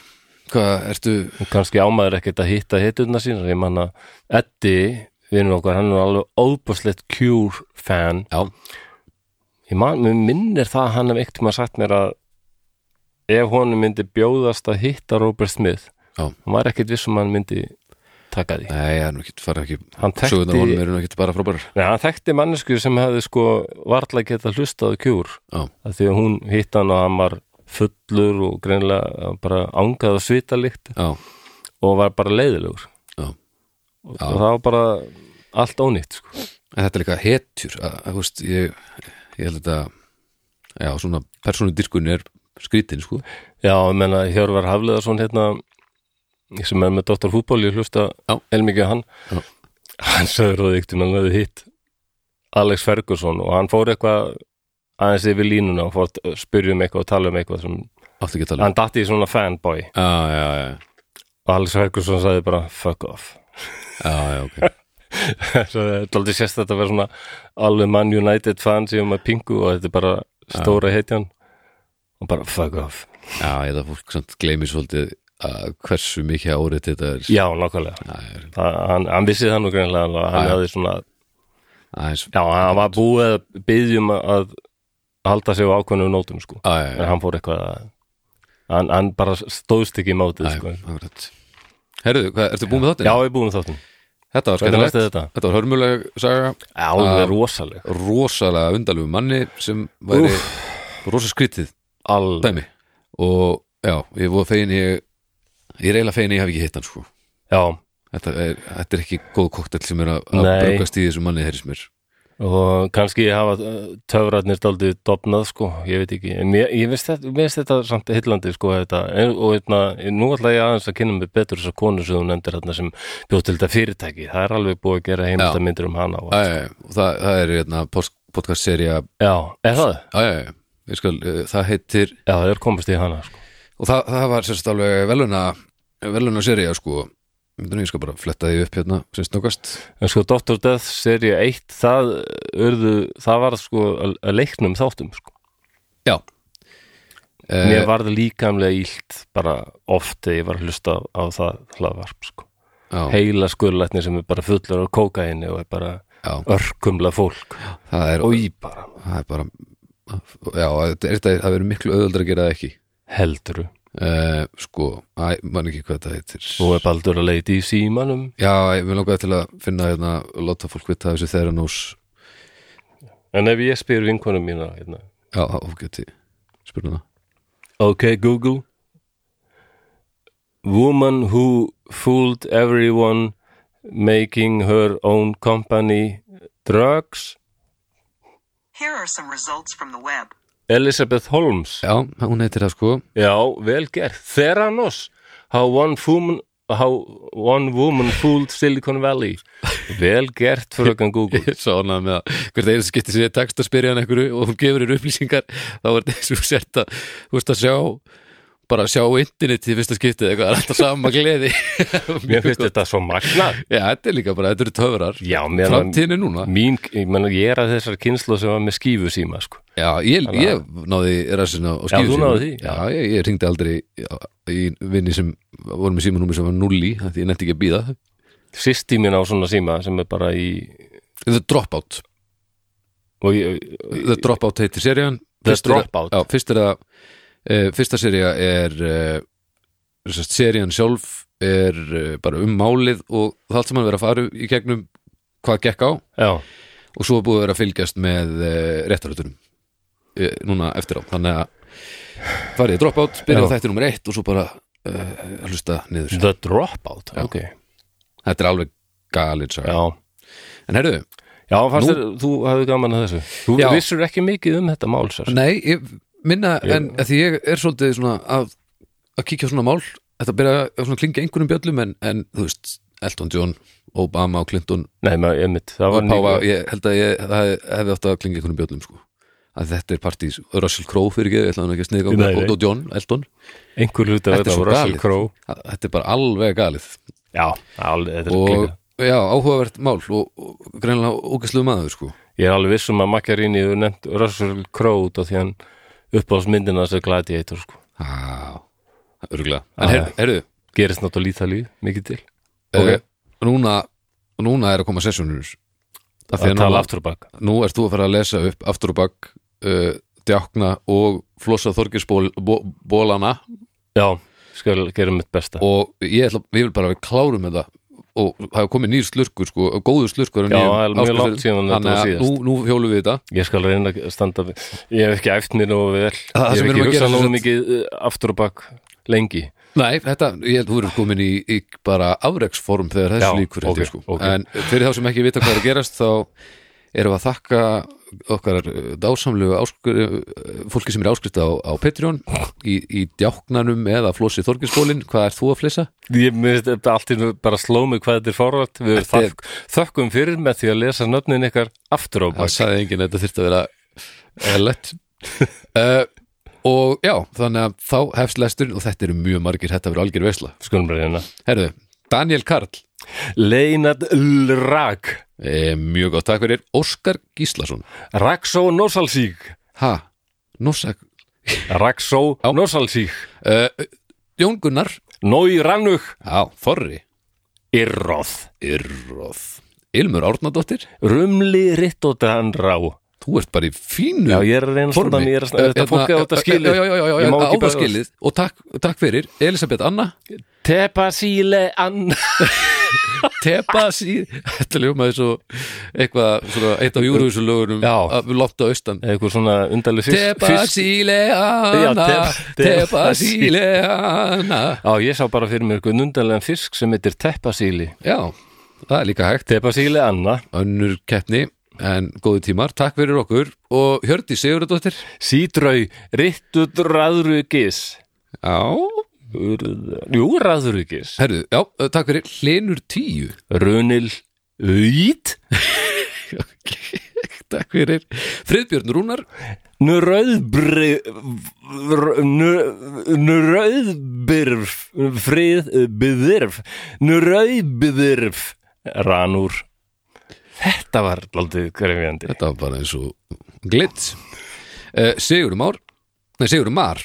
hvað ertu En kannski ámaður ekkert að hitta hitturna sína ég man að Eddi, vinnur okkar, hann er alveg óbúslegt Cure fan Já, ég man, mér minnir það að hann hef ekkert maður sagt mér að ef honum myndi bjóðast að hitta Robert Smith Já. hann var ekkert vissum að hann myndi taka því nei, það er nú ekki, fara ekki Hann þekkti- Sögurnar á honum eru nú ekki bara frábærar Nei, hann þekkti mannesku sem hefði sko varla geta hlustað á kjúr Já, af því að hún hitt hann og hann var fullur og greinilega bara angað og svitalikt já, og var bara leiðilegur já og, og það var bara allt ónýtt sko. En þetta er líka hetjur að, að, þú veist, ég, ég held þetta Já, svona persónudyrkun er skrítin, sko Já, ég menna Hjörvar Hafleðarsson hérna sem er með Dr. Fútbol, ég hlusta Já. elmikið á hann Já. hann sagði ráði ykti, hann hefði hitt Alex Ferguson og hann fór eitthvað aðeins yfir línuna og fór að spyrja um eitthvað og tala um eitthvað sem, Áttu ekki að tala um hann datti í svona fanboy Já, já, já, og Alex Ferguson sagði bara fuck off já, já, ok Svo það er aldrei sérst að þetta vera svona alveg Man United fan sem að pingu og þetta er bara stóra heitjan og bara fuck off Já, ég held að fólk samt gleymi svolítið að hversu mikið árið þetta er já, nákvæmlega, Já, já, það, hann, hann vissi það nú greinlega alveg að hann Já. hafði svona aðeins já, hann var búið að byggjum að halda sig á ákveðnum nótum sko, Já, já, já, en hann fór eitthvað að hann, hann bara stóðst ekki í mótið sko. akkurat Herðu, hvað, ertu búin með þáttinn? já, ég er búin þáttum, Þetta var hvernig skemmtilegt, varstu þetta? þetta var hörmuleg saga já, það er rosaleg rosalega undalegu manni sem væri rosa skrítið alveg, dæmi og já, ég voru fegin ég ég er eiginlega fegin ég hafi ekki hitt hann sko já Þetta er, þetta er ekki góð koktel sem er að, að Nei. brugast í þessu manni heyrðis mér og kannski hafa uh, töfrarnir daldið dopnað sko, ég veit ekki en mér, ég veist þetta, mér veist þetta samt hillandi sko þetta, En- og hérna, nú ætla ég aðeins að kynna mig betur þess að konu sem þú nefndir þarna sem bjóð til þetta fyrirtæki, það er alveg búið að gera heimildamindir um hana og, Æ, og það, það er hérna, podcast serja já, er það? ég skal, eh, það heitir Já, það er komast í hana sko. og það, það var sérst alveg veluna veluna serið sko Myndunum, ég skal bara fletta því upp hérna sem snöggast En sko Dr. Death serið 1 það urðu, það varð sko að að leiknum þáttum sko. Já Mér eh, varð líkamlega ílt bara oft þegar ég var að hlusta á, á það hlaðvarp sko. já, Heila skurlætni sem er bara fullur á kókaini og er bara já, örkumla fólk það er og í bara það er bara já, þetta er þetta, það verður miklu auðvöldra að gera það ekki helduru uh, sko, æ, man ekki hvað það heitir Nú er Baldur að leita í símanum já, ég vil langaði til að finna hérna og láta fólk vita af þessu Theranos En ef ég spyr vinkonum mína hérna, já, þá geti spurði um það Ok Google Woman who fooled everyone making her own company drugs Here are some results from the web. Elizabeth Holmes já, hún heitir það sko Já, vel gerð Theranos How one woman How one woman fooled Silicon Valley Vel gert frökan Google ég sá hana með að hvert einu skipti sem ég tekst að spyrja hann einhverju og hún gefur þér upplýsingar þá er þetta eins og þú sért að þú veist að sjá bara að sjá internetið í fyrsta skiptið eitthvað, það er alltaf sama gleði Mér finnst þetta svo magna já, þetta er líka bara, þetta eru töfrar Já, mér framtíðin er núna Mín, ég, menn, ég er að þessar kynslu sem var með skífu síma sko. Já, ég, ég náði rassinu á Já, skífu þú náði því, Já, ég, ég ringdi aldrei já, í vinni sem voru með símanúmi sem var null í, af því ég nefndi ekki að býða Sýsti mín á svona síma sem er bara í The Dropout og ég, The Dropout heitir serían The Fyrst er að- Dropout. Já, fyrst er að e, fyrsta sería er e, sest, serían sjálf er e, bara um málið og það allt sem hann verið að fara í gegnum hvað gekk á já, og svo er búið að vera að fylgjast með e, réttaröldunum e, núna eftir á þannig að farið í Dropout, byrja á Já. þætti nummer eitt og svo bara e, að hlusta niður The Dropout Já. ok, Þetta er alveg galið saga. já En herðu, Já, fannst Nú- þér, þú hafði gaman að þessu Þú Já. vissur ekki mikið um þetta mál sér Nei, ég minna en að því ég er svolítið svona að, að kíkja á svona mál þetta byrja að svona klinga einhverjum bjöllum en, en þú veist, Elton John Obama og Clinton Nei, maður, einmitt, það var og Páfa, nýgur ég held að ég það hefði átt að klinga einhverjum bjöllum sko að þetta er partís, Russell Crowe fyrir ekki ég ætla hann ekki að sniða Nei, ganga nei. og John, Elton einhver hluta Þetta er þetta svo var Russell galið. Crowe Að- þetta er bara alveg galið Já, alveg, þetta er og klingað já, áhugavert mál og, og greinlega ógæslu maður sko Ég er alveg viss um að Macchiarini hefur nefnt Russell Crowe út af því hann uppáðsmyndina þessu gladiator sko. ah, örgulega Ah, en her, já. herðu, gerist náttúrulega lítalíð, mikið til okay. Ok. núna, núna er að koma sessunur að að tala aftur og baka nú ert þú að fara að lesa upp aftur og bakk uh, djákna og flossa þorgisbólana Já, skal gera mitt besta og ég, ætla, ég vil bara að við klárum þetta og það hefur komið nýr slurkur sko, góður slurkur Já, það er mjög langt síðan þetta var að nú, síðast. nú hjólum við þetta Ég skal reyna að standa við Ég hef ekki æft mér nógu vel Það Ég sem við hef erum ekki að hugsað gera nógu sem sagt- mikið uh, aftur og bak lengi Nei, þetta, ég held þú verður komin í, í bara afreksform þegar þessu Já, líkur held ég, ok, sko. ok. en fyrir þá sem ekki vita hvað er að gerast þá erum við að þakka okkar eh, dásamlegu áskri, eh, fólki sem er áskrifta á, á Patreon í, í djáknanum eða flósi Þorgilsbólin, hvað er þú að flissa? Ég myndi þetta allt í einu bara sló mig hvað þetta er fórvært Við Þetta er- þakk, þökkum fyrir með því að lesa nöfnin ykkar aftur á Það bak sagði enginn að þetta þyrfti að vera eh, lett uh, og já, þannig að þá hefst lesturinn og þetta eru mjög margir, þetta verður algjör veisla Skulum reyna Herðu, Daniel Karl Leinat Lrag eh, mjög gott, takk fyrir Óskar Gíslason Raksó Nósalsík Ha, Nossak Raksó Nósalsík uh, Jón Gunnar Nói Rannug Já, Þorri Irróð Yrróð Ilmur Árnadóttir Rumli Rittótan Rá Þú ert bara í fínu Já, ég er að reyna að standa formi Eh, hérna, mig, ég er að standa- Þetta fólk er á þetta skilið Já, já, já, já, Ég já má ekki á það bregðast. skilið Og takk, takk fyrir Elisabeth Anna Tepa síle ann Tepa síð Þetta ljómaði svo eitthvað svona eitt af júruvísulögunum Já. Lótt á austan eitthvað svona undarleg Tepa síle Já, Anna Te- Tepa Tepa síle Anna Já, ég sá bara fyrir mér eitthvað undarlegan fisk sem heitir teppasíli. Já, það er líka hægt Teppasíli Anna, Önnur keppni En góðu tímar, takk fyrir okkur Og Hjördi Sigurðardóttir sídrau, rittud ráðrugis. Já, Urð- Jú, ráðrugis. Herðu, eh, já, takk fyrir Hlinur tíu Runil, út. Takk fyrir Friðbjörn Rúnar Nú rauðbyrf Nú rauðbyrf Friðbyrf Nú rauðbyrf Ranúr Þetta var aldrei krefjandi Þetta var bara eins og glitt uh, Sigur Már Nei, Sigur Mar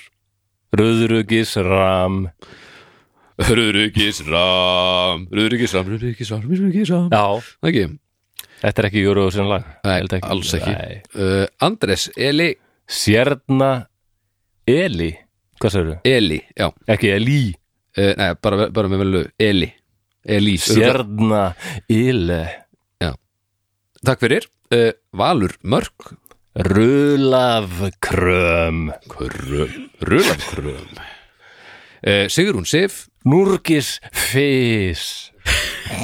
Rauðrugis ram Rúrugis ram Rúrugis ram, rúrugis ram, rúrugis ram Já, Það ekki þetta er ekki Eurovision lag Nei, Held alls ekki. Nei. uh, Andres Eli Sérna Eli Hvað sagður Eli, já Ekki Eli uh, Nei, bara, bara með velu Eli Eli Sérna Ile Takk fyrir uh, Valur Mörk Rulaf kröm Rulafkröðum uh, Sigrún Sif Núrgis fís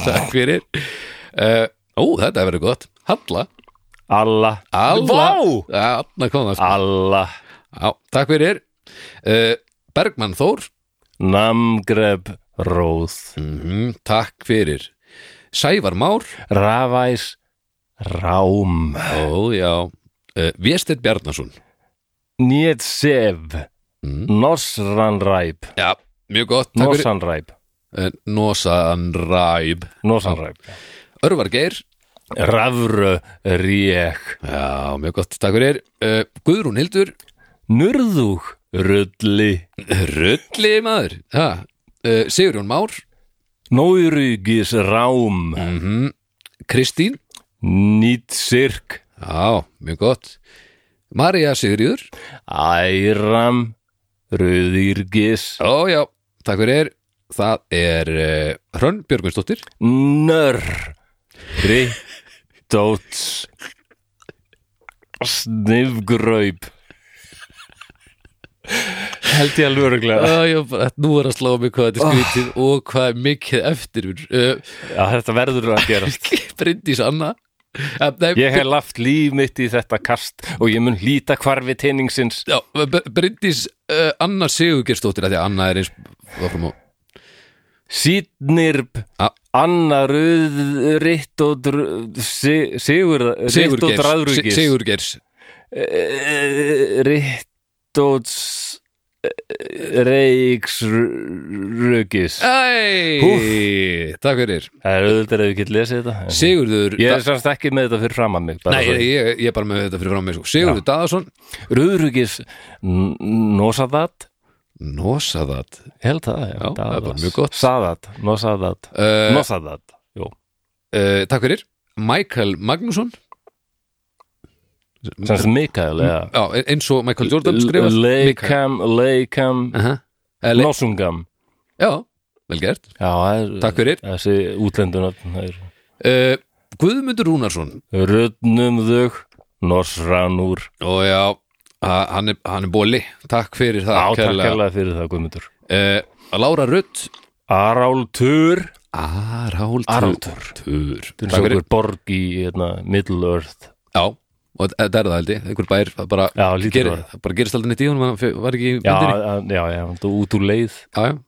Takk fyrir uh, Ó, þetta verður gott Halla Alla Alla Vá Alla kom það sko. Alla Já, Takk fyrir uh, Bergmann Þór Namgreb Róð Mhm, Takk fyrir Sævar Már Ravæs Rám Ó, já uh, Vésteinn Bjarnason Njetsev Nosranræp Já, mjög gott Takk fyrir. Nosanræp Eh, Nosan Ræb Nosanræp Örvar Geir Rafru Rík Já, mjög gott, takk fyrir uh, Guðrún Hildur Nurðug Rulli Rulli maður ha, uh, Sigurjón Már Nóirugis Rám mm Kristín Nýtsirk Já, mjög gott María Sigurður Æram Rauðirgis Ó, já, takk fyrir Það er uh, Hrönn Björgvinsdóttir Nörr Rittóts Snifgraup Held ég alveg öruglega Já, já, bara, nú er að slá mig hvað þetta er skrítið og hvað er mikið eftir uh, Já, þetta verður að gerast Bryndís Anna Eh, Nei, Ég hef laft líf mitt í þetta kast og ég mun hlýta hvarfi teiningsins já, B- Bryndís uh, Anna Sigurgeirsdóttir af Því að Anna er eins áfram og- Sýtnirb Ah. Anna Röð Ritt og Sigur Ritt og Sigurgeirs Si- Draðrugis Sigurgeirs Ritt og eh, Reiksrugis Æ, takk fyrir Það er auðvitað ef ég get lesið þetta Sigurður Ég er Da- semst ekki með þetta fyrir fram að mig Nei, ég, ég, ég er bara með þetta fyrir frá mig sko. Sigurður Daðason Rúðrugis Nosadat Nosaðat Ég held það, það já, er Daðas. bara mjög gott. Sadat, Nosadat uh, uh, Nosadat, jú eh, Takk fyrir Michael Magnússon Semst Mikael, já Já, e- eins og Michael Jordan skrifar Leikam, Leikam uh -huh. Nosungam Já, vel gert Já, það er Takk fyrir Þessi útlendunar uh, Guðmundur Rúnarsson Röddnum þau Norsranúr og já, ha- hann er, hann er bóli Takk fyrir það Átakkalega fyrir það, Guðmundur Uh, Lára Rutt Aráltur Aráldur Aráldur. Tur. Þetta Takk er fyrir okkur borg í hérna, Middle Earth Já, og þetta er það held ég einhver bær, það bara, Já, lítur gerir, að vera. það bara gerist aldrei nýtt í honum hann fe- var ekki í Já, myndinni að- já, já, þú út úr leið já, já.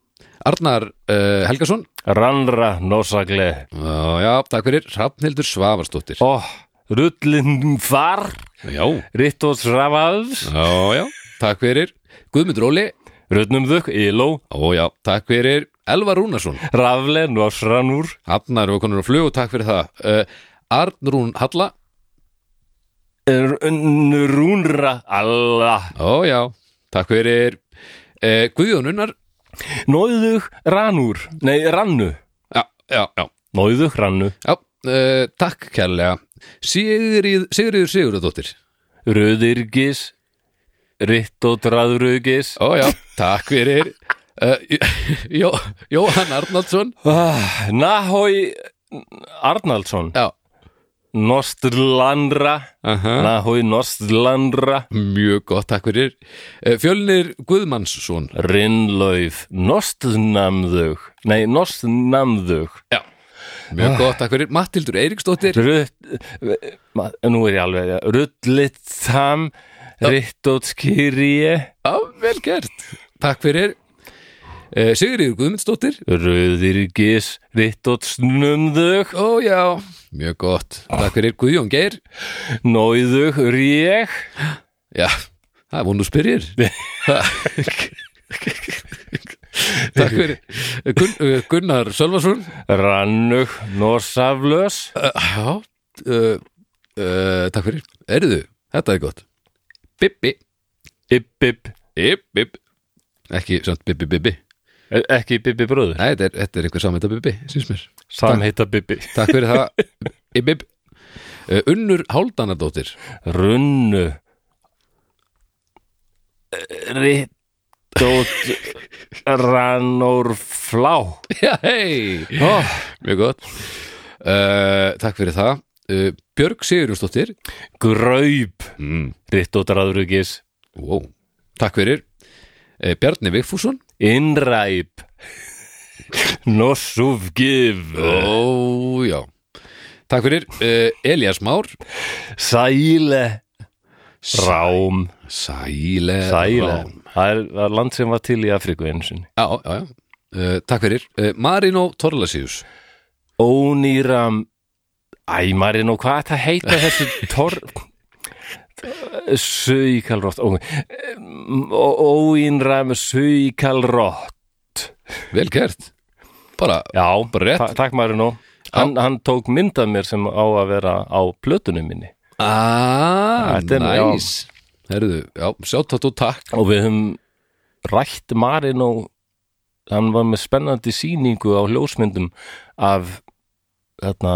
Arnar uh, Helgason Rannra nosagle Já, já, takk fyrir Hrafnhildur Svavarsdóttir Ó, rullin far Já, Rittos rafals já, já, takk fyrir Guðmundur Óli Rullnum þau, Iló Ó, já, takk fyrir Elvar Rúnarsson Rafle, Norsranúr Hafnar og konur á flug, takk fyrir það uh, Arnrún Halla Nrúnra Alla Ó, já, takk fyrir uh, Guðjón Unnar Nóðug Ranúr Nei, Rannu Já, já, já, Nóðug Rannu já uh, Takk kærlega Sigríð, Sigríður Sigurðardóttir Röðirgis Rittodræðrugis Ó já, takk fyrir uh, Jó, Jóhann Arnaldsson ah, Nahói Arnaldsson Já Nostlandra Nahói Nostlandra Mjög gott, takk fyrir uh, Fjölnir Guðmannsson Rinnlauf Nostnamðug Nei, Nostnamðug Mjög gott, takk fyrir Mattildur Eiríksdóttir Rutt Ma- Nú er ég alveg Rullitsam Rittotskýrje Já, vel gert Takk fyrir Eh, Sigriður Guðmundsdóttir Röðirgis Rittotsnumðug Ó já, mjög gott Takk fyrir Guðjón Geir Nóiðug Rík Já, það er vonu spyrir Takk fyrir Gun, eh, Gunnar Sölvason Eh, Rannug Norsaflös Já uh, uh, Takk fyrir Erðu, þetta er gott Bibbi Ibbib Ip, ip Ekki samt Bibbi Bibbi Er e, Ekki Bibbi bróður Nei, þetta er, þetta er einhver samvita Bibbi, síns mér Samheita Bibbi Takk fyrir það Bibbi uh, Unnur Háldanardóttir Runnu Rittot Rannórflá Já, hei Mjög gott uh, Takk fyrir það uh, Björg Sigurjónsdóttir Graup Rittot Röðirgis wow. Takk fyrir uh, Bjarni Vigfússon Innræp Norsufgif Ó, já Eh, Takk fyrir uh, Elías Már Sæle Rám Sæle Sæle Rán. Það er, það er land sem var til í Afriku einu sinni Já, já, já Uh, takk fyrir uh, Marino Torlasíus Ónýram Æ, maður er nú hvað þetta heita þessu torf Söikalrott Óinram Söikalrott Vel gert Bara, Já, Bara rétt. ta- takk maður nú hann, hann tók mynd af mér sem á að vera á plötunum minni aaa, Ah, Þetta er nú, já. næs ah, Herðu, já, sjátt og takk og við höfum rætt Marino hann var með spennandi sýningu á ljósmyndum af þarna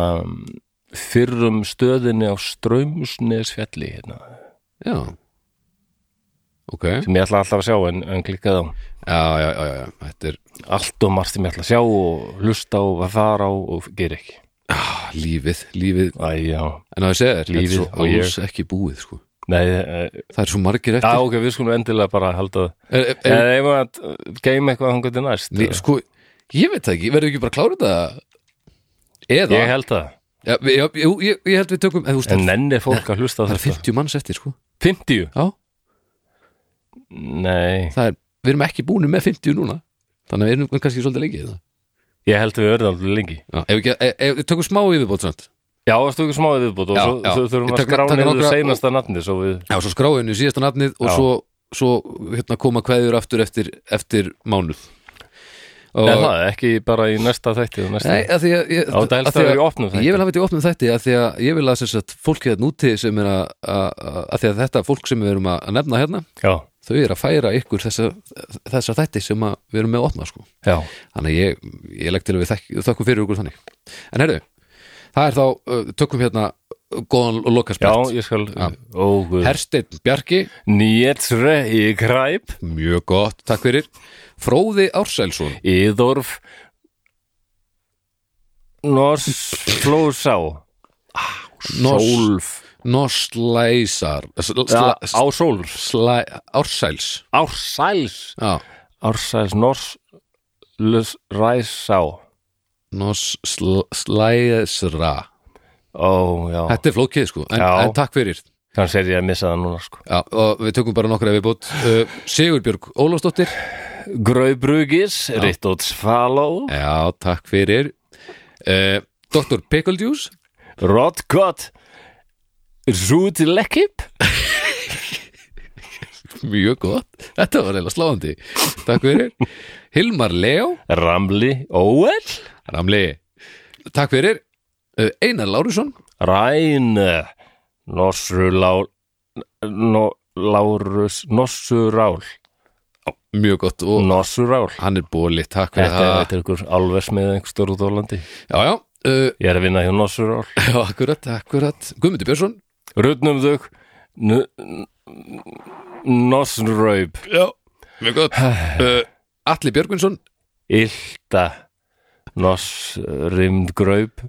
fyrrum stöðinni á Strömsnesfjalli hérna, Já Ok Já, sem ég ætla alltaf að sjá en, en klikkaði á já, já, já, þetta er allt og margt sem ég ætla að sjá og lusta og að fara á og gera ekki ah, lífið, lífið Æ, já, En að ég segja þér, Lífið lífið og er ég. alls ekki búið sko. nei e, Það er svo margir á, eftir ok, við skulum endilega bara halda er, er, er, eða ef að geima eitthvað hann gæti næst lí, Sko, ég veit það ekki, verður ekki bara að klára þetta Eða ég held það, já, við- já, jú, ég, ég held við tökum en, þú veist, en það- nenni fólk að hlusta á Það er þetta 50 manns eftir sko. 50? Já, Nei, það er, við erum ekki búinu með 50 núna Þannig að við erum kannski svolítið lengi í það. ég held að við verðum alveg lengi já, ef, ekki, ef, ef, Við tökum smá yfirbót samt Já, það stóðu ekki smáðið viðbútt og Já, svo já. þau Ég þurfum að tek- skrá taka niður nokkra- seinasta nafni svo við, Já, svo skráinu síðasta nafnið og Já. svo, svo hérna, koma kveður aftur eftir, eftir mánuð og, og... eða það, ekki bara í næsta þætti og næsta Nei, að því að ég, Já, þetta af helst því að vera í opnum þætti. Ég vil hafa þetta í opnum þætti að því að ég vil að sem sagt, fólki þetta núti sem er að, að, að, að því að þetta fólk sem við erum að að nefna hérna Já, þau er að færa ykkur þessa, þessa þætti sem að við erum með að opna sko. já, þannig að ég, ég legg til að við þekk, þökkum fyrir ykkur þannig en herru, það er þá uh, tökum hérna uh, góðan og já, lokaspjart ég skal Já. Ó, guð Hersteinn Bjarki, Nýjetsre í Græp mjög gott, takk fyrir Fróði Ársælsson Íðorf Norsflósá Nors- Sólf Norslæsar Ja, sla, Á Sólf sla, Ársæls Ársæls Já, Ársæls Nors Ræsá Norslæsra Ó, já, Þetta er flókið sko, en, Já. en takk fyrir kannski er ég að missa það núna sko Já, og við tökum bara nokkra viðbútt uh, Sigurbjörg Ólafsdóttir Graubrugis, Rittóts Faló Já, takk fyrir uh, Dr. Picklejuice Rotkott Zútilekkip Mjög gott, þetta var eiginlega sláandi Takk fyrir Hilmar Leo, Ramli Óel Ramli Takk fyrir uh, Einar Lárusson Ræn Norsru Lár no, Lárus Nossurál Mjög gott og Nossurál hann Mm. er bóli, takk fyrir Þetta er það eitthvað ykkur alversmið einhver stór út á landi Já, já, uh, Ég er að vinna hjá Nossurál já, akkurat, akkurat Guðmundur Björnsson Rutnum um þau Nossraup Já, mjög gott uh, Atli Björgvinsson Ylta Nossrimd Graup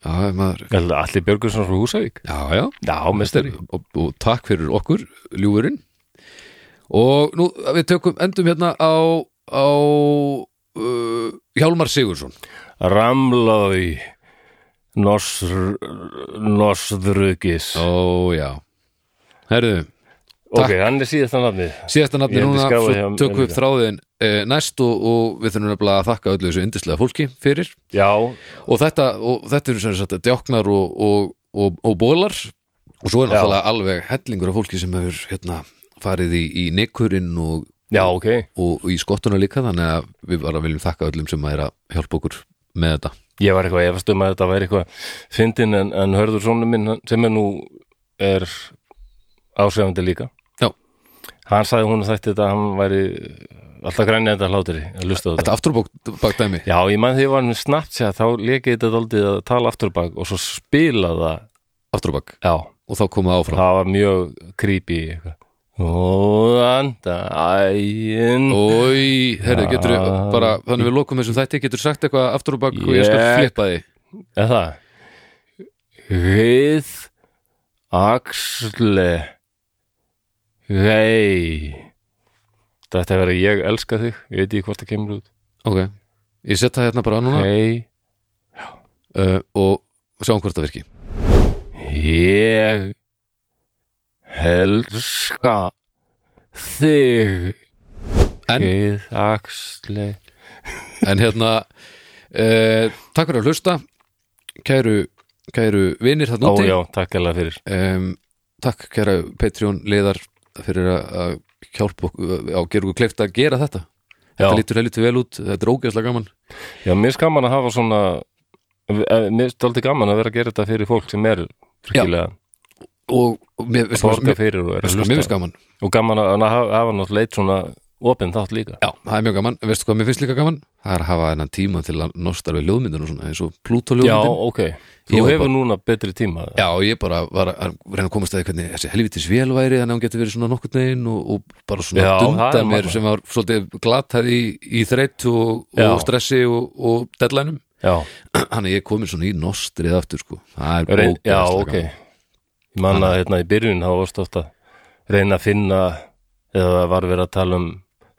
Já, maður Allir Björgursson frá Húsavík Já, já, Já, mestari og, og takk fyrir okkur, ljúfurinn og nú við tökum endum hérna á, á uh, Hjálmar Sigursson Ramlói Norsr Norsðrugis Ó, já Herðu, Ok, hann er síðast að nafnið síðasta nafni Ég hefði núna, skráð svo hjá mér tökum við upp líka. þráðin eh, næst og, og við þurfum nefnilega að þakka öllu þessu yndislega fólki fyrir Já, og þetta, og þetta eru sem sagt djáknar og, og, og, og bólar og svo er Já. náttúrulega alveg hellingur af fólki sem hefur hérna, farið í, í nekkurinn og, já, ok og, í skottuna líka þannig að við bara viljum þakka öllum sem er að hjálpa okkur með þetta Ég var eitthvað efast um að þetta væri eitthvað fyndin en, en hörður svona minn hann- sem er nú er ásefandi líka Já. Hann sagði hún að þetta að hann væri alltaf grænni þetta hlátri að lusta á þetta Þetta afturbakt dæmi Já, ég mann þegar ég var með Snapchat þá lekið þetta daldið að tala afturbak og svo spila það afturbakt Já, og þá koma það áfram það var mjög creepy eitthvað. Góðan daginn Ói, herru, getur við Já. bara þannig við lokum þessum þætti, getur sagt eitthvað afturbakt og ég skal Ég- flippa því Er það? Við Axle Rey Þetta verður ég elska þig Ég veit ekki hvort það kemur út Ok, ég set það hérna bara núna Rey uh, og sjáum hvort það virki Ég Helska Þig En- Við Axle En hérna uh, Takk fyrir að hlusta Kæru, kæru vinir þarna Ó úti já, takk alveg fyrir um, Takk kæra Patreon liðar fyrir að- að hjálpa okkur á gera okkur kleift að gera þetta Já, Þetta lítur helviti vel út, þetta er ógeðslega gaman já mér er gaman að hafa svona eh, Mér er stolti gaman að vera að gera þetta fyrir fólk sem er virkilega og, og mér, veist, mér, borga mér, fyrir og er að mér, mér finnst hlusta gaman og gaman að, að hafa- hafa náttúrulega eitt svona opinn þátt líka Já, það er mjög gaman, veistu hvað mér finnst líka gaman? Það er að hafa hennan tíma til að nostar við ljóðmyndin og svona, eins og Pluto já, ljóðmyndin ok, þú Ég var hefur bara- núna betri tíma Já, ég bara var að reyna að komast að því hvernig þessi helvitis velværi þannig að hún getur verið svona nokkurn veginn og, og bara svona Já, það dundar er mér magnað. sem var svolítið glatað í, í þreytt og, Já. og stressi og, og deadlineum já, Þannig að ég er komin svona í nostrið aftur sko Það er reyn, ógeðslega já ok gaman. ég manna hérna í byrjun þá varst ofta reyna að finna eða það var verið að tala um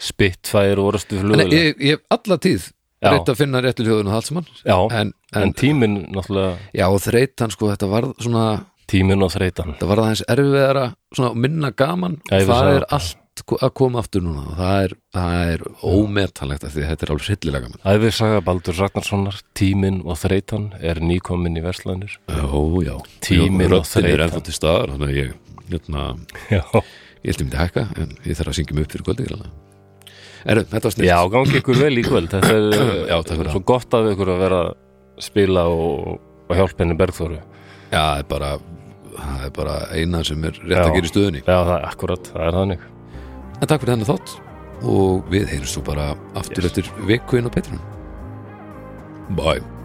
Spitfire og orðstu En flugulega ég, ég hef alla tíð Já. reynt að finna réttu ljóðun og allt saman já, en, En, en, tíminn náttúrulega, já, og þreytan sko, þetta varð svona tíminn og þreytan það var aðeins erfiðara svona minna gaman og Já, ég vissi það það. er allt ko- að koma aftur núna og það er, það er ómetalegt af því að þetta er alveg hryllilega gaman Æfisaga Baldur Ragnarssonar, tíminn og þreytan er nýkomin í verslanir Ó, já, tíminn og Röddin er ennþá þreytan til staðar Þannig að ég hérna, já, ég held ég myndi hækka en ég þarf að syngja mig upp fyrir kvöldi er, þetta var snilt já gangi ykkur vel í kvöld þetta er Já, takk fyrir það. svo gott af ykkur að vera að spila og, og hjálpa henni Bergþóru Já, það er bara, það er bara eina sem er rétt Já. að gera í stöðunni Já, það er akkurat, það er þannig en takk fyrir þennan þátt og við heyrjum svo bara aftur eftir viku inn á Petrum Bye